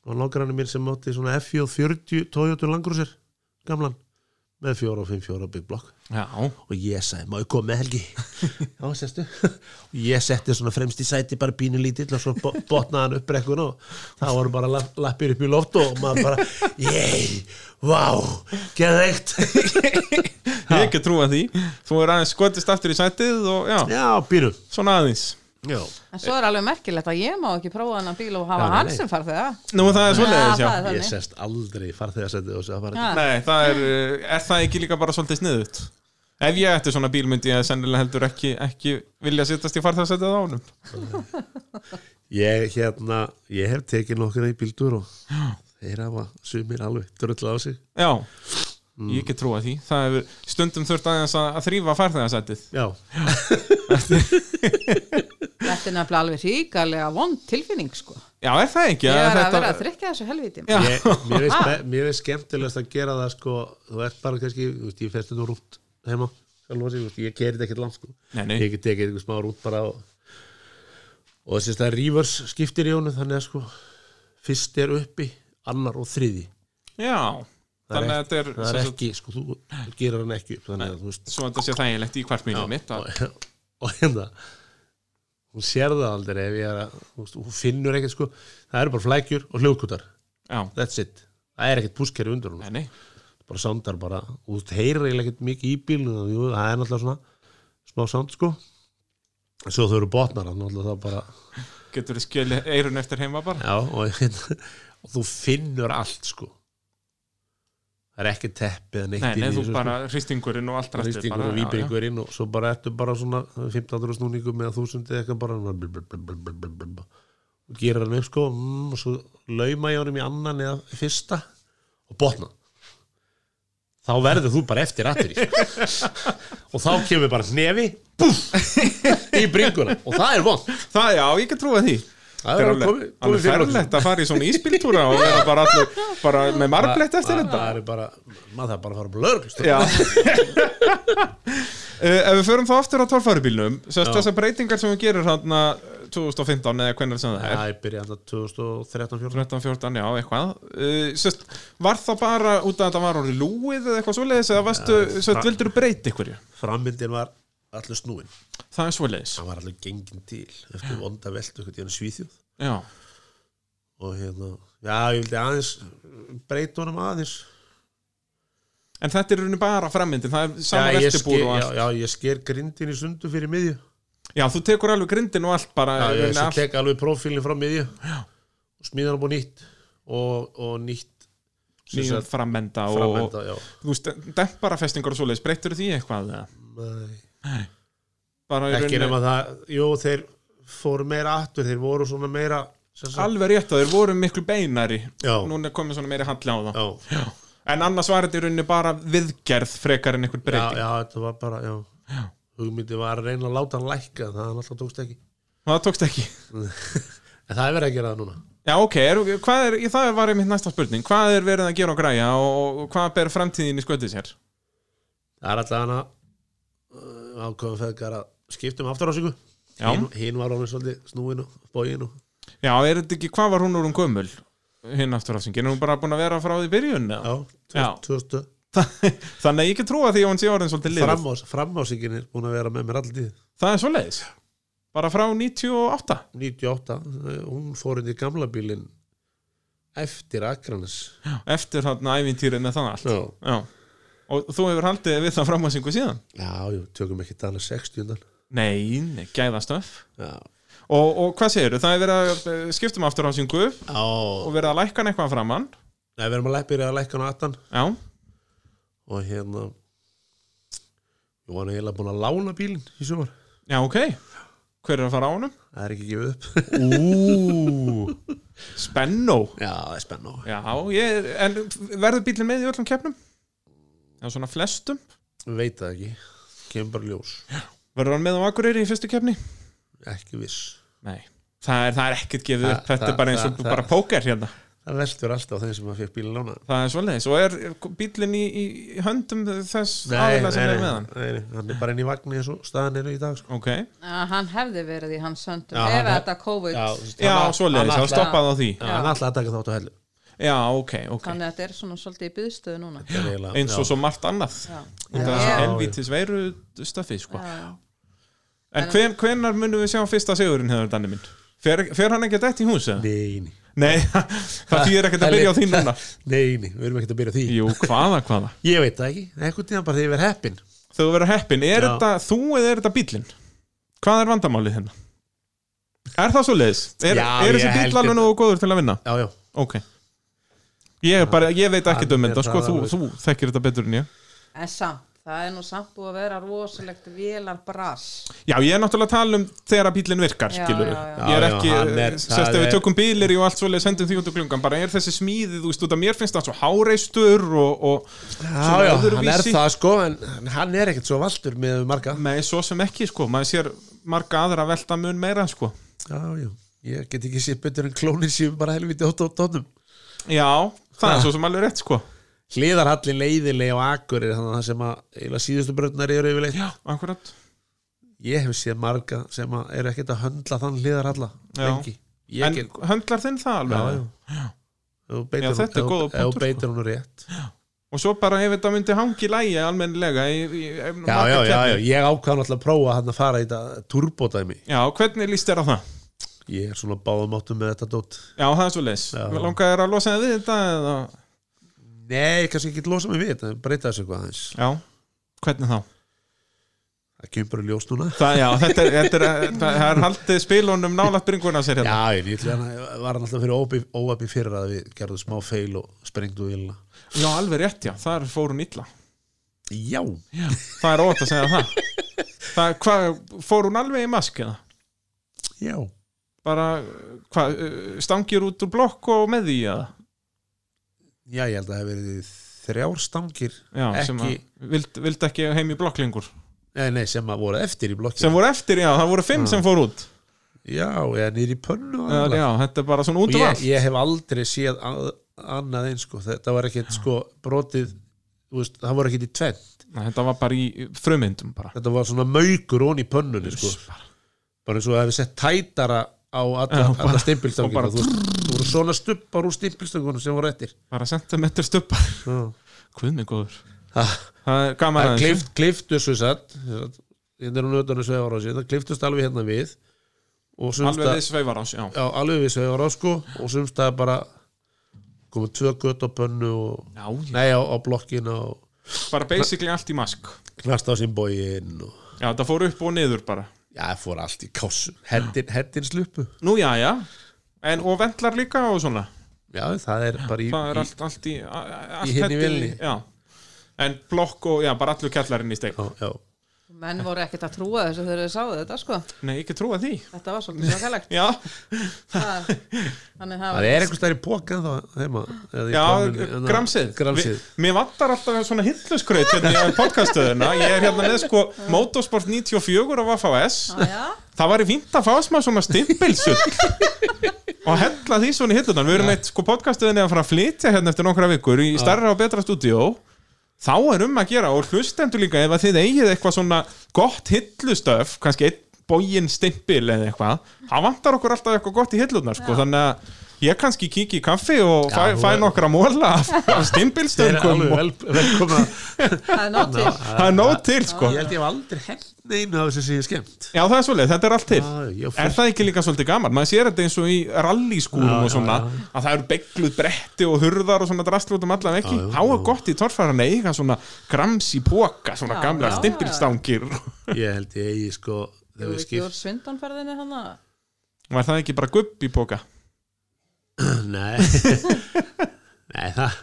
B: og langarann minn sem átti svona F40 Toyota Langrúsir gamlan með fjóra og fimm fjóra Big Block
A: Já,
B: og ég sagði, má ég koma með helgi já, sérstu og ég setti svona fremst í sæti bara bínu lítill og svo bo- botnaði hann upp brekkun og það voru bara lapp, lappir upp í loft og maður bara, yey, vá geðveikt
A: Ég hef ekki trúa því Þú er aðeins skotist aftur í sætið og já,
B: já, bínu
A: svona aðeins
B: já,
C: En svo er alveg merkilegt að ég má ekki prófa hennan bíl og hafa
B: Já, nei,
C: hann
B: nei.
C: sem farð þegar
A: Nú það er svoleiðis,
C: Já,
A: já
C: það er
B: ég
C: þannig.
B: sest aldrei farþegar sæti og það bara
C: Já.
A: Nei, það er, uh, er það ekki líka bara svolítið sniðut Ef ég ætti svona bíl myndi ég sennilega heldur ekki, ekki vilja sittast í farþarsætið á honum
B: ég hérna, ég hef tekið nokkuna í bíldur og þeir hafa sumir alveg dröll á sig
A: Já,
B: Mm.
A: ég ekki trúa því Það hefur stundum þurft aðeins að, að þrýfa farþarsætið
B: já,
C: Þetta er nefnilega alveg ríkalega vond tilfinning sko
A: Já, er það ekki?
C: Ég er að
A: Þetta-
C: vera að þrykja þessu helviti
A: Já.
B: ég, mér veist, mér veist skemmtilegast að gera það sko, þú ert bara kannski þú veist, ég festi nú rútt heima sjálfur sig, þú veist, ég kerið ekkert langt sko.
A: Nei, nei.
B: ég get tekið eitthvað smá rútt bara og, og þess að rívers skiptir í honum þannig að sko, fyrst er uppi annar og þriði
A: Já,
B: það
A: þannig að þetta
B: er,
A: er,
B: það er
A: sem sagt,
B: ekki, sko, þú, þú gerir hann ekki upp þannig að þú veist
A: svo þetta sé þægilegt í hvert mínum mitt að,
B: og, og hérna hún sér það aldrei ef ég er að þú veist, hún finnur ekkert sko, það eru bara flækjur og hljóðkútar,
A: Já,
B: that's it það er ekkert púskeri undur hún
A: nei, nei
B: bara soundar bara, og þú heyrir eiginlega ekkert mikið í bílunum, jú, það er náttúrulega svona smá sound sko En svo þau eru botnar, þá náttúrulega það bara
A: Getur þið skjöli eirun eftir heima bara
B: já, og, hérna, og þú finnur allt sko það er ekki teppið en eitt
A: Nei, nei, þú
B: þessu,
A: bara hristingurinn og allt
B: sko.
A: restið
B: Ristingur
A: bara,
B: og
A: já, já.
B: víbringurinn og svo bara ertu bara svona 1500 snúningum eða 1000 eða eitthvað bara blub, blub, blub, blub, blub, blub, blub. og gerir hann upp sko mm, og svo lauma ég honum í annan eða í fyrsta og botna þá verður þú bara eftir aftur í sko. og þá kemur bara hnefi búf, í bringuna og það er vond
A: Það, já, ég get trúið því
B: það
A: Þetta er
B: er
A: alveg,
B: komið- komið
A: alveg
B: fyrir okkur.
A: ferlegt að fara í svona íspiltúra og vera bara, allir, bara með marblett eftir
B: Það-
A: þetta
B: það er bara, maður þarf bara að fara bara lögur
A: Já uh, Ef við förum þá aftur á torfæribílnum sérst
B: Já.
A: þessar breytingar sem við gerir hann 2015 eða hvernig sem það er
B: það er byrjað 2013-14
A: 13-14, já, eitthvað uh, sérst, Var það bara út af að þetta var orðið lúið eða eitthvað svoleiðis eða varstu, sérst, vildur þú breyta ykkurju?
B: frammyndin var allur snúin
A: Það er svoleiðis,
B: hann var alveg gengin til eftir vonda veldu eitthvað í hann svíþjóð
A: já
B: og hérna, já ég vildi aðeins breyta honum aðeins
A: En þetta er í rauninni bara frammyndin, það er
B: já,
A: saman
B: ég sker,
A: eftirbúr og
B: já,
A: allt
B: já, ég sker grindin í sundu fyrir miðju já,
A: Já, þú tekur alveg grindin og allt bara í
B: ég
A: rauninni
B: svo
A: allt-
B: tek alveg profílinn frá miðju já. og smíðan upp á nýtt og, og nýtt sem
A: nýjum
B: sagt,
A: framenda og,
B: framenda, já
A: og þú veist, dempara festingar og svoleiðis, breytur því eitthvað eða?
B: Nei.
A: bara í
B: ekki
A: rauninni-
B: nema það, jú þeir fóru meira aftur, þeir voru svona meira sem sagt-
A: alveg rétt að þeir voru miklu beinari
B: Já.
A: núna er komið svona meiri halli á það
B: já,
A: Já. en annars var þetta í rauninni bara viðgerð frekar en einhvern
B: já,
A: breyting
B: já, þetta var bara já. hugmyndi var að reyna að láta hann lækka en það hann alltaf tókst ekki
A: það tókst ekki
B: en það er verið að gera það núna
A: Já, ok, er, hvað er, í það var einmitt næsta spurning hvað er verið að gera og græja og, og hvað ber framtíðin í sköldið sér
B: það er alltaf hann að ákveðum feðgar að skiptum afturásíku
A: Já.
B: hinn hin var orðin svolítið snúin og bógin og
A: Já, er þetta ekki, hvað var hún úr um gömul hinn aftur ásingin, er hún bara búin að vera frá því byrjun eða?
B: já,
A: Já.
B: 2000
A: þannig að ég ekki trúa því að hún sé orðin svolítið lið
B: Framás, framásíkin er búin að vera með mér alltaf tíð
A: það er svoleiðis, bara frá 98
B: 98, eh, hún fór inn í gamla bílinn eftir Akranes
A: eftir hann ævintýrið með það allt
B: já,
A: Já. og þú hefur haldið við það framhásingu síðan
B: já, jú, tökum ekki dana 60 undan
A: Nei, nei gæðastöf
B: já,
A: og, og hvað segirðu, það er verið að eh, skipta um afturhásingu og
B: já
A: verið að lækka hann eitthvað framann
B: Nei, við erum að leppir að lækka hann á 18
A: Já,
B: og hérna Ég var eiginlega búin að lána bílinn í sumar
A: já ok Hver er að fara á honum?
B: Það er ekki gefið upp
A: Ú, spennó
B: Já, það er spennu
A: Já, ég er, en verður bílinn með í öllum keppnum? Já, svona flestum
B: Veit það ekki, kemur bara í ljós
A: Verður hann með á Akureyri í fyrstu keppni?
B: Ekki viss
A: Nei, það er, það er ekkert gefið
B: Það-
A: upp Þetta
B: það-
A: er bara eins og
B: það-
A: bara
B: það-
A: póker hérna
B: Það veldur alltaf þeim sem að fekk bílinn lána
A: Það er svoleiðis og er bílinn í, í höndum þess aðeins sem er með hann
B: nei, nei, hann er bara inn í vagnin eins og staðan eru í dag sko.
A: Ok,
C: Að hann hefði verið í hans söndum
B: Já,
C: ef
B: hann-
C: þetta COVID
A: já, svoleiðis, það stoppaði á því
B: Já, hann ætlaði að taka þátt á hellu
A: Já, ok, ok
C: þannig að þetta er svona svolítið í byðstöðu núna
B: Það er eiginlega-
A: Eins og
B: já.
A: svo margt annað
C: Já.
A: Þetta
C: Já.
A: er helvítis veiru stöfið, sko
C: Já.
A: En hven, hvenar munum við sjá fyrsta sigurinn hefur danni minn? Fer, fer hann ekki að dætt í hús? eða?
B: Nei, nei.
A: Nei, það þýðir ekkert að byrja á því núna
B: Nei, nei, við erum ekkert að byrja á því
A: Jú, hvaða, hvaða
B: Ég veit það ekki, eitthvað tíðan bara þegar ég verð heppin
A: Þegar þú verður heppin, er
B: Já.
A: þetta þú eða er þetta bílinn? Hvað er vandamálið hérna? Er það svo leiðis? Er,
B: Já,
A: er
B: ég
A: þessi
B: held
A: bíl alveg
B: þetta.
A: nógu góður til að vinna?
B: Já, já,
A: Ok Ég, er bara, ég veit
B: Hann
A: ekki um
B: er
A: þetta, sko,
B: það
A: þú,
B: alveg.
A: þú þekkir þetta betur en ég
C: en samt, það er nú samt búið að vera rosalegt vélar bras
A: Já, ég er náttúrulega að tala um þegar að bílinn virkar,
C: Já,
A: skilur
C: já,
B: já.
A: Ég er
B: Já, já,
A: ekki,
B: hann er-
A: sérst
B: það
A: ef við
B: er-
A: tökum bílir og allt svoleið, sendum því út og klungan bara er þessi smíðið, þú veist, út að mér finnst það svo háreistur og, og
B: já, já hann er
A: öðruvísi.
B: það sko en en hann er ekkert svo valdur með marga
A: Nei, svo sem ekki, sko, maður sér marga aðra velta mun meira, sko
B: Já, já, ég get ekki séð betur en klónir séu bara helviti ótt á tónum
A: Já, það er svo sem alveg rétt sko
B: Hliðarhallin leiðileg á Akurir þannig að það sem að eiginlega síðustu brötnar eru yfirleitt
A: Já, akkurat
B: Ég hef séð marga sem að eru ekkert að höndla þann hliðarhalla
A: Já.
B: lengi Ég
A: En
B: get,
A: höndlar þinn það
B: já,
A: alveg?
B: já, Ef þú
A: Já,
B: beitir
A: þetta er
B: hún-
A: góður
B: ef- ef
A: punktur, sko.
B: þú beitir hún rétt
A: Og svo bara ef þetta myndi hangi lægi almennilega í, í, í,
B: Já, já, já, já, ég ákvað náttúrulega að prófa hann að fara í þetta turbódæmi
A: Já, hvernig líst þér á það?
B: Ég er svona báðum áttum með þetta dót
A: Já, það er svo leis
B: Já.
A: Langar þér að losa þig við þetta? Eða...
B: Nei, kannski ekki losa mig við þetta, en breyta þessu eitthvað aðeins
A: Já, hvernig þá?
B: Það kemur bara í ljós núna
A: Það, já, þetta er, þetta er, það er haldið spilunum nálaft bringuna sér hérna
B: Já, ég líklega hann- var hann alltaf fyrir óabi- óabi fyrir að við gerðum smá feil og sprengdu vilna
A: já. alveg rétt, já, þar fór hún illa
B: Já,
A: Það er ótt að segja það Það, hvað, fór hún alveg í mask eða?
B: já
A: Bara, hvað, uh, stangir út úr blokk og með því eða?
B: Já, ég held að það hef verið þrjár stangir
A: Já, sem að
B: ekki,
A: vild, vild ekki heim í blokk lengur
B: nei, nei, sem að voru eftir í blokki
A: sem voru eftir, já, það voru fimm sem fór út
B: Já, eða nýri í pönnu
A: já,
B: aðallega.
A: já, þetta er bara svona út
B: Og
A: um
B: ég,
A: allt
B: ég hef aldrei séð að, annað eins sko. þetta var ekkit sko brotið þú veist, það var ekkit í tvennt
A: Nei, þetta var bara í frumyndum bara
B: þetta var svona maukur ón í pönnunni sko. bara eins og það hefði sett tætara á alla,
A: Já, bara-
B: alla
A: og
B: stimpilstangina
A: bara-
B: þú, veist, þú voru svona stubbar úr stimpilstangunum sem voru eftir
A: bara sentimeter stubbar,
B: það
A: hvað minn góður það er gaman
B: er
A: aðeins
B: klift, kliftust við satt þetta hérna er hún auðvitaðinu sveifar á sér það kliftust alveg hérna við og sumst
A: alveg
B: að
A: við sveifar ás, já.
B: já, alveg við sveifar á sko og sumst að bara komið tvö gött á pönnu og,
A: Já, já,
B: nei á, á blokkina og
A: bara basically allt í mask
B: knast á sín bógin og
A: já, þetta fór upp og niður bara
B: já, það fór allt í kássu hendin, hendin slupu
A: nú, já, já, en og vendlar líka og svona,
B: já, það er bara í,
A: það er
B: í
A: allt, allt í a- a- allt
B: hinni
A: þetta
B: vélni.
A: já, en blokk og, já, bara allur kjallarinn í steik
B: já, já.
C: menn voru ekkert að trúa þessu þegar þau sáu þetta sko
A: Nei, ekki trúa því
C: þetta var svolítið svakalegt
A: Já,
C: Það- þannig það
B: Það
C: var
B: er einhvers stærri póka en þá heima eða í
A: já
B: kraminu, en það-
A: gramsið
B: hérna, Gramsið
A: Vi- Mér vantar alltaf svona hilluskraut hérna í podcaststöðuna Ég er hérna með sko Motorsport 94 á VFS
C: Já, já.
A: Það væri fínt að fá smá svona stimpilsull og hella því svona í hillunan Við erum eitt sko podcaststöðinni að fara að flytja hérna eftir nokkra vikur í starra og betra stúdíó Þá er um að gera og hlustendur líka ef að þið eigið eitthvað svona gott hillustöf kannski einn bógin stimpil eða eitthvað Það vantar okkur alltaf eitthvað gott í hillunar sko þannig að ég kannski kíki í kaffi og
B: Já,
A: fæ,
B: þú
A: fæ
B: er-
A: nokkra móla af, af
B: Það er
A: stimpilstöngum
B: alveg
A: og
B: vel, velkomna
C: það er nótt til
A: það er nóg til sko
B: Ég held ég hef aldrei held neinu af þessu sem ég hef skemmt
A: Já það er svolítið, þetta er allt til
B: Ah, Já, ég fór-
A: Er það ekki líka svolítið gaman? Maður sér þetta eins og í rallyskúrum
B: Já,
A: og svona
B: já,
A: að það eru begluð bretti og hurðar og svona drastl út um allan ekki Þá er gott í torfæran að eiga svona grams í póka, svona
C: Já,
A: gamla
C: já, já.
A: stimpilstangir
B: Ég held ég eigi sko Þegar við
C: Gjör
B: skipt
C: svindonferðinni hann að
A: Var það ekki bara gubb í póka?
B: Nei Nei, það,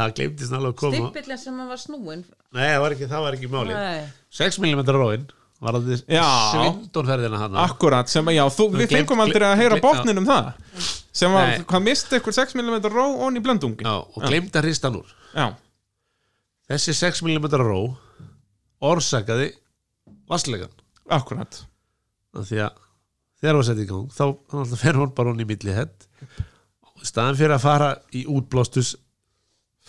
B: það glemtist alveg að koma
C: stimpillin sem hann var snúin
B: Nei, það var ekki, það var ekki máli
C: Nei.
B: 6 mm róin var aldrei
A: Já.
B: svindónferðina hann
A: Akkurat, sem að já, þú,
B: Gleymt-
A: við fengum aldrei að heyra
B: gleymt-
A: botnin um það sem að,
B: Nei.
A: hvað misti ykkur 6 mm ró onni í blöndungin
B: Já, og glemt að hrista hann úr
A: já,
B: Þessi 6 mm ró orsakaði vasslegan
A: akkurat
B: af því að þegar var sett í gang þá náttúrulega fer hún bara hún í milli hett og í staðan fyrir að fara í útblástus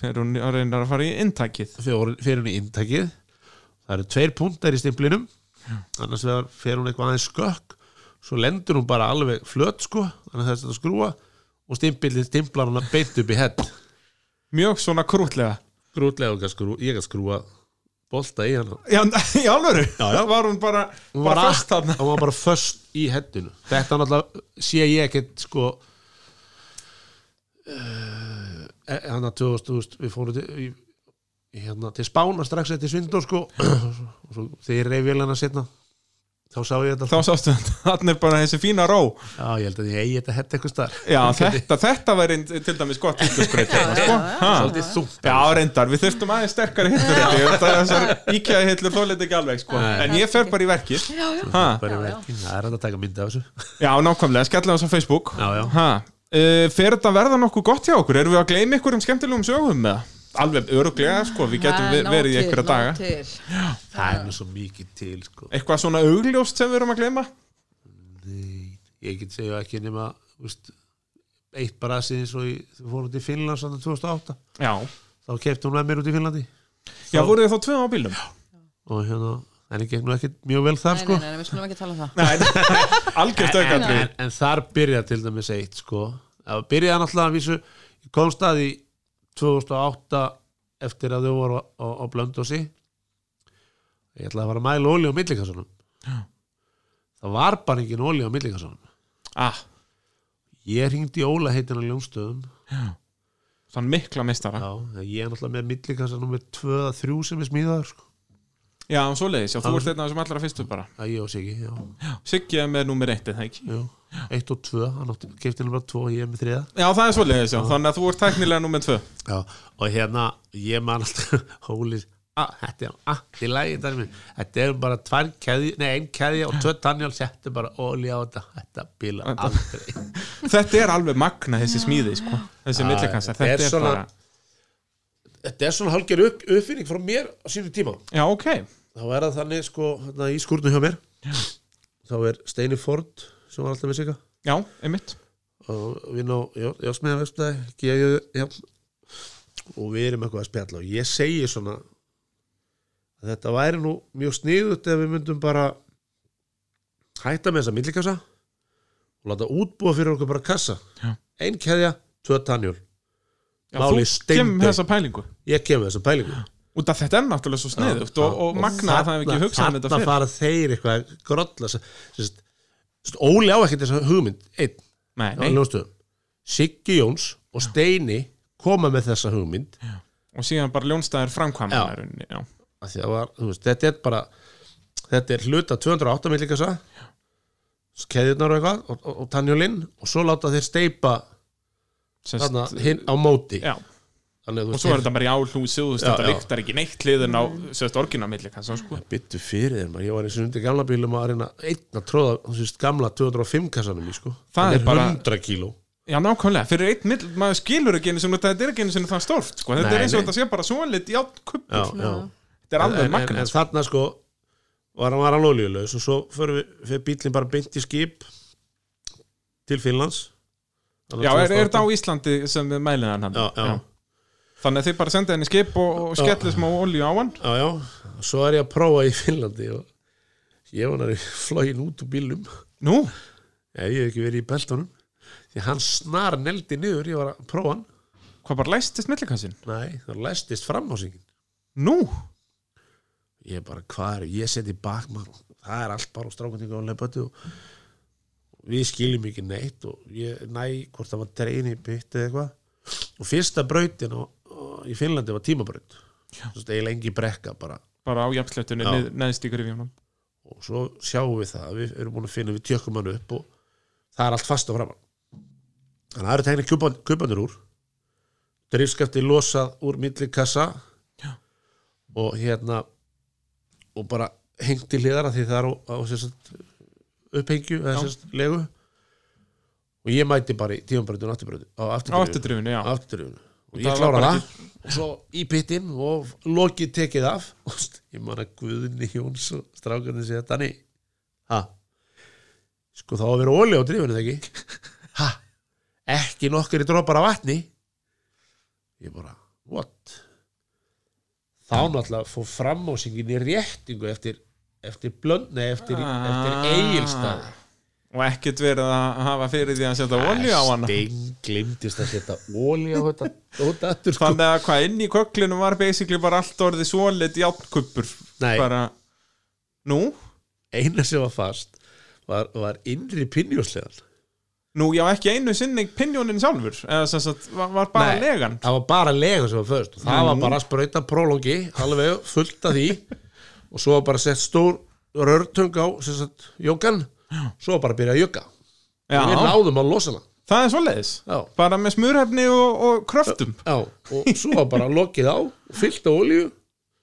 A: Fyrir hún að reyna að fara í intakið
B: fyrir fyrir hún í intakið það eru tveir punktar í stimplinum annars vegar fer hún eitthvað aðeins skökk svo lendur hún bara alveg flött sko þannig að það er þetta skrúa og stimpilin stimplar hún að beint upp í hett
A: Mjög svona krútlega
B: grútlega og skrú, ég að skrúa bolta í hana
A: Já, í alvöru, var hún bara,
B: hún
A: bara
B: var,
A: fast
B: að,
A: þarna
B: hún var bara föst í hettinu þetta náttúrulega sé ég ekkert sko eh, hann að 2000 þú veist, við fórum til í, í hérna, til Spána strax eftir Svindór sko og svo þegar ég reyf vélana setna þá sá ég þetta
A: þá sástu þetta, þannig er bara þessi fína ró
B: já ég held að ég eigi þetta hett eitthvað starf
A: já, þetta, þetta væri til dæmis gott hittusbreyt sko. Ha?
B: svolítið þungt
A: já, reyndar, við þurftum aðeins sterkari hittur þessar íkjaði hittur þólið ekki alveg sko.
B: Nei.
A: en ég fer bara í verkið
C: já, já,
A: ha,
B: bara verkin, það er hægt að taka mynda af þessu
A: já, nákvæmlega, skella þess á Facebook
B: Já, já.
A: Ha, uh, fer þetta að verða nokkuð gott hjá okkur erum við að gleyma ykkur um skemmtilegum sögum með alveg öruglega, sko, við getum
C: Mm, Það er
A: ver-
C: nóg
A: verið í
C: til,
A: einhverja
C: nóg
A: daga
C: til.
B: það er nú svo mikið til sko
A: eitthvað svona augljóst sem við erum að gleyma
B: Nei, ég get segja ekki nema úst, eitt brasið eins og í- við fórum til Finnlands þarna 2008
A: já,
B: þá kefti hún með mér út í Finnlandi
A: já voruð þið þá tvöðum á bílum
B: og hérna, en ég gekk nú ekkert mjög vel þar
C: Nei,
B: sko
C: nei, nei, við skulum ekki tala um það
A: Nei, algjört
B: en,
A: aukaðrið
B: en, en þar byrjaði til dæmis eitt sko það byrjaði náttúrulega að vísu ég komst að í 2008 eftir að þau voru á, á, á Blöndósi ég ætlaði að fara að mæla olíu á millikassanum það var bara engin olíu á millikassanum
A: ah,
B: ég hringdi í Óla heitin á Ljónstöðum
A: Þann mikla meistara Já,
B: Já, ég er náttúrulega með millikassa nummer 2 að 3 sem er smíðaður sko.
A: já svoleiðis, já, þú
B: Já.
A: ert einn af þessum allra fyrstu bara
B: að ég og Siggi, já,
A: Siggi er með nummer eitt, er það ekki?
B: já. 1 og 2, hann átti kefti nummer 2 og ég er með 3
A: Já, það er svoleiðis, já, þannig að þú ert tæknilega nummer tvö
B: já, og hérna, ég man alltaf hólið, að, þetta er allt í lagi þetta er minn, þetta er bara tvær keði, nei, ein keði og tvö tannjál settu bara óli á þetta, þetta bíla aldrei,
A: Þetta er alveg magna þessi smíði, sko Þessi millikansar,
B: þetta er
A: þetta er
B: svona-
A: bara
B: þetta er svona hálfgerð upp, uppfinning frá mér á sínu tíma
A: Já, ok,
B: þá er það þannig, sko, hérna, í skúrnu hjá mér þá er Steini Ford sem var alltaf með Sigga
A: já, einmitt
B: og við ná, já, já smiða vefstæði, geðu, já og við erum eitthvað að spjalla og ég segi svona að þetta væri nú mjög sniðut ef við myndum bara hætta með þessa millikassa og láta útbúa fyrir okkur bara kassa
A: Já.
B: ein keðja, tvö tannjól
A: já, Þú
B: Máli
A: kem
B: steindautt.
A: þessa pælingu
B: ég kemur þessa pælingu
A: Út af þetta er náttúrulega svo sniðugt og, og magna að það hef ekki hugsað um þetta
B: þarna
A: fyrr
B: fara þeir eitthvað að grolla sem- sem sagt, sem sagt, óli á ekkert þessa hugmynd einn
A: Nei,
B: á
A: nei,
B: ljónstöðum Siggi Jóns og Steini koma með þessa hugmynd
A: og síðan bara ljónstæðir framkvæmna
B: Já.
A: já.
B: Af því að var, þú veist, þetta er bara þetta er hluta 208 millikassa keðjurnar og eitthvað og, og, og tannjólinn og svo láta þeir steipa
A: Sest,
B: þarna hinn á móti
A: já,
B: þannig að
A: og
B: þú
A: svo er þetta bara í álhúsi og þú veist,
B: Já,
A: þetta
B: já.
A: lyktar ekki neitt hliðin á sérst orginamilli kannski sko.
B: Bittu fyrir þér maður, ég var eins og undir gamla bílum að reyna einn að tróða, þú veist, gamla 205 kassanum í sko
A: Það
B: Hann
A: er bara-
B: 100 kíló
A: já nákvæmlega, fyrir einn mill maður skilur ekki einu sinni þetta þetta er ekki einu sinni það stórt sko. þetta
B: Nei,
A: er eins og
B: nei.
A: þetta sé bara svolit já, kuppur,
B: Já, já
A: þetta er alveg
B: en, en,
A: magna
B: en þarna sko var hann var hann olíulegs og svo fyrir, fyrir bílinn bara beint í skip til Finnlands
A: já, er, er þetta á Íslandi sem við mælið hann
B: Já, já,
A: þannig að þið bara sendið henni skip og, og
B: Já.
A: skellið smá olju á hann
B: já, já Svo er ég að prófa í Finnlandi og ég var hann flóin út úr bílum
A: nú,
B: Ef ég hef ekki verið í beltunum Því hann snar neldi niður, ég var að prófa hann
A: hvað bara læstist millikassin
B: Nei, það læstist framhásingin
A: nú,
B: ég bara hvað er, ég seti bakmann það er allt bara á strákunni góðlega bötu og við skiljum ekki neitt og ég næ hvort það var dreini bytt eða eitthvað og fyrsta brautin á, á, í Finnlandi var tímabraut þess að eiginlega engi brekka bara
A: bara á jafnsletunni
B: Já.
A: nið, neðst í grifjónum
B: og svo sjáum við það, við erum búin að finna við tjökkum hann upp og það er allt fast á framann þannig að það eru tegnir kupan- kupandur úr drifskafti losað úr milli kassa
A: Já.
B: og hérna og bara hengt til hliðar af því það er á, á sem sagt, upphengju eða
A: Já.
B: sem sagt, legu og ég mæti bara í tímanbröndun á
A: á
B: afturdrifinu
A: afturdrifinu, já
B: og
A: Það
B: ég
A: var
B: klára
A: bara
B: það og svo í pittin og lokið tekið af og st- ég man að Guðni Jóns og strákarnir segja Danni ha sko þá að vera óli á drifinu þegar ekki ha ekki nokkari dropar af vatni ég bara what þá náttúrulega fór framásingin í réttingu eftir eftir blöndni eftir,
A: Ah.
B: eftir eigilstaði
A: og ekkert verið að hafa fyrir því að setja olju á hann
B: Sting glimtist að setja óli á þetta út aftur sko.
A: þannig að hvað inn í köklinu var basically bara allt orðið svolit játnkupur
B: Nei.
A: bara, nú,
B: eina sem var fast var, var innri pinjóslegan
A: nú já ekki einu sinni pinjónin sjálfur eða sem sagt, var, var bara legan
B: það var bara legan sem var först og það var bara að sprauta prólógi alveg fullt af því og svo var bara sett stór rörtung á sem sagt, jókan svo var bara að byrja að jöka og við
A: já,
B: náðum að losa hana
A: það er svoleiðis
B: Já.
A: bara með smurhefni og, og kröftum
B: Já, og svo var bara lokið á fyllt af olíu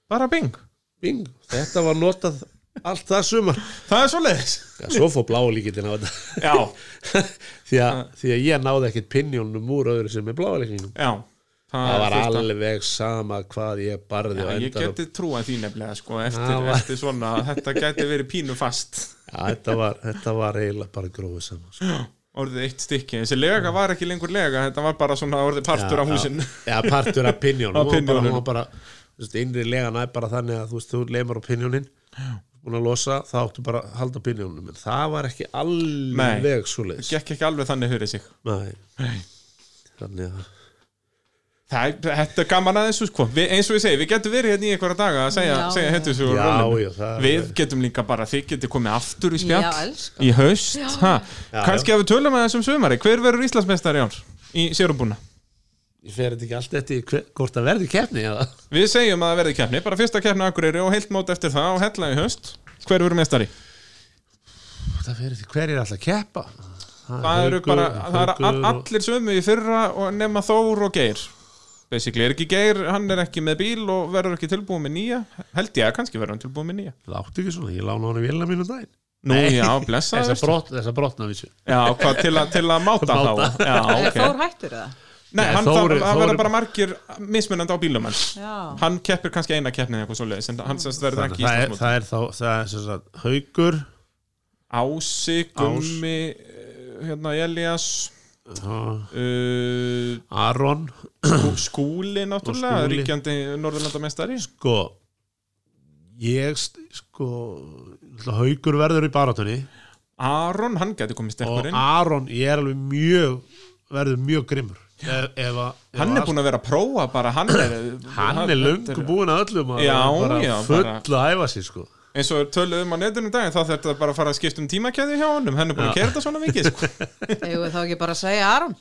A: bara bing,
B: bing, þetta var notað allt það sumar
A: það er svoleiðis
B: Já, svo fór bláa líkitin á þetta
A: já,
B: því, að, því að ég náði ekkit pinjónum úr öðru sem er bláa líkitin
A: já
B: það var
A: fullt af-
B: alveg sama hvað ég barði á
A: Já, ég
B: endanum
A: geti trúa því nefnilega sko, eftir,
B: Það var-
A: eftir svona, þetta geti verið pínu fast
B: Já, þetta var, þetta var eiginlega bara grófið saman sko.
A: orðið eitt stykki, þessi lega var ekki lengur lega þetta var bara svona orðið partur
B: Já,
A: af húsin
B: já, já, partur af pinjón
A: Af
B: hún var bara,
A: pinjónum.
B: hún var bara þú veist, innri legan er bara þannig að þú veist, þú lemur á pinjónin búin að losa, þá áttu bara að halda pinjónum en það var ekki alveg svo leiðis
A: gekk ekki alveg þannig hurið sig
B: þannig að
A: Það, er- þetta er gaman að þessu sko við, eins og ég segi, við getum verið hérna í einhverja daga að segja,
C: Já,
A: segja
C: já.
A: hættu svo
B: Já,
A: rólinu.
B: já, það er-
A: við getum líka bara, þið getum komið aftur í spjall
C: Já, elskan.
A: í haust ha.
B: Já,
A: kannski að við tölum að þessum sumari hver verður Íslandsmeistari í ár í sérumbúna
B: ég fer þetta ekki allt eftir hver, hvort það verði keppni eða
A: við segjum að það verði keppni, bara fyrsta keppni á Akureyri og heilt mót eftir það og hella í haust hver verður meistari?
B: það fer eftir hver er alltaf að keppa það,
A: það eru bara, það eru all-
B: Haukur og-
A: allir sömu í fyrra og nema Þór og Geir basically, er ekki Geir, hann er ekki með bíl og verður ekki tilbúið með nýja held ég að kannski verður hann tilbúið með nýja
B: láttu ekki svona, ég lána honum vélina mínu daginn
A: nú já, blessa
B: þessa brot, þessa brotna vissu
A: já, hvað, til, að, til að máta þá já,
C: okay.
A: okay.
C: Þór hættur það
A: Nei,
B: Nei,
A: hann,
B: Þór-
A: Þór, það
B: Þór-
A: verður bara margir mismunandi á bílum hans
C: Já.
A: hann keppir kannski eina keppni eða eitthvað svoleiðis en hann semst verður
B: það,
A: ekki í
B: það, er,
A: Íslandsmót
B: það er þá það er sem sagt haukur
A: Ási, Gummi eh, hérna Elias
B: þá
A: uh,
B: Aron
A: Skú- Skúli náttúrulega,
B: Skúli.
A: ríkjandi Norðurlandamestari
B: sko ég st- sko náttúrulega haukur verður í baratunni
A: Aron, hann gæti komið
B: og
A: sterkurinn
B: Aron ég er alveg mjög verður mjög grimmur ef, ef, að- ef
A: Hann er búin að vera að prófa bara Hann er,
B: hann er löngu búin að öllum að
A: Já,
B: bara
A: já,
B: full
A: bara-
B: að æfa sig sko
A: Eins og töluðum á netunum daginn þá þetta bara að fara að skipta um tímakæði hjá honum Hann er búin að kera þetta svona mikið sko.
C: Eigum við þá ekki bara að segja Aron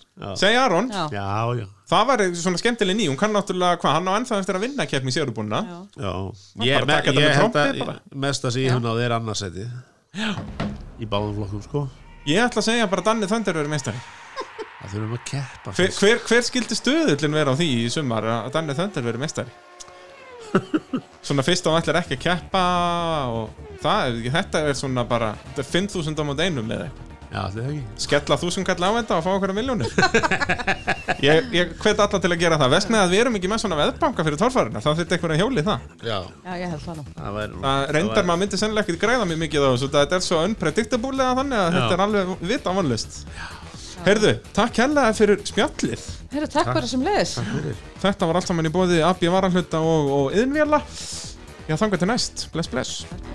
A: Segja Aron,
C: Já,
B: já, já,
A: það var svona skemmtileg ný Hún kann náttúrulega, hvað, hann á ennþá eftir að vinna keppni sérubúna
C: Já.
B: já.
A: bara
B: ég,
A: taka þetta
B: ég,
A: með
B: ég held
A: trompi
B: að
A: bara.
B: mesta sem ég hef náði er annarsæti í báðum flokkum sko
A: Ég ætla að segja bara Danni Þöndur verið meistari
B: það þurfum að keppa
A: Hver, hver, hver skildi stöðullin vera á því í sumar að Danni Þöndar veri meistari? svona fyrst á allir ekki að keppa og það, er- þetta er svona bara þetta er 5.000 á mót einum með eitthvað
B: Já, það er ekki
A: skella þúsund kall á þetta og fá okkur að miljónir ég, ég hvet alla til að gera það vest með að við erum ekki með svona veðbanka fyrir torfarina það þurfti einhverja hjóli það
B: Já,
C: Já, ég held það nú
B: það væri
A: það reyndar maður myndi sennilega ekkert græða mjög mikið á þessu þetta er svo unpredictable eða þannig að
B: Já.
A: þetta er alveg vita vanlust heyrðu, takk hella fyrir spjallið
C: Herru, takk fyrir sem leiðis
A: þetta var allt saman í bóði AB Varahluta og, og Yðnvjalla já, þangar til næst, bless bless
C: Takk